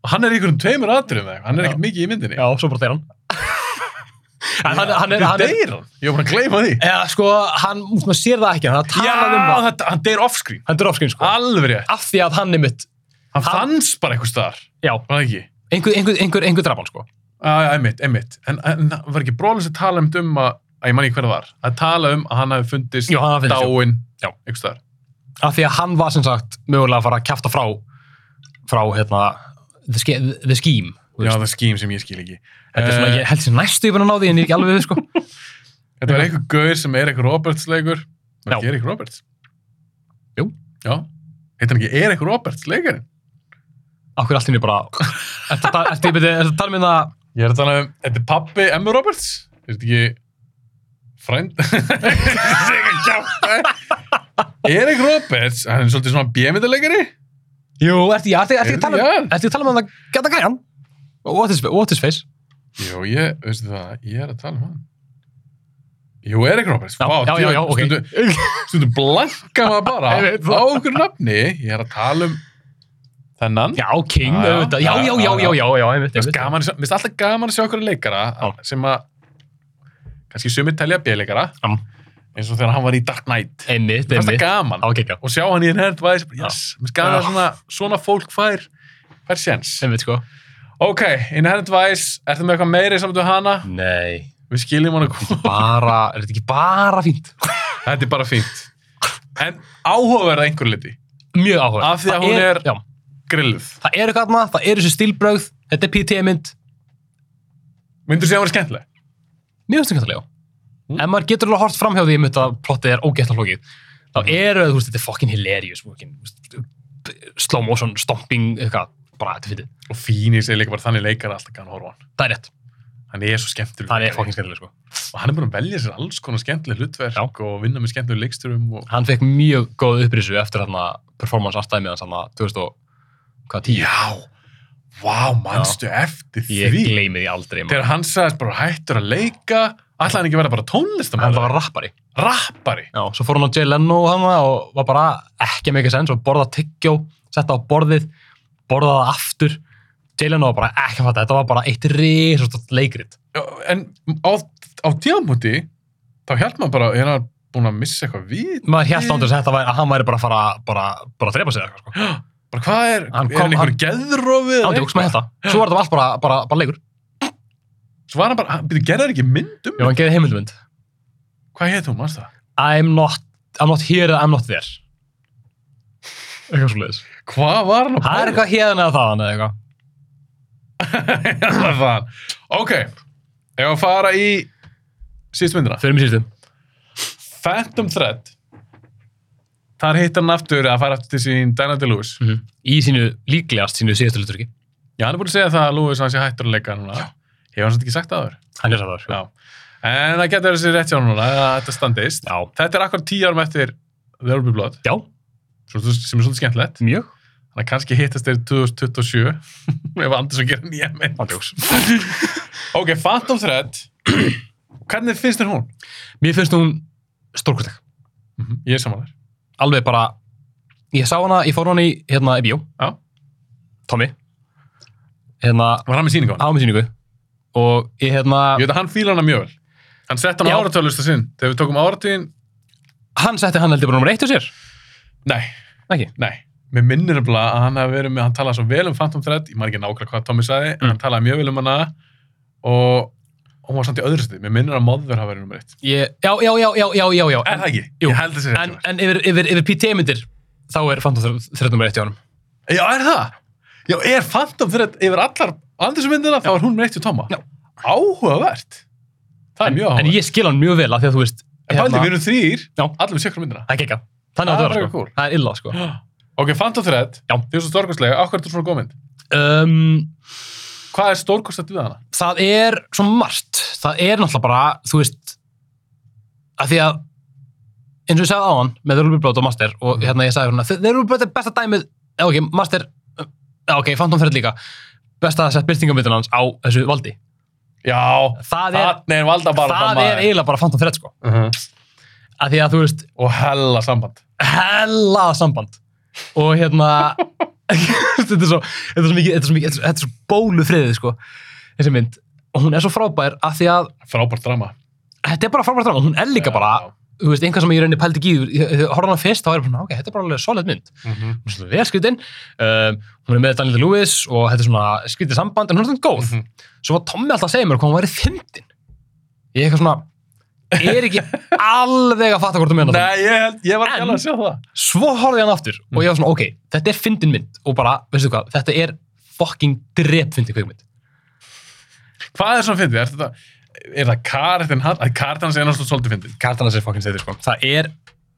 [SPEAKER 1] Hann er í einhverjum tveimur atriðum þegar, hann er
[SPEAKER 2] Já.
[SPEAKER 1] ekkert mikið í myndinni.
[SPEAKER 2] já, svo bara deyr hann en hann, hann er,
[SPEAKER 1] Hann
[SPEAKER 2] hann er
[SPEAKER 1] deyr hann? Ég var bara að gleyma því.
[SPEAKER 2] já, sko, hann, maður sér það ekki hann
[SPEAKER 1] Já,
[SPEAKER 2] talar um það
[SPEAKER 1] þetta, hann deyr offscreen.
[SPEAKER 2] hann er offscreen sko
[SPEAKER 1] Alveg rétt.
[SPEAKER 2] af því að hann er mitt
[SPEAKER 1] Hann
[SPEAKER 2] Hann-
[SPEAKER 1] fannst bara einhvers staðar,
[SPEAKER 2] já,
[SPEAKER 1] var það ekki?
[SPEAKER 2] einhver, einhver, einhver, einhver draf hann sko
[SPEAKER 1] Já, einmitt, einmitt. En, en það var ekki brólins að tala um um að, að ég man ekki hver það var, að tala um að hann hafi fundist
[SPEAKER 2] jú, hann finnst sko. jú
[SPEAKER 1] dáinn
[SPEAKER 2] Já.
[SPEAKER 1] einhvers staðar.
[SPEAKER 2] af því að hann var sem sagt mögulega að fara að kæfta frá frá, hérna, the, ske, the scheme
[SPEAKER 1] Já,
[SPEAKER 2] þú veist.
[SPEAKER 1] það er skím sem ég skil ekki.
[SPEAKER 2] þetta er svona,
[SPEAKER 1] Eh,
[SPEAKER 2] ég held sem næstu ég búin að ná því en ég er ekki alveg við sko
[SPEAKER 1] Þetta var einhver gaur sem Erik Roberts leikur. Var
[SPEAKER 2] Já.
[SPEAKER 1] ekki Erik Roberts?
[SPEAKER 2] Jú.
[SPEAKER 1] Já. Heitir hann ekki Erik Roberts leikarinn?
[SPEAKER 2] Akkur allt henni bara Ertu að ertu- byrju, ertu að tala um það
[SPEAKER 1] Ég er að tala um, þetta er pappi Emma Roberts? Er þetta ekki frænd? Þetta er ekki að kjáta. Erik Roberts, hann er svolítið svona bjömyndarleikari.
[SPEAKER 2] Jú, ertu já, ertu- ertu að tala um
[SPEAKER 1] Já.
[SPEAKER 2] Ertu að tala um það Gata gæjan What is, what is face
[SPEAKER 1] Jú, ég, veistu það, ég er að tala um hann. Jú, Erik Roberts,
[SPEAKER 2] Já, já, já, já, ok.
[SPEAKER 1] stundum, stundum blanka maður bara
[SPEAKER 2] Ég veit
[SPEAKER 1] á okkur nafni, ég er að tala um þennan.
[SPEAKER 2] Já, King
[SPEAKER 1] Já, já,
[SPEAKER 2] auðvitað. Já, já, já, já, já, já, einmitt,
[SPEAKER 1] Mér finnst
[SPEAKER 2] einmitt
[SPEAKER 1] gaman að sjá- mér finnst alltaf gaman að sjá okkur leikara
[SPEAKER 2] Já.
[SPEAKER 1] sem að, kannski sumir telja bjöleikara,
[SPEAKER 2] Já.
[SPEAKER 1] eins og þegar hann var í Dark Knight.
[SPEAKER 2] Einmitt,
[SPEAKER 1] Mér finnst það
[SPEAKER 2] einmitt
[SPEAKER 1] gaman.
[SPEAKER 2] Já, ekki, já,
[SPEAKER 1] og sjá hann í Inherent Vice bara, yes, mér finnst gaman
[SPEAKER 2] Já.
[SPEAKER 1] að svona, svona fólk fær fær séns.
[SPEAKER 2] einmitt sko
[SPEAKER 1] Ok, Inherent Vice, ertu með eitthvað meiri saman við hana?
[SPEAKER 2] Nei
[SPEAKER 1] Við skiljum hana koma.
[SPEAKER 2] Bara, er þetta ekki bara fínt?
[SPEAKER 1] Þetta er bara fínt. En áhugaverð að einhverju liti.
[SPEAKER 2] Mjög áhuga
[SPEAKER 1] Af því að hún er-
[SPEAKER 2] Já,
[SPEAKER 1] Grilluð.
[SPEAKER 2] það eru þarna, það eru þessu stilbrögð Þetta er PT-mynd
[SPEAKER 1] Myndur sé að hún er skemmtileg?
[SPEAKER 2] Mér finnst það kannski, já.
[SPEAKER 1] Mm.
[SPEAKER 2] En maður getur alveg hort framhjá því einmitt að plottið er ógætt að flókið. Þá
[SPEAKER 1] Mm.
[SPEAKER 2] eru, þú veist, þetta er fucking hilarious, fucking, þú veist, slow motion, stomping, eitthvað, bara þetta fyrir.
[SPEAKER 1] Og Phoenix er líka bara þannig leikar alltaf kannan horfa á hann.
[SPEAKER 2] Það er rétt.
[SPEAKER 1] Hann er svo skemmtileg.
[SPEAKER 2] Það er fucking skemmtileg, sko.
[SPEAKER 1] Og hann er búin að velja sér alls konar skemmtileg hlutverk og vinna með skemmtileg leiksturum og...
[SPEAKER 2] Hann fekk mjög góð upprisu eftir þarna performance artæmið hans þarna 2010.
[SPEAKER 1] Já! Vá, manstu eftir því?
[SPEAKER 2] Ég gleymi því aldrei, maður.
[SPEAKER 1] Þegar hann sagðist bara hættur að leika, alltaf hann ekki að vera bara
[SPEAKER 2] Hann
[SPEAKER 1] tónlistamæður,
[SPEAKER 2] var rappari.
[SPEAKER 1] rappari.
[SPEAKER 2] Já, svo fór hann á Jay Leno og hann og var bara ekki að mikið sens og borða tyggjó, setta á borðið, borða það aftur. Jay Leno var bara ekki að fatta, þetta var bara eitt risastótt leikrit.
[SPEAKER 1] Já, En á, á tíðanbúti, þá hjælt maður bara, er hann búin að missa eitthvað við?
[SPEAKER 2] maður held ándur að þetta væri, að hann væri bara að fara bara, bara að drepa sig eða eitthvað sko.
[SPEAKER 1] bara hvað er,
[SPEAKER 2] Hann
[SPEAKER 1] er
[SPEAKER 2] kom-
[SPEAKER 1] hann einhver
[SPEAKER 2] hann-
[SPEAKER 1] geðrófið eða
[SPEAKER 2] Ándjóks með
[SPEAKER 1] eitthvað?
[SPEAKER 2] um þetta. Svo var þetta allt bara, bara, bara leikur.
[SPEAKER 1] svo var hann bara, hann, byrju, gerði hann ekki myndum
[SPEAKER 2] Ég var að geða heimildumund.
[SPEAKER 1] hvað heit hún, mannst það?
[SPEAKER 2] I'm not, I'm not here eða I'm not there. Eitthvað svo leiðis.
[SPEAKER 1] hvað var hann að
[SPEAKER 2] Það er
[SPEAKER 1] pæla?
[SPEAKER 2] eitthvað hérna eða þaðan eða eitthvað.
[SPEAKER 1] það er það ok, ef að fara í síðust myndina
[SPEAKER 2] Fyrir mér síðustum.
[SPEAKER 1] Phantom Thread þar hittar hann aftur að fara aftur til sín Dana DeLuis
[SPEAKER 2] Mm Í sínu, líklegast sínu síðustu hluturki.
[SPEAKER 1] já, hann er búin að segja það að Lewis hann sé hættur að leika núna hefur hann svolítið ekki sagt aður
[SPEAKER 2] Hann er það þar.
[SPEAKER 1] já. en það getur þessi rétt hjá hann núna að þetta standist
[SPEAKER 2] Já.
[SPEAKER 1] þetta er akkur tíu árum eftir There Will Be Blood
[SPEAKER 2] Já,
[SPEAKER 1] svo- sem er svolítið skemmtilegt
[SPEAKER 2] mjög.
[SPEAKER 1] þannig að kannski hittast þeir 2027 ef Andersson gerir nýja mynd
[SPEAKER 2] Ándjóks.
[SPEAKER 1] ok, Phantom Thread hvernig finnst þér hún?
[SPEAKER 2] Mér finnst hún stórkosleg.
[SPEAKER 1] Mhm, ég er saman þér
[SPEAKER 2] Alveg bara, ég sá hana, ég fór hana í, hérna, í bíó.
[SPEAKER 1] Já.
[SPEAKER 2] Tommy. Hérna,
[SPEAKER 1] var hann með sýningu á hann?
[SPEAKER 2] á með síningu. Og ég, hérna,
[SPEAKER 1] ég veit að hann fílar hana mjög vel hann sett hann
[SPEAKER 2] Já.
[SPEAKER 1] á áratölust sinn þegar við tókum áratugin
[SPEAKER 2] hann setti hann heldur bara nummer eitt á sér.
[SPEAKER 1] nei,
[SPEAKER 2] Ekki?
[SPEAKER 1] nei mér minnir nefnilega að hann hafi verið með hann talaði svo vel um Phantom Thread ég maður ekki nákvæmlega hvað Tommy sagði
[SPEAKER 2] Mm.
[SPEAKER 1] en hann talaði mjög vel um hana og hún var samt í öðru stið mér minnir að Mother hafi verið nummer eitt
[SPEAKER 2] Ég, já, já, já, já, já, já, já.
[SPEAKER 1] er það ekki?
[SPEAKER 2] Jú.
[SPEAKER 1] ég held þessi
[SPEAKER 2] En, en yfir, yfir, yfir PT-myndir, þá er Phantom 13 nummer 1 í honum.
[SPEAKER 1] Já, er það? Já, er Phantom Thread yfir allar andinsmyndina, þá er hún með eitt í tóma.
[SPEAKER 2] Já.
[SPEAKER 1] Áhugavert. Það er
[SPEAKER 2] En,
[SPEAKER 1] mjög
[SPEAKER 2] en
[SPEAKER 1] áhugavert.
[SPEAKER 2] ég skil hann mjög vel af því að þú veist...
[SPEAKER 1] En bældi, við erum þrýr,
[SPEAKER 2] Já.
[SPEAKER 1] allir við sjökkum myndina.
[SPEAKER 2] Það er gekka. Þannig
[SPEAKER 1] Það er
[SPEAKER 2] að það
[SPEAKER 1] bara
[SPEAKER 2] var sko.
[SPEAKER 1] cool.
[SPEAKER 2] Það er illa sko.
[SPEAKER 1] Ok, Phantom Thread,
[SPEAKER 2] Já.
[SPEAKER 1] því er svo stórkostlega, áhverju er þetta svona góð mynd?
[SPEAKER 2] Um,
[SPEAKER 1] Hvað er stórkostlegt við hana?
[SPEAKER 2] það er svo margt. Það er náttúrulega bara, þú veist, að því að, eins og ég sagði áðan með The Ruby Blood og Master og hérna ég sagði hérna, The Ruby Blood er besta dæmið, eða ok, Master, eða ok, Phantom Thread líka, besta sett byrtingamöndun hans á þessu valdi.
[SPEAKER 1] Já,
[SPEAKER 2] Það er,
[SPEAKER 1] þannig er valda bara
[SPEAKER 2] það er eiginlega bara Phantom Thread sko.
[SPEAKER 1] -huh.
[SPEAKER 2] Að því að þú veist,
[SPEAKER 1] Og hella samband.
[SPEAKER 2] hella samband og hérna þetta er svo þetta er svo mikið, þetta er svo mikið, þetta er svo- þetta er svo bólu friðið sko, þessi mynd og hún er svo frábær af því að
[SPEAKER 1] Frábært drama.
[SPEAKER 2] þetta er bara frábært drama, hún er líka bara þú veist, einhvern sem ég í rauninni pældi ekki í, ég- ég- ég horfði á hana fyrst, þá er ég bara, svona, ok, þetta er bara alveg solid mynd
[SPEAKER 1] Mm -hmm.
[SPEAKER 2] hún er svona velskritin um, hún er með Daniel Lewis og þetta er svona skrítið samband, en hún er svona góð
[SPEAKER 1] Mhm.
[SPEAKER 2] svo var Tommy alltaf að segja mér hvað hún væri fyndin ég er eitthvað svona er ekki alveg að fatta hvort þú meina það
[SPEAKER 1] Nei, ég, held, ég var ekki
[SPEAKER 2] En-
[SPEAKER 1] alveg að sjá það.
[SPEAKER 2] svo horfði ég hann aftur og ég var svona, ok, þetta er fyndin mynd og bara, veistu hvað, þetta er fucking drep fyndin kvikmynd
[SPEAKER 1] Hvað er svona fyndið? Er þetta, er það karakterin hann? Karakterin hans er náttúrulega svolítið fyndið.
[SPEAKER 2] Kartana sér fucking setur, sko það er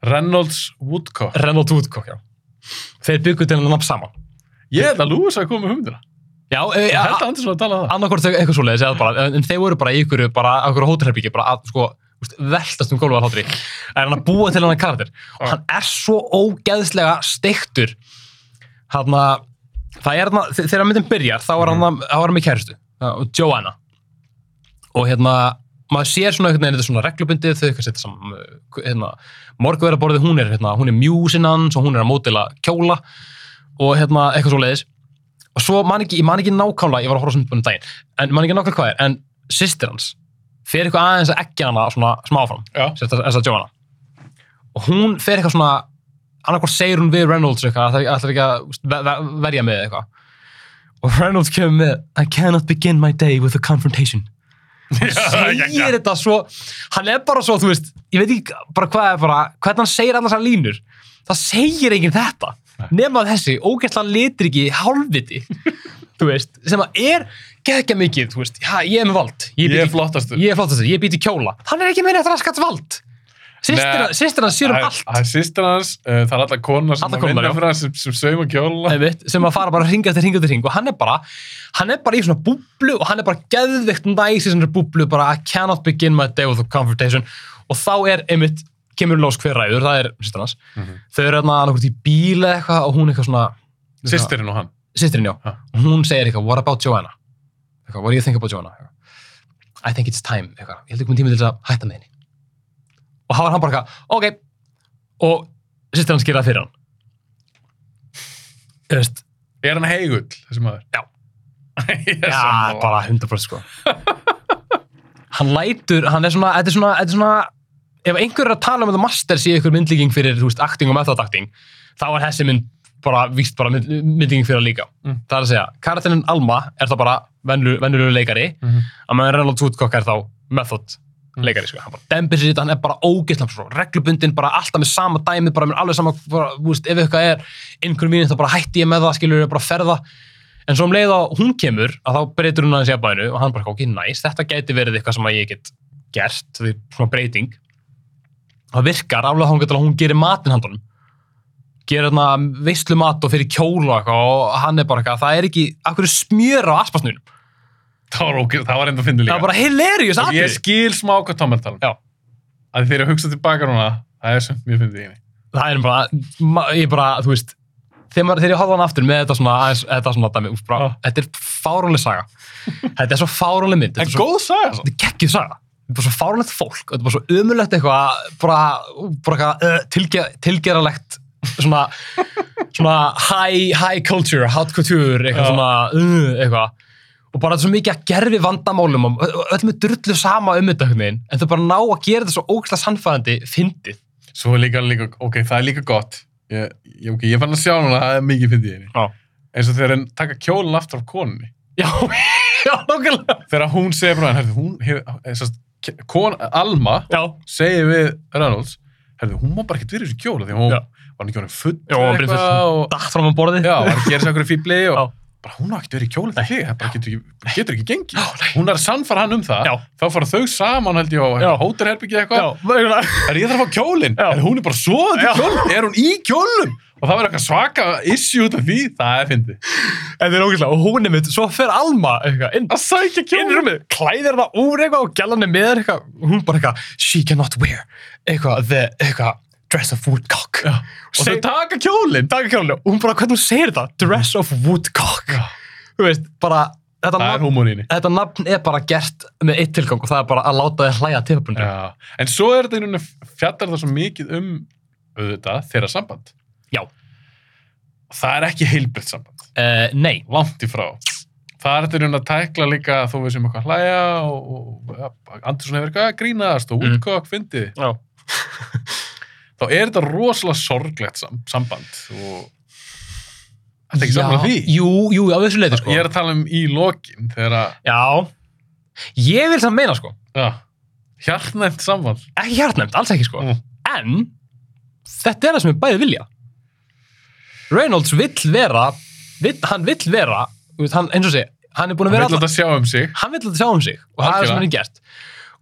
[SPEAKER 1] Reynolds Woodcock.
[SPEAKER 2] Renault Woodcock, já þeir byggu til hann nafn saman
[SPEAKER 1] Ég held að Lewis hafi komið með hugmyndina.
[SPEAKER 2] já, e,
[SPEAKER 1] Ég held að Andersson hafi talað um það.
[SPEAKER 2] annarkvort þau eitthvað svoleiðis eða bara, en- en þeir voru bara í ykkur bara, á ykkur hótelherbyggi, bara að, sko þú veist, veltast um gólfa hlátri það er hann að búa til hann karakter og
[SPEAKER 1] Já.
[SPEAKER 2] hann er svo ógeðslega steiktur hann að það er hann að, þe- þegar myndin byrjar þá er hann að, þá er hann með kæristu Joanna og hérna, maður sér svona einhvern veginn þetta er svona reglubundið, þau eitthvað setja saman uh, hérna, morguverðarborðið, hún er hérna, hún er mjúsinn hans og hún er að mótila kjóla og hérna, eitthvað svo leiðis og svo man ekki, ég man ekki nákvæmlega ég var að horfa á sundbunum daginn, en man ekki nákvæmlega hvað er en systir hans, fer eitthvað aðeins að ekki hana svona smá áfram
[SPEAKER 1] Já.
[SPEAKER 2] sem þetta- þessa Joanna og hún fer eitthvað svona annarkvort segir hún við Reynolds eitthvað að það ætlar ekki að úst, ve- ve- verja með eitthvað og Reynolds kemur með I cannot begin my day with a confrontation segir þetta svo hann er bara svo, þú veist, ég veit ekki bara hvað er bara, hvernig hann segir annars að línur það segir enginn þetta nema þessi, ógæslan litir ekki hálfviti, þú veist sem að er geggja mikið, þú veist já, ég er með vald, ég,
[SPEAKER 1] Ég er
[SPEAKER 2] býti,
[SPEAKER 1] flottastur.
[SPEAKER 2] ég er flott þessi, ég býti kjóla hann er ekki með þetta raskats vald
[SPEAKER 1] Nei.
[SPEAKER 2] sýstir hann sér
[SPEAKER 1] Það
[SPEAKER 2] um
[SPEAKER 1] er-
[SPEAKER 2] allt
[SPEAKER 1] Það er sýstir hans, uh, það er alla konar sem
[SPEAKER 2] Allar
[SPEAKER 1] að vinna
[SPEAKER 2] konurnar, já.
[SPEAKER 1] fyrir hans sem, sem saum og kjóla.
[SPEAKER 2] einmitt, sem að fara bara hringa eftir hringa eftir hring og hann er bara, hann er bara í svona búblu og hann er bara geðvikt næs í svona búblu bara I cannot begin my day with a confrontation og þá er einmitt kemur í ljós hver ræður, það er sýstir hans
[SPEAKER 1] Mhm.
[SPEAKER 2] þau eru hérna annarkvort í bíl eða eitthvað og hún eitthvað svona
[SPEAKER 1] Sýstirinn og hann.
[SPEAKER 2] sýstirinn já,
[SPEAKER 1] Ha.
[SPEAKER 2] og hún segir eitthvað what about Joanna, eitthvað, what do you think about Joanna eitthvað. I think it's time eitthvað. ég held ekki með tíma til þess að hætta með henni og þá er hann bara eitthvað, ok og sýstir hans gerir það fyrir hann Þú veist,
[SPEAKER 1] Er hann heigull, þessi maður?
[SPEAKER 2] Já.
[SPEAKER 1] Ég er
[SPEAKER 2] Já,
[SPEAKER 1] sammála.
[SPEAKER 2] bara 100% sko Hann lætur, hann er svona þetta er svona, þetta er svona ef einhver er að tala um þetta master sé ykkur myndlíking fyrir, þú veist, acting og method acting þá er þessi mynd bara víst bara mynd, myndingin fyrir líka.
[SPEAKER 1] Mm.
[SPEAKER 2] Það er að segja, karatinn Alma er það bara vennulegu leikari, að meðan Reynolds Woodcock er þá method leikari, sko. hann bara dembir sér í þetta, hann er bara ógeðslega svo reglubundin, bara alltaf með sama dæmi, bara með alveg sama, bara, þú veist, ef eitthvað er einhvern vínin þá bara hætti ég með það, skilur ég bara ferða, en svo um leið að hún kemur að þá breytur hún aðeins í aðbæðinu og hann bara, ok, næs, þetta gæti verið eitthvað sem að ég get gert, því svona breyting það virkar aflega hún getur að hún gerir matinn handunum gerir þarna veistlu mat og fyrir kjóla og, eitthvað og hann er bara eitthvað, það er ekki, akkur smjör á aspasnunum,
[SPEAKER 1] Það var ógeð, það var enda að finna
[SPEAKER 2] það
[SPEAKER 1] líka.
[SPEAKER 2] er bara hilarious
[SPEAKER 1] Og ég
[SPEAKER 2] atrið,
[SPEAKER 1] skil smá hvað Tom er að tala um.
[SPEAKER 2] Já.
[SPEAKER 1] Að þegar ég hugsa tilbaka núna, það er sem mjög fyndið í henni.
[SPEAKER 2] það er bara, ma- ég bara, þú veist, þegar, maður, þegar ég horfa hann aftur með þetta svona, aðeins, þetta svona dæmi, úst, bara,
[SPEAKER 1] Já.
[SPEAKER 2] þetta er fáránleg saga, þetta er svo fáránleg mynd, þetta
[SPEAKER 1] En
[SPEAKER 2] er svo,
[SPEAKER 1] góð saga samt.
[SPEAKER 2] þetta er geggjuð saga, þetta er bara svo fáránlegt fólk, þetta er bara svo umulegt eitthvað, bara, bara eitthvað uh, tilge, tilgeralegt, svona, svona high, high culture, hot couture, eitthvað
[SPEAKER 1] Já.
[SPEAKER 2] svona, uh, eitthvað, og bara þetta er svo mikið að gerfi vandamálum og og öllum er drullu sama um þetta einhvern veginn, en þau bara ná að gera þetta svo ógæslega sannfæðandi fyndið.
[SPEAKER 1] Svo er líka, líka, ok, það er líka gott. Ég, ég, okay, ég fann að sjá núna, það er mikið fyndið í henni.
[SPEAKER 2] Já.
[SPEAKER 1] Eins og þegar hann taka kjólinn aftur af konunni.
[SPEAKER 2] Já, já, nokkulega.
[SPEAKER 1] Þegar hún segir frá hann, herðu, hún hefur, eh, sem sagt, kon, Alma
[SPEAKER 2] Já,
[SPEAKER 1] segir við Reynolds, herðu, hún má bara ekkert verið þessu kjóla, því hún
[SPEAKER 2] Já.
[SPEAKER 1] var hann ekki honum full
[SPEAKER 2] Já, hann byrjaði
[SPEAKER 1] og
[SPEAKER 2] dætt fram á borðið.
[SPEAKER 1] já, var að gera sér okkur fíbli og
[SPEAKER 2] Já.
[SPEAKER 1] bara hún á ekkert verið í kjóla til þig, það bara getur ekki, bara getur ekki gengið.
[SPEAKER 2] Já, nei.
[SPEAKER 1] Hún er að sannfara hann um það,
[SPEAKER 2] Já.
[SPEAKER 1] þá fara þau saman held ég
[SPEAKER 2] Já.
[SPEAKER 1] á hótelherbyggið eitthvað,
[SPEAKER 2] Já, mögulega.
[SPEAKER 1] er ég þarf að fá kjólinn,
[SPEAKER 2] Já.
[SPEAKER 1] en hún er bara svo
[SPEAKER 2] Já.
[SPEAKER 1] í kjólinn, er hún í kjólinn? Og það verður eitthvað svaka issue út af því, það er fyndið.
[SPEAKER 2] En það er ógæslega, og hún er mitt, svo fer Alma eitthvað inn.
[SPEAKER 1] Að sækja
[SPEAKER 2] Inn í
[SPEAKER 1] kjólinn.
[SPEAKER 2] rúmið, klæðir hana úr eitthvað og gælan er með eitthvað, hún bara eitthvað, she cannot wear, eitthvað, the, eitthvað, dress of woodcock. Já.
[SPEAKER 1] Og þau taka kjólinn.
[SPEAKER 2] taka kjálunni, og hún bara, hvernig hún segir þetta, dress of woodcock.
[SPEAKER 1] Já.
[SPEAKER 2] Þú veist, bara, þetta
[SPEAKER 1] Það er
[SPEAKER 2] nafn,
[SPEAKER 1] húmóninni.
[SPEAKER 2] þetta nafn er bara gert með eitt tilgang og það er bara að láta þið hlæja tilbundum.
[SPEAKER 1] Já. En svo er þetta einhvern veginn fjallar það svo mikið um auðvitað þeirra samband.
[SPEAKER 2] Já.
[SPEAKER 1] Það er ekki heilbritt samband.
[SPEAKER 2] Uh, nei,
[SPEAKER 1] Langt í frá. Það er þetta einhvern veginn að tækla líka þó við sem eitthvað að hlæja og, og ja, Andersson hefur eitthvað að grínast og
[SPEAKER 2] Mm.
[SPEAKER 1] útkokk fyndið.
[SPEAKER 2] Já.
[SPEAKER 1] Þá er þetta rosalega sorglegt sam samband og Þetta er ekki sammála því?
[SPEAKER 2] Jú, jú, á þessu leiti sko.
[SPEAKER 1] Ég er að tala um í lokin þegar að
[SPEAKER 2] Já, ég vil samt meina sko,
[SPEAKER 1] ja, hjartnæmt samband.
[SPEAKER 2] ekki hjartnæmt, alls ekki sko,
[SPEAKER 1] Mm.
[SPEAKER 2] en þetta er það sem við bæði vilja. Reynolds vill vera, vill, hann vill vera, þú veist, hann, eins og sé, hann er búin
[SPEAKER 1] Hann vil
[SPEAKER 2] að vera,
[SPEAKER 1] alltaf sjá um sig.
[SPEAKER 2] hann vill að sjá um sig og það er það sem
[SPEAKER 1] Algjörlega.
[SPEAKER 2] hann er gert.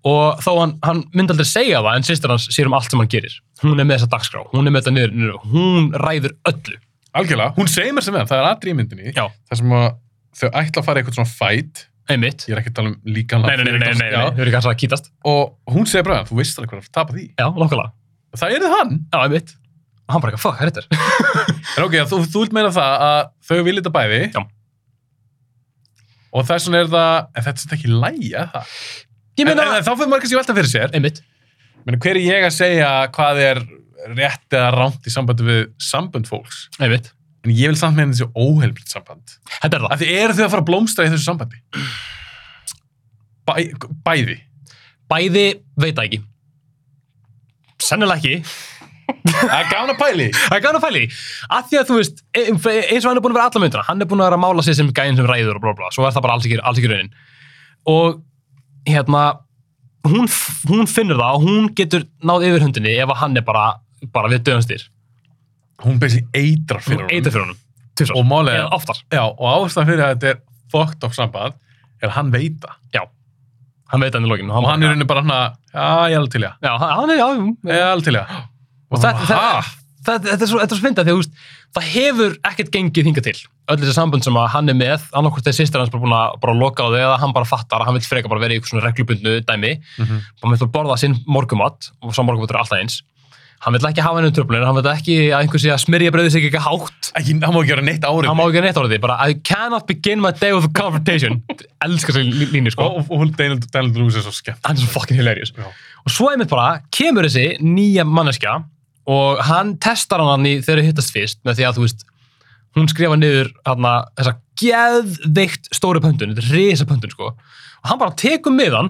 [SPEAKER 2] Og þó hann, hann myndi aldrei segja það, en sýstir hans sér um allt sem hann gerir. Hún er með þessa dagskrá, hún er með þetta niður, niður hún ræður öllu.
[SPEAKER 1] Algjörlega, hún segir mér sem er, það er aðri í myndinni
[SPEAKER 2] Já.
[SPEAKER 1] þar sem að þau ætla að fara í eitthvað svona fæt
[SPEAKER 2] Einmitt.
[SPEAKER 1] ég er ekki að tala um líkan
[SPEAKER 2] Nei, nei, nei, nei, nei, nei, nei, þau eru ekki alltaf að kýtast.
[SPEAKER 1] og hún segir bara, þú veist alveg hvað að tapa því
[SPEAKER 2] Já, nokkulega.
[SPEAKER 1] og það er hann,
[SPEAKER 2] Já, einmitt. Og hann bara ekki, fuck, hvað er þetta?
[SPEAKER 1] en ok, þú, þú vilt meina það að þau vilja þetta bæði
[SPEAKER 2] Já.
[SPEAKER 1] og þess vegna er það en þetta er samt ekki lægja það
[SPEAKER 2] Ég
[SPEAKER 1] en,
[SPEAKER 2] meina,
[SPEAKER 1] en, en þá fyrir margir sér velta fyrir sér
[SPEAKER 2] einmitt.
[SPEAKER 1] Men, hver er ég að segja hvað er rétt eða rámt í sambandi við sambönd fólks
[SPEAKER 2] Einmitt.
[SPEAKER 1] en ég vil samt meina þessi óheilbritt samband
[SPEAKER 2] Þetta er það.
[SPEAKER 1] af því eru þau að fara að blómstra í þessu sambandi Bæ, bæði
[SPEAKER 2] Bæði veit það ekki. Sennilega ekki.
[SPEAKER 1] Það er gaman að pæli.
[SPEAKER 2] Það er gana að pæli. Af því að þú veist, e- eins og hann er búin að vera alla myndina, hann er búin að vera að mála sig sem gæinn sem ræður og blá blá, svo er það bara alls ekki, alls ekki raunin. Og hérna, hún, f- hún finnur það og hún getur náð yfir hundinni ef að hann er bara, bara við döðumstýr.
[SPEAKER 1] Hún beinsi eitrar fyrir
[SPEAKER 2] Eita fyrir honum. Tvisvar.
[SPEAKER 1] Og málið
[SPEAKER 2] Eða
[SPEAKER 1] er,
[SPEAKER 2] oftar.
[SPEAKER 1] já, og áherslan fyrir að þetta er fucked up samband, er að hann veita.
[SPEAKER 2] Hann veit hann í lokinu.
[SPEAKER 1] Og hann er henni bara hann að, já, ég er alveg til í það.
[SPEAKER 2] Já, hann hann er, já, jú,
[SPEAKER 1] Ég er alveg til í það.
[SPEAKER 2] Og þetta, þetta, þetta, þetta er svo, þetta er svo fyndið af því að þú veist, það hefur ekkert gengið hingað til. Öll þessi sambund sem að hann er með, annarkvort er sýstir hans bara búin að bara loka á þau eða hann bara fattar að hann vil freka bara vera í eitthvað svona reglubundnu dæmi.
[SPEAKER 1] Mhm.
[SPEAKER 2] Bara hann vil bara borða sinn morgumat og sá morgumat er alltaf eins. Hann vil ekki hafa henni um tröflunir, hann vil ekki að einhversi að smyrja breyði sig ekki hátt.
[SPEAKER 1] Ekki, hann má ekki vera neitt árið.
[SPEAKER 2] Hann má ekki að neitt orðið, bara I cannot begin my day with a confrontation. Elskar sér línu, sko
[SPEAKER 1] Og, og, og Daniel, Daniel Lewis er svo skemmt.
[SPEAKER 2] hann er svo fucking hilarious
[SPEAKER 1] Já.
[SPEAKER 2] og svo einmitt bara kemur þessi nýja manneskja og hann testar hann í þegar þau hittast fyrst með því að þú veist hún skrifa niður hann þessa geðveikt stóru pöntun, þetta er risa pöntun sko og hann bara tekur miðan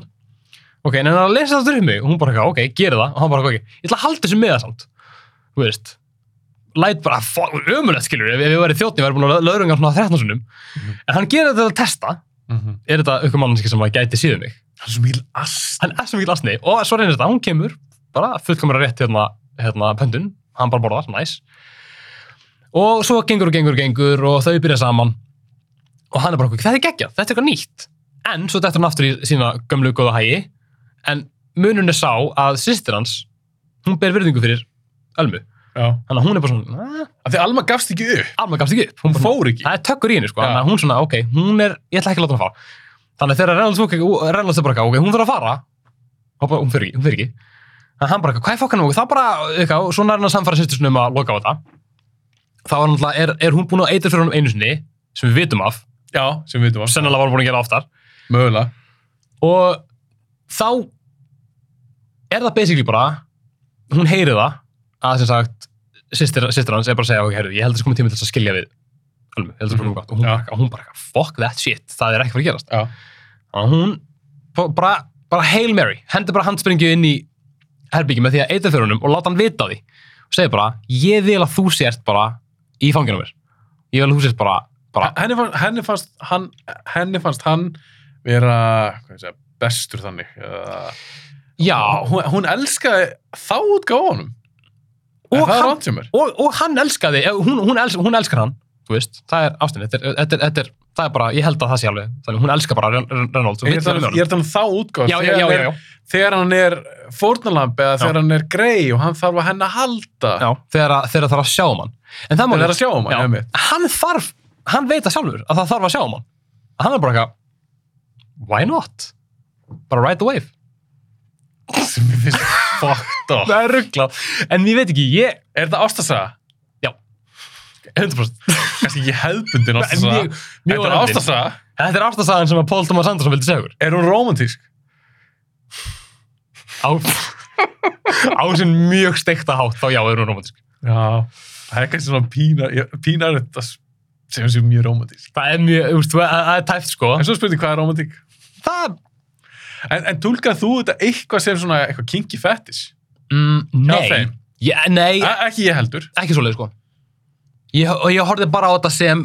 [SPEAKER 2] ok, en hann er að lesa þetta um mig og hún bara ok, gera það og hann bara ok, ég ætla að halda þessu miða samt þú veist læt bara ömulegt skilur ef ef ég væri þjóttni, ég væri búin að löðrunga svona 13 sunnum
[SPEAKER 1] Mhm.
[SPEAKER 2] en hann gerir þetta til að testa
[SPEAKER 1] Mm -hmm.
[SPEAKER 2] er þetta aukum mannski sem að gæti síðu mig
[SPEAKER 1] Það er svo mýl ast.
[SPEAKER 2] hann er svo mikið lasni og svo reynir þetta, hún kemur bara fullkomra rétt hérna, hérna pöndun, hann bara borðar, næs og svo gengur og gengur og gengur og þau byrja saman og hann er bara okkur, þetta er geggjað, þetta er eitthvað nýtt en svo dettur hann aftur í sína gömlu góða hægi en munun er sá að systir hans, hún ber virðingu fyrir Ölmu,
[SPEAKER 1] Já.
[SPEAKER 2] þannig að hún er bara svona "Ah,
[SPEAKER 1] Af því að Alma gafst ekki upp.
[SPEAKER 2] Alma gafst ekki upp,
[SPEAKER 1] Hún
[SPEAKER 2] bara svona-
[SPEAKER 1] fór ekki.
[SPEAKER 2] það er tökkur í henni sko,
[SPEAKER 1] Já.
[SPEAKER 2] þannig að hún svona, ok, hún er ég ætla ekki að láta hana fá þannig að þegar Reynolds, Wook- Reynolds er bara eitthvað, ok, hún þarf að fara Hoppa, hún fyrir ekki, hún fyrir ekki þannig að hann bara, eitthvað, hvað er fokkanum okkur, þá bara eitthvað, og svona er hann að samfara sýstur um að loka á þetta þá er, náttúrulega- er, er hún búin að eitra fyrir hann einu sinni sem við vitum af,
[SPEAKER 1] Já, sem við veitum að.
[SPEAKER 2] sennilega var hún búin að gera það oftar
[SPEAKER 1] Mögulega.
[SPEAKER 2] og þá er það basically bara hún heyri það að sem sagt sýstir, sýstir hans er bara að segja ok, heyrðu, ég held að það komið tími til þess að skilja við Ölmu, ég held að það komið gott og hún,
[SPEAKER 1] Já.
[SPEAKER 2] bara, og hún bara, fuck that shit, það er ekki fyrir að gerast
[SPEAKER 1] Já.
[SPEAKER 2] og hún b- bara, bara Hail Mary, hendur bara handspringju inn í herbyggjum með því að eita fyrir húnum og láta hann vita af því og segir bara, ég vil að þú sért bara í fanginu á mér ég vil að þú sért bara, bara
[SPEAKER 1] Henni fannst, henni fannst hann, henni fannst hann vera, hvað ég segja, bestur þannig. eða-
[SPEAKER 2] já,
[SPEAKER 1] Hún, hún elskaði þá útgáð honum.
[SPEAKER 2] og
[SPEAKER 1] Og það er
[SPEAKER 2] hann,
[SPEAKER 1] rátt sem er.
[SPEAKER 2] og, og hann elskaði eh, hún, hún, els, hún elskar hann, þú veist það er ástinni, þetta er, þetta er, þetta er það er bara, ég held að það sé alveg, þannig hún elskar bara Ren- Ren- Reynolds og
[SPEAKER 1] Ég er
[SPEAKER 2] vill vera með
[SPEAKER 1] þannig,
[SPEAKER 2] honum.
[SPEAKER 1] ég er þannig þá útgáð.
[SPEAKER 2] já, já, já, já, já,
[SPEAKER 1] Þegar hann er fórnalamb eða
[SPEAKER 2] Já.
[SPEAKER 1] þegar hann er grei og hann þarf að henni að halda.
[SPEAKER 2] já þegar, að- þegar það er að sjá um hann en það má
[SPEAKER 1] Þegar það er að sjá um hann,
[SPEAKER 2] Já.
[SPEAKER 1] hefði mitt.
[SPEAKER 2] hann þarf, hann veit það sjálfur að það þarf að sjá um hann að hann er bara eitthvað why not, bara ride the wave
[SPEAKER 1] Sem ég finnst fucked up.
[SPEAKER 2] það er rugglað, en ég veit ekki, ég
[SPEAKER 1] Er þetta ástasaga?
[SPEAKER 2] 100%
[SPEAKER 1] Kannski ekki hefðbundin ástasaga.
[SPEAKER 2] Mjög- mjög
[SPEAKER 1] Þetta er
[SPEAKER 2] örvandi.
[SPEAKER 1] ástasaga.
[SPEAKER 2] þetta er ástasagan sem að Paul Thomas Anderson vildi segja okkur
[SPEAKER 1] Er hún romantísk?
[SPEAKER 2] á, á sinn mjög steikta hátt þá já, er hún romantísk
[SPEAKER 1] Já. Það er kannski svona pína, pínar þetta sem sé mjög romantísk.
[SPEAKER 2] það er mjög, þú veist, það- það er tæft sko
[SPEAKER 1] En svo spurning hvað er romantík?
[SPEAKER 2] það,
[SPEAKER 1] En, en tólkað þú þetta eitthvað sem svona eitthvað kinky fetish?
[SPEAKER 2] mm,
[SPEAKER 1] Já,
[SPEAKER 2] nei
[SPEAKER 1] þeim.
[SPEAKER 2] Já, nei,
[SPEAKER 1] A ekki ég heldur.
[SPEAKER 2] ekki svoleið sko ég, og ég horfði bara á þetta sem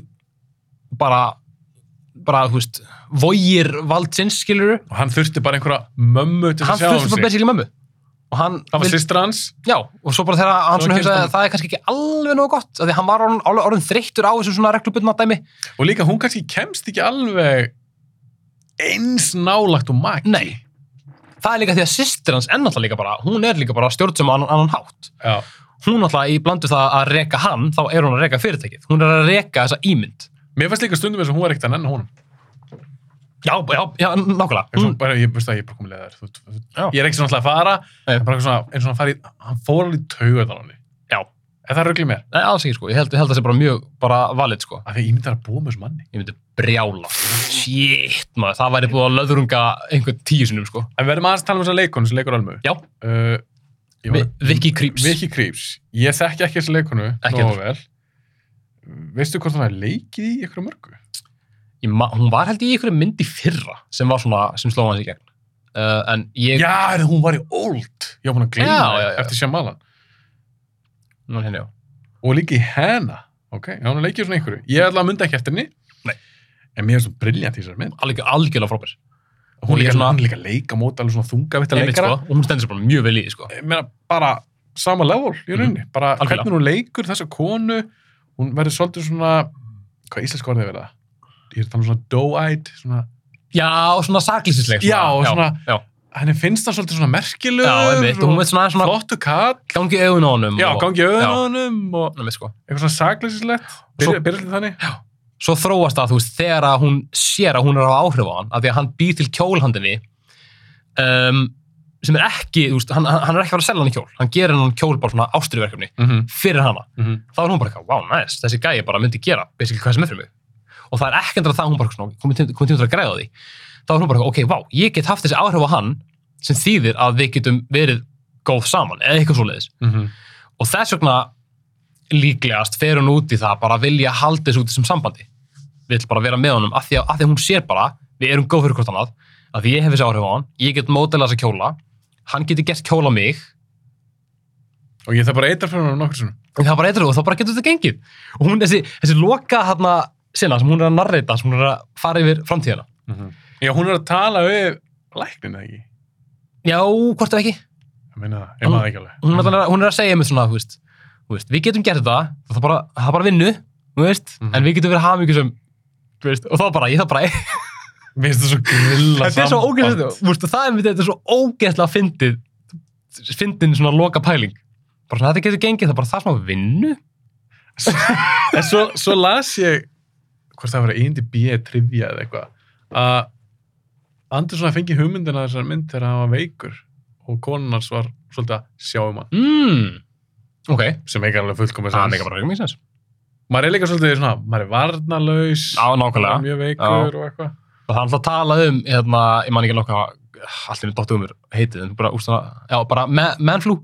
[SPEAKER 2] bara bara, þú veist, vógir valdsins, skilur
[SPEAKER 1] Og hann þurfti bara einhverja mömmu til
[SPEAKER 2] hann
[SPEAKER 1] að sjá um
[SPEAKER 2] þurfti bara
[SPEAKER 1] sig.
[SPEAKER 2] basically mömmu og hann,
[SPEAKER 1] Það var
[SPEAKER 2] vildi-
[SPEAKER 1] sýstra hans.
[SPEAKER 2] já, og svo bara þegar hann
[SPEAKER 1] Svo
[SPEAKER 2] svona
[SPEAKER 1] kemst
[SPEAKER 2] hugsaði
[SPEAKER 1] hann-
[SPEAKER 2] að það er kannski ekki alveg nóg gott, af því hann var orðin, orðin, orðin þreyttur á þessu svona reglubundna dæmi
[SPEAKER 1] Og líka hún kannski kemst ekki alveg eins nálagt og maki.
[SPEAKER 2] nei, það er líka því að systir hans ennáttúrulega líka bara, hún er líka bara stjórnsum annan, annan hátt
[SPEAKER 1] Já.
[SPEAKER 2] hún alltaf í blandu það að reka hann þá er hún að reka fyrirtækið, hún er að reka þessa ímynd
[SPEAKER 1] Mér fannst líka stundum eins og hún var ekkert að nenna honum.
[SPEAKER 2] já, já, já, nákvæmlega
[SPEAKER 1] Ég,
[SPEAKER 2] hún,
[SPEAKER 1] mm. bara, ég, veistu það, ég er bara komið leðar. Þú, þú,
[SPEAKER 2] Já.
[SPEAKER 1] ég er ekki svona alltaf að fara,
[SPEAKER 2] Nei.
[SPEAKER 1] en bara eitthvað svona, eins og hann, fari, hann fór alveg taugat á henni.
[SPEAKER 2] já,
[SPEAKER 1] En það ruggli mér,
[SPEAKER 2] nei, alls ekki sko ég held, ég held það sé bara mjög, bara valid sko
[SPEAKER 1] af því ég myndi að búa með þessum manni.
[SPEAKER 2] ég myndi brjála, shit maður, það væri búið að löðrunga einhvern tíu sinum sko,
[SPEAKER 1] En við verðum aðeins að tala um þessa leikonu sem leikur almu.
[SPEAKER 2] já,
[SPEAKER 1] Uh, ég
[SPEAKER 2] Vi,
[SPEAKER 1] var-
[SPEAKER 2] Vicky Creeps
[SPEAKER 1] Vicky Creeps. Ég þekki ekki þessa leikonu,
[SPEAKER 2] Ekki
[SPEAKER 1] nógu vel. Veistu hvort hann er leikið í ykkur mörgu?
[SPEAKER 2] Ég ma- hún var held ég í einhverju myndi fyrra sem var svona, sem sló hans í gegn uh, en ég,
[SPEAKER 1] Já, en hún var í old. Ég var búin að gleyma
[SPEAKER 2] Já,
[SPEAKER 1] já,
[SPEAKER 2] já, já.
[SPEAKER 1] eftir Shyamalan.
[SPEAKER 2] Nú, henni, já.
[SPEAKER 1] Og líka í hennar. Ok, já, hún er leikið í svona ykkur. Ég ætla að mynda ekki eftir henni.
[SPEAKER 2] Nei.
[SPEAKER 1] En mér er svona briljant í þessari mynd.
[SPEAKER 2] Algjör, algjörlega frábær
[SPEAKER 1] Hún,
[SPEAKER 2] Hún
[SPEAKER 1] líka,
[SPEAKER 2] er svona-
[SPEAKER 1] hún er líka leika mót alveg svona þungavitt að
[SPEAKER 2] Einmitt,
[SPEAKER 1] leikara.
[SPEAKER 2] sko, og hún stendur sér bara mjög vel í því, sko.
[SPEAKER 1] ég meina, bara sama level í rauninni, bara
[SPEAKER 2] Mhm. Algjörlega.
[SPEAKER 1] hvernig hún leikur þessa konu, hún verður svolítið svona hvað íslensk orðið verða? Ég er að tala um svona doe-eyed svona,
[SPEAKER 2] já, og svona saklýsisleg
[SPEAKER 1] Já, og svona-
[SPEAKER 2] já, já.
[SPEAKER 1] henni finnst það svolítið svona merkilegur
[SPEAKER 2] Já, einmitt, og hún veit svona aðeins svona
[SPEAKER 1] flottu katt,
[SPEAKER 2] gangi augun á honum
[SPEAKER 1] já,
[SPEAKER 2] og,
[SPEAKER 1] gangi
[SPEAKER 2] já.
[SPEAKER 1] auðanum og
[SPEAKER 2] Einmitt, sko.
[SPEAKER 1] eitthvað svona sakleysislegt
[SPEAKER 2] Svo-
[SPEAKER 1] byrja byrja til þannig,
[SPEAKER 2] Svo þróast það, þú veist, þegar að hún sér að hún er að hafa áhrif á hann, af því að hann býr til kjólhandinni um, sem er ekki, þú veist, hann, hann hann er ekki að fara að selja hann í kjól, hann gerir hann kjól bara svona ástriverkefni
[SPEAKER 1] mm -hmm.
[SPEAKER 2] fyrir hana.
[SPEAKER 1] Mm
[SPEAKER 2] Þá er hún bara eitthvað, wow, nice, þessi gæi bara myndi gera basically hvað sem er fyrir mig. Og það er ekki endur að það hún bara svona, komið tíma til að græða á því. Þá er hún bara, eitthvað, ok, wow, ég get haft þessi áhrif á hann sem þýðir að við getum verið góð saman, eða eitthvað svoleiðis. og þess vegna líklegast fer hún út í það bara að vilja halda þessu út í þessum sambandi vill bara vera með honum af því að, af því að hún sér bara við erum góð fyrir hvort annað af því ég hef þessi áhrif á hann, ég get mótilega þessa kjóla hann getur gert kjóla mig
[SPEAKER 1] Og ég þarf bara eitar fyrir hann nokkur svona.
[SPEAKER 2] En það bara eitthvað og þá bara getur þetta gengið. Og hún, þessi, þessi loka hérna sinna sem hún er að narreita, sem hún er að fara yfir framtíðina.
[SPEAKER 1] Já, hún er að tala við læknin eða ekki.
[SPEAKER 2] Já, hvort ef ekki.
[SPEAKER 1] Ég meina það, ég maður það ekki alveg.
[SPEAKER 2] Hún er, allan að, hún er að segja einmitt svona, þú veist, þú veist, við getum gert þetta, það er bara, það er bara vinnu, þú veist,
[SPEAKER 1] Mhm.
[SPEAKER 2] en við getum verið hamingjusum, þú veist, og þá bara, ég það bara,
[SPEAKER 1] Mér finnst það svo grilla
[SPEAKER 2] þetta er svo ógeðslega, þú veist, það er mér þetta er svo ógeðslega fyndið, fyndin svona loka pæling. Bara svona, þetta getur gengið, það er bara það sem að vinnu.
[SPEAKER 1] En svo, svo las ég, hvort það var eindi B trivia eða eitthvað, að Andersson fengi hugmyndina þessar mynd þegar hann var veikur og konunars var svolítið að sjáum hann
[SPEAKER 2] Mm. Ok,
[SPEAKER 1] sem ekki alveg fullkomið
[SPEAKER 2] það er meika bara raumisins.
[SPEAKER 1] maður er líka svolítið svona, maður er varnalaus
[SPEAKER 2] Já, nákvæmlega.
[SPEAKER 1] maður er mjög veikur og eitthvað
[SPEAKER 2] Og það er alltaf að tala um, hérna, ég man ekki nokka, allt er dottum um mér heitið, en bara, úst, já, bara man, manflu.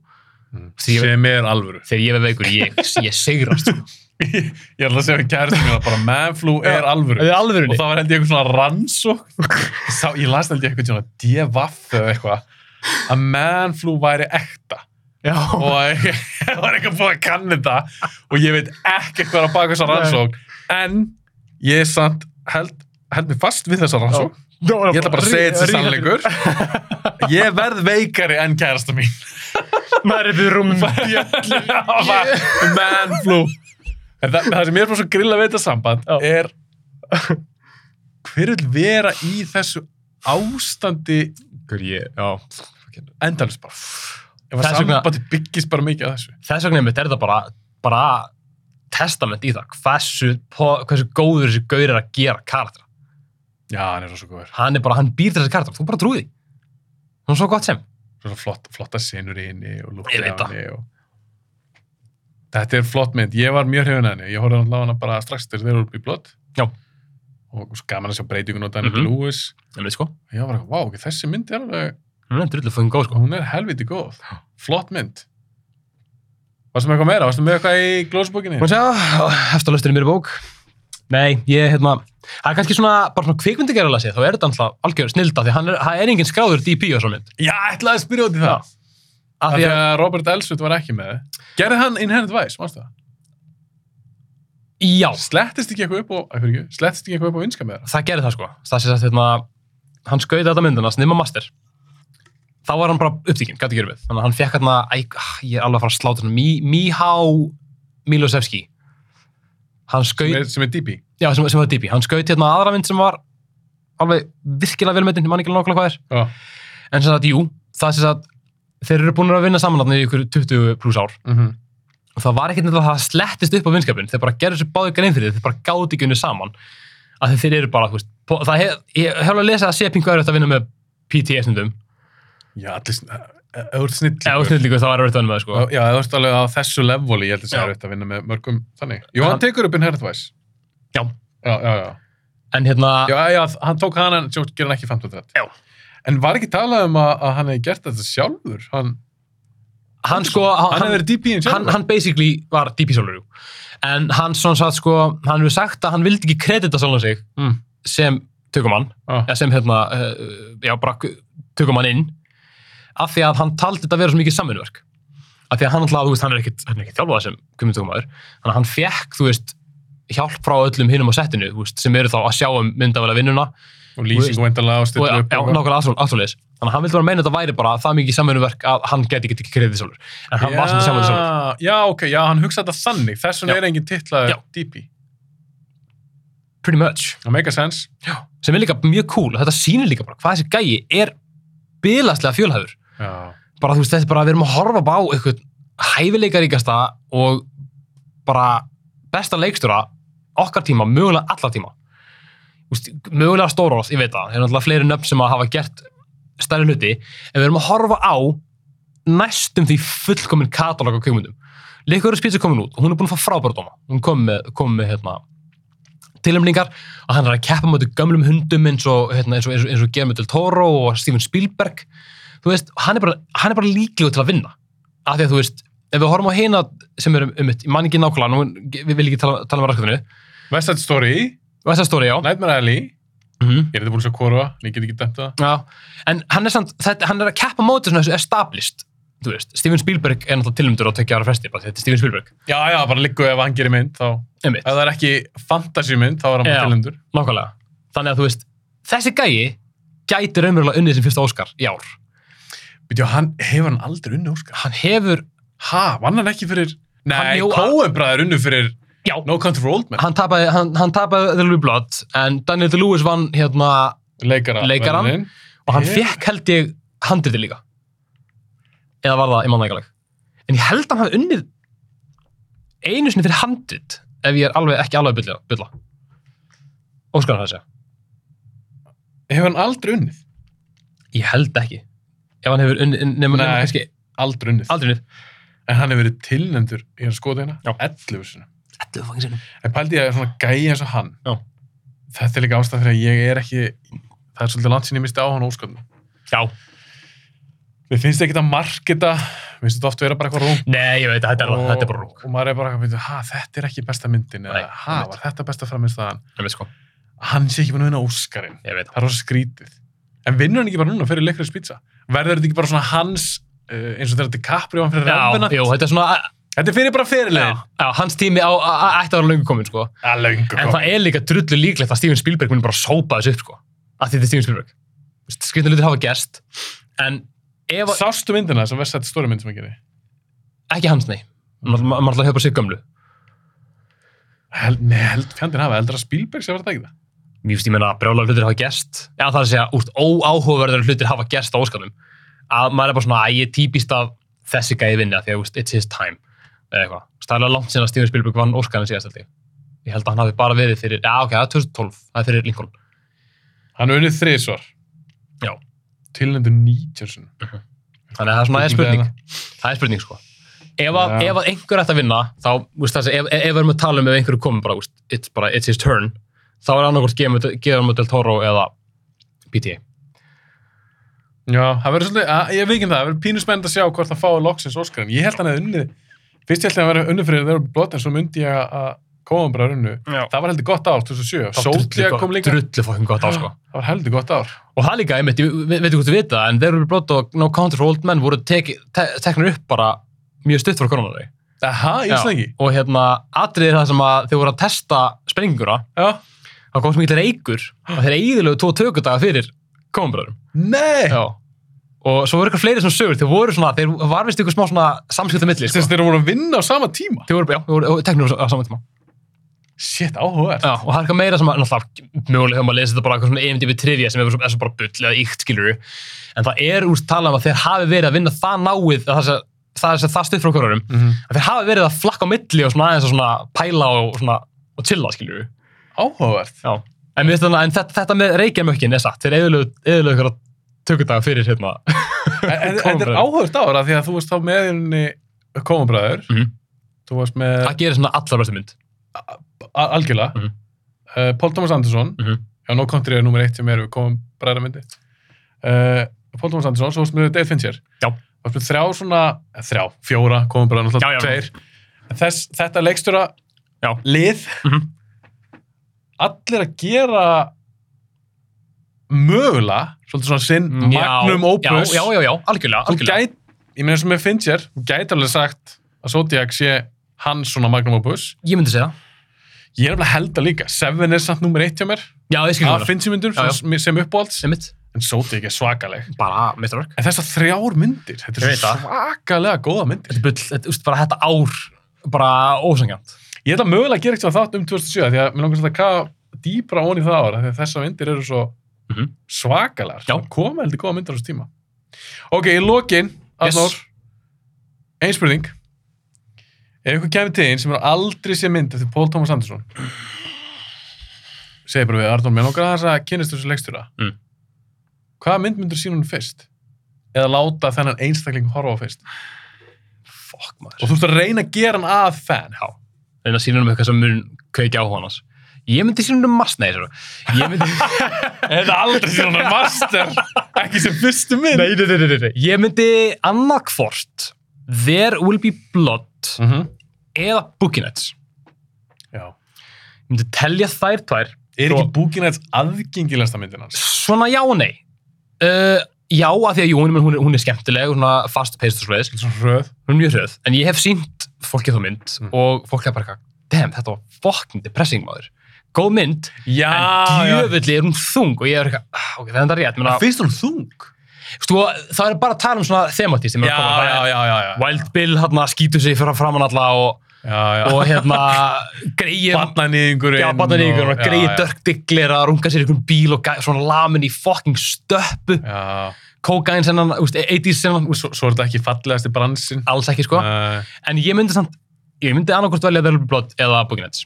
[SPEAKER 2] Mm. Því ég-
[SPEAKER 1] sem er alvöru
[SPEAKER 2] Þegar ég verð veikur, ég, ég sigrast. sko.
[SPEAKER 1] ég ætla að segja við kærtum mína, bara manflú
[SPEAKER 2] Já.
[SPEAKER 1] er alvöru
[SPEAKER 2] er alvöru.
[SPEAKER 1] og það var held ég eitthvað svona rannsókn Ég sá, ég las held ég eitthvað svona devaff eða eitthvað að manflú væri ekta
[SPEAKER 2] Já.
[SPEAKER 1] og að- það var eitthvað búið að kanna þetta og ég veit ekki hvað er að baka þessa rannsókn en ég er samt held, held mér fast við þessa rannsókn ég ætla bara að segja þetta sem sannleikur ég verð veikari en kærasta mín
[SPEAKER 2] Maður er við rúmum.
[SPEAKER 1] man flu en það, það sem ég er bara svo grilla við þetta samband
[SPEAKER 2] Já.
[SPEAKER 1] er hver vil vera í þessu ástandi
[SPEAKER 2] Hver ég, já.
[SPEAKER 1] endalist bara ef að
[SPEAKER 2] Þess vegna-
[SPEAKER 1] sambandi byggist bara mikið að þessu
[SPEAKER 2] Þess vegna mitt er þetta bara, bara testament í það. Hversu, po- hversu góður þessi gaur er að gera karakter.
[SPEAKER 1] já, hann er svo góður
[SPEAKER 2] Hann er bara, hann býr til þessi karakter. Þú bara trúi því. Hún er svo gott sem.
[SPEAKER 1] svona flott, flotta sinur í henni og lúkir
[SPEAKER 2] Ég veit
[SPEAKER 1] af henni og... þetta er flott mynd, ég var mjög hrifin að henni ég horfði náttúrulega á hana bara strax þegar þeir eru í blott
[SPEAKER 2] Já.
[SPEAKER 1] og svo gaman að sjá breytingun á Daniel
[SPEAKER 2] Mhm.
[SPEAKER 1] Lewis
[SPEAKER 2] En við sko,
[SPEAKER 1] og ég var ekki, vá, ok, þessi mynd er alveg
[SPEAKER 2] hún er drullu fóðin góð sko.
[SPEAKER 1] hún er helviti góð, flott mynd varstu með eitthvað meira, varstu með eitthvað í glósbókinni
[SPEAKER 2] Má sjá, heftalusturinn mér í bók. Nei, ég, hérna, það er kannski svona, bara svona kvikmyndagerðalega séð, þá er þetta alltaf algjör snilda, því hann er, hann er engin skráður DP og svona mynd.
[SPEAKER 1] já, ætlaði að spyrja út í það
[SPEAKER 2] Já.
[SPEAKER 1] af
[SPEAKER 2] Af því
[SPEAKER 1] því
[SPEAKER 2] að,
[SPEAKER 1] að Robert Elswood var ekki með gerði hann Inherent Vice, mástu það
[SPEAKER 2] já,
[SPEAKER 1] slettist ekki eitthvað upp á, Æ, fyrirgefðu, slettist ekki eitthvað upp á vinska með það
[SPEAKER 2] það gerði það sko. Það sé sagt, hérna, hann skauði þetta myndina, snimma master. Þá var hann bara upptíkinn, gæti ekki verið. Þannig að hann fekk hérna, æ, ah, ég er alveg að fara að sláta hann, Mihá Milosevski. Hann skauði,
[SPEAKER 1] sem er DP
[SPEAKER 2] já, sem, sem var DP, hann skauði hérna aðra mynd sem var alveg virkilega velmyndin, ég man ekki nákvæmlega hvað er.
[SPEAKER 1] Já.
[SPEAKER 2] En sem sagt, jú, það sem sagt, þeir eru búin að vinna saman þarna í ykkur 20 pluss ár
[SPEAKER 1] Mhm.
[SPEAKER 2] og það var ekkert nefnilega að það slettist upp á vinskapin, þeir bara gerðu sér báðu grein fyrir því, þeir bara gáði ekki unni saman að þeir- þeir eru bara, þú veist, po- það hef, ég hef alveg að lesa að sé pingu erfitt að vinna með PTS stundum,
[SPEAKER 1] já, allir sn- eh, ef þú ert snillíkur
[SPEAKER 2] eða snillíku þá er erfitt að vinna með það, sko.
[SPEAKER 1] Já, það varst alveg á þessu levoli, ég held að segja
[SPEAKER 2] Já.
[SPEAKER 1] þetta að vinna með mörgum þannig. Jú, hann
[SPEAKER 2] Hann-
[SPEAKER 1] tekur upp Inherent Vice.
[SPEAKER 2] Já.
[SPEAKER 1] Já, já, já.
[SPEAKER 2] En hérna,
[SPEAKER 1] Já, já, hann tók hann en sjótt gerði hann ekki 15 þrætt.
[SPEAKER 2] Já.
[SPEAKER 1] En var ekki talað um að, að hann hefði gert þetta sjálfur? Hann,
[SPEAKER 2] hann sko,
[SPEAKER 1] hann,
[SPEAKER 2] hann,
[SPEAKER 1] hefði verið DP-in
[SPEAKER 2] hann,
[SPEAKER 1] sjálfur?
[SPEAKER 2] hann basically var DP Solaru, en hann svona sagt, sko, hann hefur sagt að hann vildi ekki kredita sjálfan sig
[SPEAKER 1] Mm.
[SPEAKER 2] sem tökumann,
[SPEAKER 1] hann,
[SPEAKER 2] eða sem hérna, uh, já, bara tökum hann inn af því að hann taldi þetta vera svo mikið samvinnverk af því að hann alltaf, þú veist, hann er ekkit, hann er ekkit þjálfað sem kumjöndtökumæður, þannig að hann fekk, þú veist, hjálp frá öllum hinum á settinu, þú veist, sem eru þá að sjá um myndavæla vinnuna og,
[SPEAKER 1] og lýsing og endalega og
[SPEAKER 2] já,
[SPEAKER 1] stillur upp. og-
[SPEAKER 2] nákvæmlega aðsvöldis þannig að hann vildi vera að meina að þetta væri bara það mikið samvinnverk að hann geti ekki ekki reyðið sjálfur en hann var svona samvinnverk um
[SPEAKER 1] Já,
[SPEAKER 2] sjálfur
[SPEAKER 1] Já, ok, já, hann hugsaði þetta þannig. Þess vegna
[SPEAKER 2] Já.
[SPEAKER 1] er enginn titlaður
[SPEAKER 2] Já.
[SPEAKER 1] DP.
[SPEAKER 2] pretty much,
[SPEAKER 1] Það make a sense.
[SPEAKER 2] sem er líka mjög cool og þetta sýnir líka bara hvað þessi gæi er bilaslega fjölhæfur
[SPEAKER 1] Já.
[SPEAKER 2] bara þú veist, þetta er bara við erum að horfa bara á eitthvað hæfileikaríkasta og bara besta leikstjóra okkar tíma, mögulega alla tíma Þú veist, mögulega stóróð, ég veit það það er náttúrulega fleiri nöfn sem að hafa gert stærri hluti, en við erum að horfa á næstum því fullkomin katalog á kveikmyndum. Leikur Spitz er komin út og hún er búin að fá frábæra dóma hún kom með, kom með hérna, tilumningar og hann er að keppa mjög gömlum hundum eins og, hérna, eins og, eins og, eins og Guillermo del Toro og Steven Spielberg þú veist, hann er bara, hann er bara líklegur til að vinna af því að þú veist, ef við horfum á hina sem er um, um ég man ekki nákvæmlega nú, við viljum ekki tala, tala um raskatinu
[SPEAKER 1] West Side Story,
[SPEAKER 2] og þessa stóri, já
[SPEAKER 1] Nightmare Alley.
[SPEAKER 2] mm
[SPEAKER 1] Ég er þetta búin að sjá korfa, en ég get ekki dæmt það.
[SPEAKER 2] já, en hann er samt þetta, hann er að keppa móti svona þessu established þú veist, Steven Spielberg er náttúrulega tilnæmdur á tökja ára fresti, bara því þetta er Steven Spielberg.
[SPEAKER 1] Já, já, bara liggu ef hann gerir mynd, þá...
[SPEAKER 2] Einmitt,
[SPEAKER 1] Ef það er ekki fantasímynd, þá er hann
[SPEAKER 2] Já.
[SPEAKER 1] bara tilendur.
[SPEAKER 2] nákvæmlega. Þannig að þú veist, þessi gæi gæti raunverulega unnið sem fyrsta Óskar í ár.
[SPEAKER 1] Býtjá, hann hefur hann aldrei unni Óskar.
[SPEAKER 2] Hann hefur,
[SPEAKER 1] Ha, vann hann ekki fyrir... Nei,
[SPEAKER 2] bjó að-
[SPEAKER 1] Kóenbræður unnu fyrir
[SPEAKER 2] já,
[SPEAKER 1] No Country for Old Men.
[SPEAKER 2] hann tapaði, hann, hann tapaði The Blue Blood, en Daniel Day-Lewis vann hérna
[SPEAKER 1] Leikara.
[SPEAKER 2] Leikaran.
[SPEAKER 1] verðlaunin.
[SPEAKER 2] og hann
[SPEAKER 1] Ég-
[SPEAKER 2] fekk held ég handriti líka. Eða var það, ég manna ekki alveg. En ég held að hann hafi unnið einu sinni fyrir handrit, ef ég er alveg, ekki alveg að bylla. bylla. Óskar hann að segja.
[SPEAKER 1] Hefur hann aldrei unnið?
[SPEAKER 2] Ég held ekki. Ef hann hefur unnið, nema nema
[SPEAKER 1] Nei.
[SPEAKER 2] kannski
[SPEAKER 1] Aldrei unnið.
[SPEAKER 2] aldrei unnið.
[SPEAKER 1] En hann hefur verið tilnendur í hans skoðina.
[SPEAKER 2] Já.
[SPEAKER 1] 11 sinum.
[SPEAKER 2] Ætluðu fangin sinni.
[SPEAKER 1] En pældi ég að svona gæi eins og hann.
[SPEAKER 2] Já.
[SPEAKER 1] Þetta er líka ástæð fyrir að ég er ekki... Það er svolítið langt sinni ég misti á hann Óskarnum.
[SPEAKER 2] Já.
[SPEAKER 1] Mér finnst ekki að marketa, mér finnst þetta oft vera bara eitthvað rung.
[SPEAKER 2] Nei, ég veit að þetta er,
[SPEAKER 1] Og-
[SPEAKER 2] þetta er bara rúk.
[SPEAKER 1] Og maður er bara eitthvað, ha, þetta er ekki besta myndin, eða
[SPEAKER 2] Nei,
[SPEAKER 1] ha,
[SPEAKER 2] einmitt.
[SPEAKER 1] var þetta besta framistæðan?
[SPEAKER 2] Ég veit sko.
[SPEAKER 1] Hann sé ekki búin að vinna Óskarinn.
[SPEAKER 2] Ég veit það.
[SPEAKER 1] Það er rosa skrítið. En vinnur hann ekki bara núna fyrir leikrið spýtsa? Verður þetta ekki bara svona hans, uh, eins og þegar þetta er Capri og hann fyrir
[SPEAKER 2] Já,
[SPEAKER 1] rambuna?
[SPEAKER 2] jú, þetta er svona,
[SPEAKER 1] Þetta er fyrir bara
[SPEAKER 2] já,
[SPEAKER 1] fyrirlegin.
[SPEAKER 2] já, hans tími á, á- á- ætti að vera löngu komin, sko.
[SPEAKER 1] Það er löngu
[SPEAKER 2] En
[SPEAKER 1] komið.
[SPEAKER 2] það er líka drullu líklegt að Steven Spielberg muni bara sópa þessu upp, sko. Að því þetta er Steven Spielberg. Skrifna hlutir hafa gerst, en ef, að-
[SPEAKER 1] Sástu myndina sem verðst þetta stóri mynd sem hann gerir?
[SPEAKER 2] ekki hans, nei. Maður ma- maður ætla að höfða sér gömlu.
[SPEAKER 1] Held, nei, held fjandinn hafa, heldur að Spielberg sé að verða það ekki það?
[SPEAKER 2] Mér finnst ég meina að brjálar hlutir hafa gerst. Já, það er að segja, úrst óáhugaverður hlutir hafa gerst á óskanum. Að maður er bara svona, að ég er típist af þessi gæði vinna, því að, úrst, it's his time. Eða eitthvað. Það er alveg langt sinna að Steven Spielberg vann óskanum síðast, held ég. Ég held að hann hafi bara verið fyrir, já, ok, það er 2012, það er fyrir Lincoln.
[SPEAKER 1] Hann er unnið þriðsvar.
[SPEAKER 2] Já.
[SPEAKER 1] Tilnendur 90 sinni.
[SPEAKER 2] Þannig að það er svona, það er spurning. Það er spurning sko. Ef að,
[SPEAKER 1] Já.
[SPEAKER 2] ef að einhver ætti að vinna, þá, úst, þessi, ef, ef við erum að tala um ef einhverju komum bara, úst, it's, bara, it's his turn, þá er annarkort Guillermo del Toro eða PTA.
[SPEAKER 1] Já, það verður svolítið, að, ég veikinn það, það verður pínu spennt að sjá hvort það fái loksins Óskarinn. Ég held hann að unnið, fyrst ég held hann að vera unnið fyrir þeirra blótt en svo myndi ég að- að koma bara unnu.
[SPEAKER 2] Já.
[SPEAKER 1] Það var heldur gott ár, 2007. Sótlíða kom líka.
[SPEAKER 2] Drullu fokkin gott á sko.
[SPEAKER 1] Það var heldur gott ár.
[SPEAKER 2] Og það líka, ég veit, ég veit ekki hvort þú vita, en þeir eru blótt og No Counter for Old Men voru teki, te, teknir upp bara mjög stutt frá koronari.
[SPEAKER 1] Aha, ég veist það ekki.
[SPEAKER 2] Og hérna, atrið er það sem að þeir voru að testa sprenginguna,
[SPEAKER 1] Já.
[SPEAKER 2] þá kom sem ekki reykur, og þeir eigðilegu tvo tökudaga fyrir komumbræðurum.
[SPEAKER 1] Nei!
[SPEAKER 2] Já. Og svo voru eitthvað fleiri svona sögur, þeir voru svona, þeir var vist eitthvað smá svona samskipta milli,
[SPEAKER 1] Þess
[SPEAKER 2] sko.
[SPEAKER 1] að þeirra voru að vinna á sama tíma.
[SPEAKER 2] Þeir voru, já, þeir voru teknir á saman tíma.
[SPEAKER 1] Shit, áhugað.
[SPEAKER 2] Já, og það er eitthvað meira sem að, náttúrulega, mögulega hefur maður lesið þetta bara eitthvað svona EMDB trivia sem er bara, er svo bara bull eða íkt, skilur En það er úr tala um að þeir hafi verið að vinna það náið, að það, sem- það, það, það stuð frá hverjum, að þeir hafi verið að flakka á milli og svona aðeins að svona pæla og svona, og chilla, skilur
[SPEAKER 1] Áhugavert.
[SPEAKER 2] Já. En, við, þannig, en þetta, þetta með reykjarmökkin er satt, þeir eðlöðu eitthvað tökudaga fyrir hérna.
[SPEAKER 1] En- en- en Þetta er
[SPEAKER 2] Komumbræður.
[SPEAKER 1] áhugavert ár af því að þú varst þá með henni komabræður.
[SPEAKER 2] Mhm.
[SPEAKER 1] Þú varst með
[SPEAKER 2] Það gerir svona allar bestu mynd.
[SPEAKER 1] a- algjörlega.
[SPEAKER 2] Mhm.
[SPEAKER 1] Uh, Paul Thomas Anderson.
[SPEAKER 2] Mhm.
[SPEAKER 1] Já, No Country er nummer eitt sem er við komum bræðra myndi. Uh, Pól Tómas Andersson, svo varst með Dave Fincher.
[SPEAKER 2] Já.
[SPEAKER 1] Varst með þrjá svona, eh, þrjá, fjóra, komum bræðra náttúrulega,
[SPEAKER 2] Já, já.
[SPEAKER 1] tveir. En Þess, þetta leikstjóra
[SPEAKER 2] Já.
[SPEAKER 1] lið,
[SPEAKER 2] Mhm.
[SPEAKER 1] allir að gera mögulega, svolítið svona sinn,
[SPEAKER 2] Mm, Já,
[SPEAKER 1] magnum opus.
[SPEAKER 2] Já, já, já, já, algjörlega,
[SPEAKER 1] Þú
[SPEAKER 2] algjörlega.
[SPEAKER 1] gæt, ég meina sem með Fincher, þú gæt alveg sagt að Zodiac sé hans svona magnum opus.
[SPEAKER 2] Ég myndi segja það.
[SPEAKER 1] Ég er alveg að held að líka, Seven er samt nummer eitt hjá mér,
[SPEAKER 2] Já, ég skilja
[SPEAKER 1] af
[SPEAKER 2] það.
[SPEAKER 1] Fincher myndum
[SPEAKER 2] Já, já.
[SPEAKER 1] sem, sem uppáhalds.
[SPEAKER 2] Sem mitt.
[SPEAKER 1] en Zodiac er svakaleg.
[SPEAKER 2] Bara meistarverk.
[SPEAKER 1] En þessar þrjár myndir, þetta
[SPEAKER 2] Ég
[SPEAKER 1] er
[SPEAKER 2] veit
[SPEAKER 1] svo
[SPEAKER 2] það.
[SPEAKER 1] svakalega góða myndir.
[SPEAKER 2] Þetta er bull, þetta, úst, bara þetta ár, bara ósangjant.
[SPEAKER 1] Ég ætla mögulega að gera eitthvað þátt um 2007 því að mér langar svolítið að kafa dýbra ón í það ára því að þessar myndir eru svo
[SPEAKER 2] Mhm.
[SPEAKER 1] svakalegar.
[SPEAKER 2] Já.
[SPEAKER 1] Það Koma heldur góða myndir á þessu tíma. Ok, í lokin,
[SPEAKER 2] Yes.
[SPEAKER 1] Arnór, ein spurning. Ef ykkur kemur til einn sem er aldrei sé mynd eftir Pól Tómas Andersson, segi bara við Arnór, mér langar að þess að kynast þessu leikstjóra.
[SPEAKER 2] Mm.
[SPEAKER 1] Hvaða mynd myndur sín hún fyrst? Eða láta þennan einstakling horfa á fyrst?
[SPEAKER 2] Fuck
[SPEAKER 1] og
[SPEAKER 2] maður.
[SPEAKER 1] þú ert að reyna að gera hann að fan
[SPEAKER 2] Já. Reyna að sína um eitthvað sem mun kveikja á honans. Ég myndi sína um mast, nei, sér. Ég myndi...
[SPEAKER 1] eða aldrei sér hann að master ekki sem fyrstu mynd
[SPEAKER 2] nei, nei, nei, nei, nei. Ég myndi annarkvort There Will Be Blood
[SPEAKER 1] mm -hmm.
[SPEAKER 2] eða Boogie Nights.
[SPEAKER 1] já.
[SPEAKER 2] Ég myndi telja þær tvær
[SPEAKER 1] er
[SPEAKER 2] Svo-
[SPEAKER 1] ekki Boogie Nights aðgengilegsta myndin hans
[SPEAKER 2] Svona já og nei. Uh, já, að því að jú, hún, hún, er, hún er skemmtileg og svona fast-paced og svoleiðis,
[SPEAKER 1] Svona röð.
[SPEAKER 2] hún er mjög hröð, en ég hef sínt fólki þá mynd
[SPEAKER 1] Mm.
[SPEAKER 2] og fólk er bara eitthvað, damn, þetta var fucking depressing maður. Góð mynd,
[SPEAKER 1] Já,
[SPEAKER 2] en
[SPEAKER 1] já.
[SPEAKER 2] djöfulli er hún þung og ég er eitthvað, ah, ok, það er þetta rétt, menna,
[SPEAKER 1] Finnst hún þung?
[SPEAKER 2] sko, það er bara að tala um svona thematist,
[SPEAKER 1] Já,
[SPEAKER 2] ég meina, koma,
[SPEAKER 1] já,
[SPEAKER 2] bara-
[SPEAKER 1] já, já, já.
[SPEAKER 2] Wild Bill hérna skýtur sig fyrir framann alla og,
[SPEAKER 1] Já, já.
[SPEAKER 2] og hérna, greið,
[SPEAKER 1] Barnaníðingurinn.
[SPEAKER 2] já, bandaníkur, greið dörkdiglir að runga sér í einhvern bíl og gæ- svona lamin í fucking stöppu,
[SPEAKER 1] Já,
[SPEAKER 2] kókain sem hann, úst, 80s sem hann, úst,
[SPEAKER 1] svo, svo er þetta ekki fallegasti Eh, bransin.
[SPEAKER 2] alls ekki sko
[SPEAKER 1] Nei.
[SPEAKER 2] en ég myndi samt, ég myndi annarkvort velja There Will Be Blood eða Boogie Nights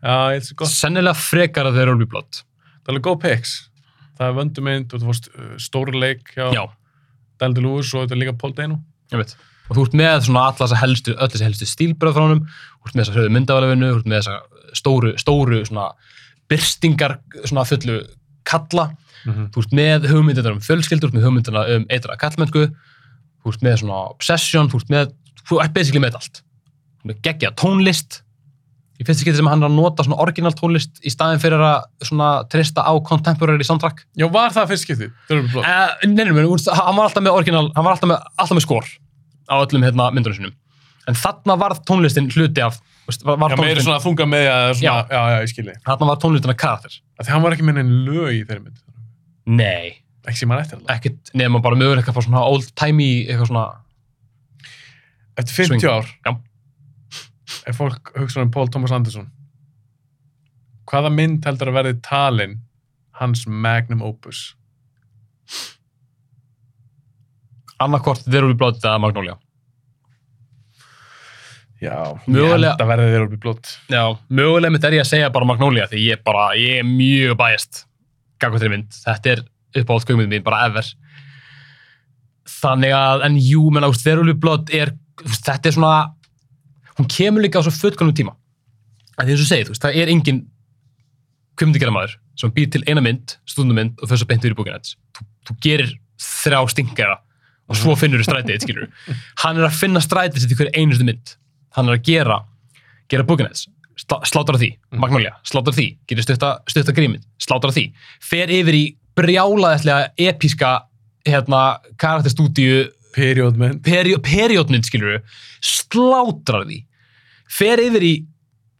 [SPEAKER 1] Já, ég held þessi gott.
[SPEAKER 2] sennilega frekar að There Will Be Blood
[SPEAKER 1] Það er alveg góð picks. Það er vöndumynd og þú fórst uh, stóri leik hjá
[SPEAKER 2] já,
[SPEAKER 1] Deldi Lúis og þetta er líka Paul Dano.
[SPEAKER 2] ég veit og þú ert með svona alla þessa helstu, öll þessi helstu stílbröð frá honum, þú ert með þessa höfu myndavælefinu þú ert með þessa stóru, stóru svona byrstingar svona fullu kalla,
[SPEAKER 1] Mm -hmm.
[SPEAKER 2] þú ert með hugmyndina um fjölskyldur, þú ert með hugmyndina um eitra kallmennsku, þú ert með svona obsession, þú ert með, þú ert basically með allt, þú ert með geggja tónlist í fyrsta skipti sem hann er að nota svona orginal tónlist í staðin fyrir að svona trista á contemporary soundtrack
[SPEAKER 1] Já, var það fyrst skiptið? Það er alveg blótt.
[SPEAKER 2] Uh, nei, nei, nei, hún- hann var alltaf með orginal, hann var alltaf með, alltaf með skor á öllum hérna myndunum sinum. En þarna varð tónlistin hluti af, veist, var, var
[SPEAKER 1] Já, meira
[SPEAKER 2] tónlistin,
[SPEAKER 1] svona þunga með að það er svona, já, já, ég skilji.
[SPEAKER 2] þarna var tónlistin að karakter.
[SPEAKER 1] Þegar hann var ekki með neinn lög í þeirri mynd.
[SPEAKER 2] Nei,
[SPEAKER 1] Ekki sem hann eftir alveg.
[SPEAKER 2] ekkert nema bara möguleika að fá svona old timey, eitthvað svona,
[SPEAKER 1] Eftir 50
[SPEAKER 2] Swing.
[SPEAKER 1] ár
[SPEAKER 2] Já.
[SPEAKER 1] er fólk hugsa um Paul Thomas Anderson. Hvaða mynd heldur að verði talin hans magnum opus?
[SPEAKER 2] annarkort There Will Be Blood eða Magnolia.
[SPEAKER 1] Já,
[SPEAKER 2] Mögulega-
[SPEAKER 1] ég held að verði þeirra alveg blótt.
[SPEAKER 2] Já, mögulega mitt er ég að segja bara Magnolia því ég er bara, ég er mjög bæjast gagvað þeirri mynd. Þetta er uppáhalds guðmynd mín, bara ever. Þannig að, en jú, menn ást, Verulvi Blood er, þú veist, þetta er svona, hún kemur líka á svo fullkonum tíma. En því eins og ég segi, þú veist, það er engin kvimdigerðamaður sem býr til eina mynd, stundumynd og fyrir svo beintur í bókinu hans. Þú, þú gerir þrjá stingara og svo finnur þú strætið, þitt, skilur. Hann er að finna strætið sitt í hverju einustu mynd. Hann er að gera gera Buginets, slátra því,
[SPEAKER 1] Mhm.
[SPEAKER 2] Magnolia, slátra því, gerir stutta, stutta grímið, slátra því, fer yfir í brjálaðislega episka hérna, karakterstúdíu
[SPEAKER 1] Period mynd.
[SPEAKER 2] peri periodmynd, skilur við, slátrar því, fer yfir í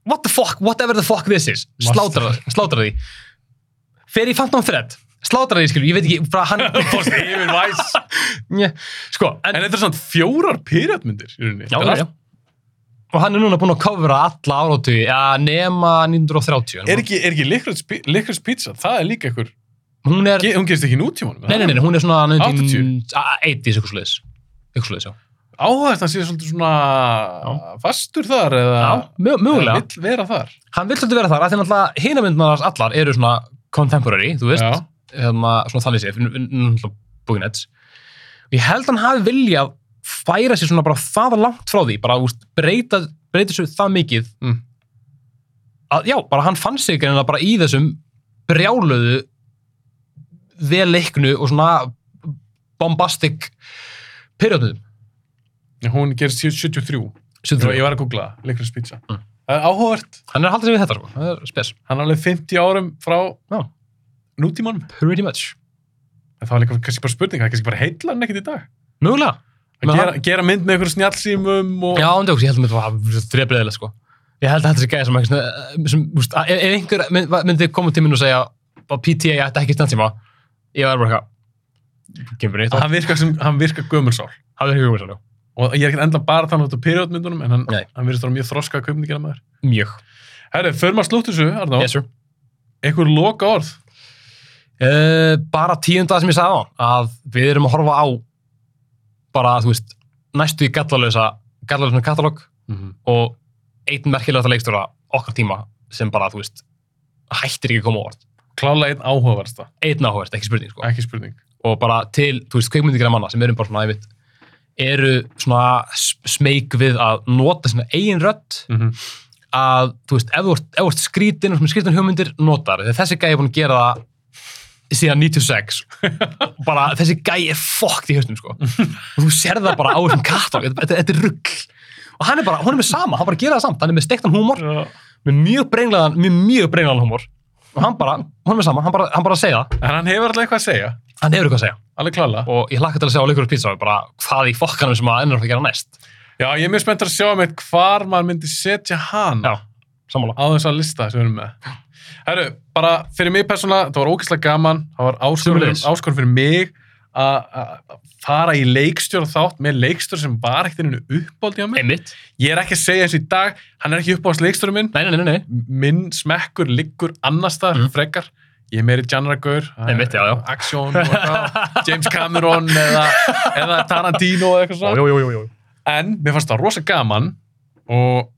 [SPEAKER 2] what the fuck, whatever the fuck this is, slátrar, slátrar því, fer í Phantom Thread, slátrar því, skilur við, ég veit ekki, bara hann,
[SPEAKER 1] Fórst yfir væs.
[SPEAKER 2] Né, sko, en,
[SPEAKER 1] En þetta er svona fjórar period myndir í rauninni. Þetta
[SPEAKER 2] já,
[SPEAKER 1] er
[SPEAKER 2] já,
[SPEAKER 1] allt-
[SPEAKER 2] já. Og hann er núna búinn að covera alla árátugi, ja, nema 1930. en
[SPEAKER 1] Er ekki, er ekki Licorice Pi- Licorice Pizza, það er líka einhver,
[SPEAKER 2] Hún er,
[SPEAKER 1] ge- hún gerist ekki í nútímanum.
[SPEAKER 2] Nei, nei, nei, hún er svona
[SPEAKER 1] 80s.
[SPEAKER 2] 1980s, eitthvað sliðis. Eitthvað sliðis, já.
[SPEAKER 1] Áhægt hann sé svolítið svona fastur þar eða...
[SPEAKER 2] Já, mö- mögulega.
[SPEAKER 1] Vill vera þar.
[SPEAKER 2] Hann vil svolítið vera þar, af því náttúrulega hinamyndunar allar eru svona contemporary, þú veist,
[SPEAKER 1] Já.
[SPEAKER 2] hérna, svona þannig séf, náttúrulega búinets. Ég held hann hafi viljað færa sér svona bara það langt frá því, bara úst, breyta, breyta sér það mikið
[SPEAKER 1] Mm.
[SPEAKER 2] að, já, bara hann fann sig greina bara í þessum brjáluðu vel leiknu og svona bombastic periodum.
[SPEAKER 1] Nei, Hún gerist 73. Ég var- ég var að googla það, Licorice Pizza.
[SPEAKER 2] Mm.
[SPEAKER 1] Það er áhugavert.
[SPEAKER 2] hann er að halda sig við þetta sko. það er spes,
[SPEAKER 1] Hann er alveg 50 árum frá
[SPEAKER 2] Já.
[SPEAKER 1] nútímanum.
[SPEAKER 2] pretty much
[SPEAKER 1] En það var líka kannski bara spurning, það er kannski bara heitla hann ekkert í dag.
[SPEAKER 2] mögulega,
[SPEAKER 1] Að
[SPEAKER 2] Men
[SPEAKER 1] gera, gera mynd með einhverjum snjálsýmum og...
[SPEAKER 2] já, andjóks, ég held að þetta var þrebriðilega sko, ég held að þetta sé gæði sem, ekki svona, eh, sem úst, ef ef einhver mynd- myndi koma til mín og segja bara PTA, ég ætti ekki snartíma ég var bara eitthvað kemur neitt á,
[SPEAKER 1] Hann virkar, sem, hann virkar gömulsál.
[SPEAKER 2] það er hugum svo
[SPEAKER 1] Og ég er ekkert enda bara þannig út á periodmyndunum, en hann,
[SPEAKER 2] Nei.
[SPEAKER 1] hann virðist vera mjög þroska að kaupningina maður.
[SPEAKER 2] mjög,
[SPEAKER 1] Herri, förum að slútt þessu, Arná.
[SPEAKER 2] yes sir
[SPEAKER 1] Einhver loka orð.
[SPEAKER 2] uh, bara tíunda sem ég sagði á að við erum að horfa á bara, þú veist, næstu í gallalösa gallalösa katalog og einn merkilegasta leikstjóra okkar tíma sem bara, þú veist hættir ekki að koma á orð
[SPEAKER 1] Klála einn áhugaversta,
[SPEAKER 2] einn áhugavert, ekki spurning sko.
[SPEAKER 1] ekki spurning.
[SPEAKER 2] og bara til, þú veist, kveikmyndigræna manna sem erum bara svona, einmitt, eru svona s- smeyk við að nota svona eigin rödd
[SPEAKER 1] Mm
[SPEAKER 2] að, þú veist, ef þú ert, ef þú ert skrítin og svona skrítin hugmyndir, notar þegar þessi gæi er búin að gera það síðan 96 bara þessi gæi er fokkt í höstum sko. og þú sér það bara á þessum katalog þetta, þetta, þetta er rugg og hann er bara, hún er með sama, hann bara gera það samt hann er með steiktan húmor,
[SPEAKER 1] -hmm.
[SPEAKER 2] með mjög brenglaðan, með mjög brenglaðan húmor og hann bara, honum er saman, hann bara, hann bara segja það,
[SPEAKER 1] En hann hefur alltaf eitthvað að segja,
[SPEAKER 2] hann hefur eitthvað að segja
[SPEAKER 1] alveg klála.
[SPEAKER 2] og ég hlakka til að segja á leikur og pizza bara hvað í fokkanum sem að ennur að gera næst
[SPEAKER 1] Já, ég er mjög spenntur að sjá með hvar maður myndi setja hann
[SPEAKER 2] já, sammála
[SPEAKER 1] á þessa lista sem við erum með. Herru, bara fyrir mig persónulega, það var ógeðslega gaman, það var áskorun,
[SPEAKER 2] Sömuleiðis.
[SPEAKER 1] áskorun fyrir mig að- að fara í leikstjóra þátt með leikstjóra sem var ekkert einu uppbóldi á mig.
[SPEAKER 2] einmitt,
[SPEAKER 1] Ég er ekki að segja eins og í dag, hann er ekki uppbólds leikstjóra minn,
[SPEAKER 2] nei, nei, nei, nei.
[SPEAKER 1] minn smekkur liggur annars staðar
[SPEAKER 2] Mhm.
[SPEAKER 1] frekar. Ég er meiri genre gaur,
[SPEAKER 2] Einmitt, já, já.
[SPEAKER 1] action og eitthvað, James Cameron eða, eða Tarantino eða eitthvað svona.
[SPEAKER 2] jú, jú, jú, jú.
[SPEAKER 1] En mér fannst það rosa gaman og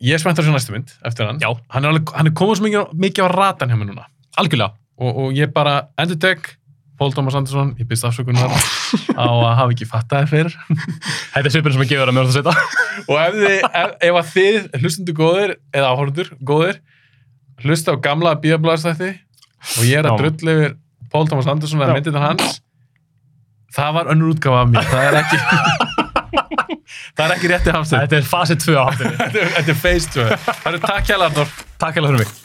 [SPEAKER 1] ég er spenntur að sjá næstu mynd eftir hann.
[SPEAKER 2] já,
[SPEAKER 1] Hann er, alveg, hann er komið svo mikið, mikið á ratan hjá mér núna.
[SPEAKER 2] algjörlega
[SPEAKER 1] Og, og ég bara endur tek, Pól Tómas Andersson, ég byrst afsökunar á að hafa ekki fattað þér fyrr.
[SPEAKER 2] þetta er svipurinn sem ég gefur að mjög að setja
[SPEAKER 1] Og ef þið, ef, ef að þið hlustundu góðir eða áhorður góðir, hlusta á gamla bíablaðstætti og ég er
[SPEAKER 2] Já.
[SPEAKER 1] að drull yfir Pól Tómas Andersson að
[SPEAKER 2] Já.
[SPEAKER 1] myndið hans, það var önnur útgáfa af mér. Það er ekki, það er ekki rétti hafstöð.
[SPEAKER 2] þetta er fasi 2 á hafðinni
[SPEAKER 1] Þetta er- þetta er phase 2. Það eru takk hjá Larnor.
[SPEAKER 2] takk hella fyrir mig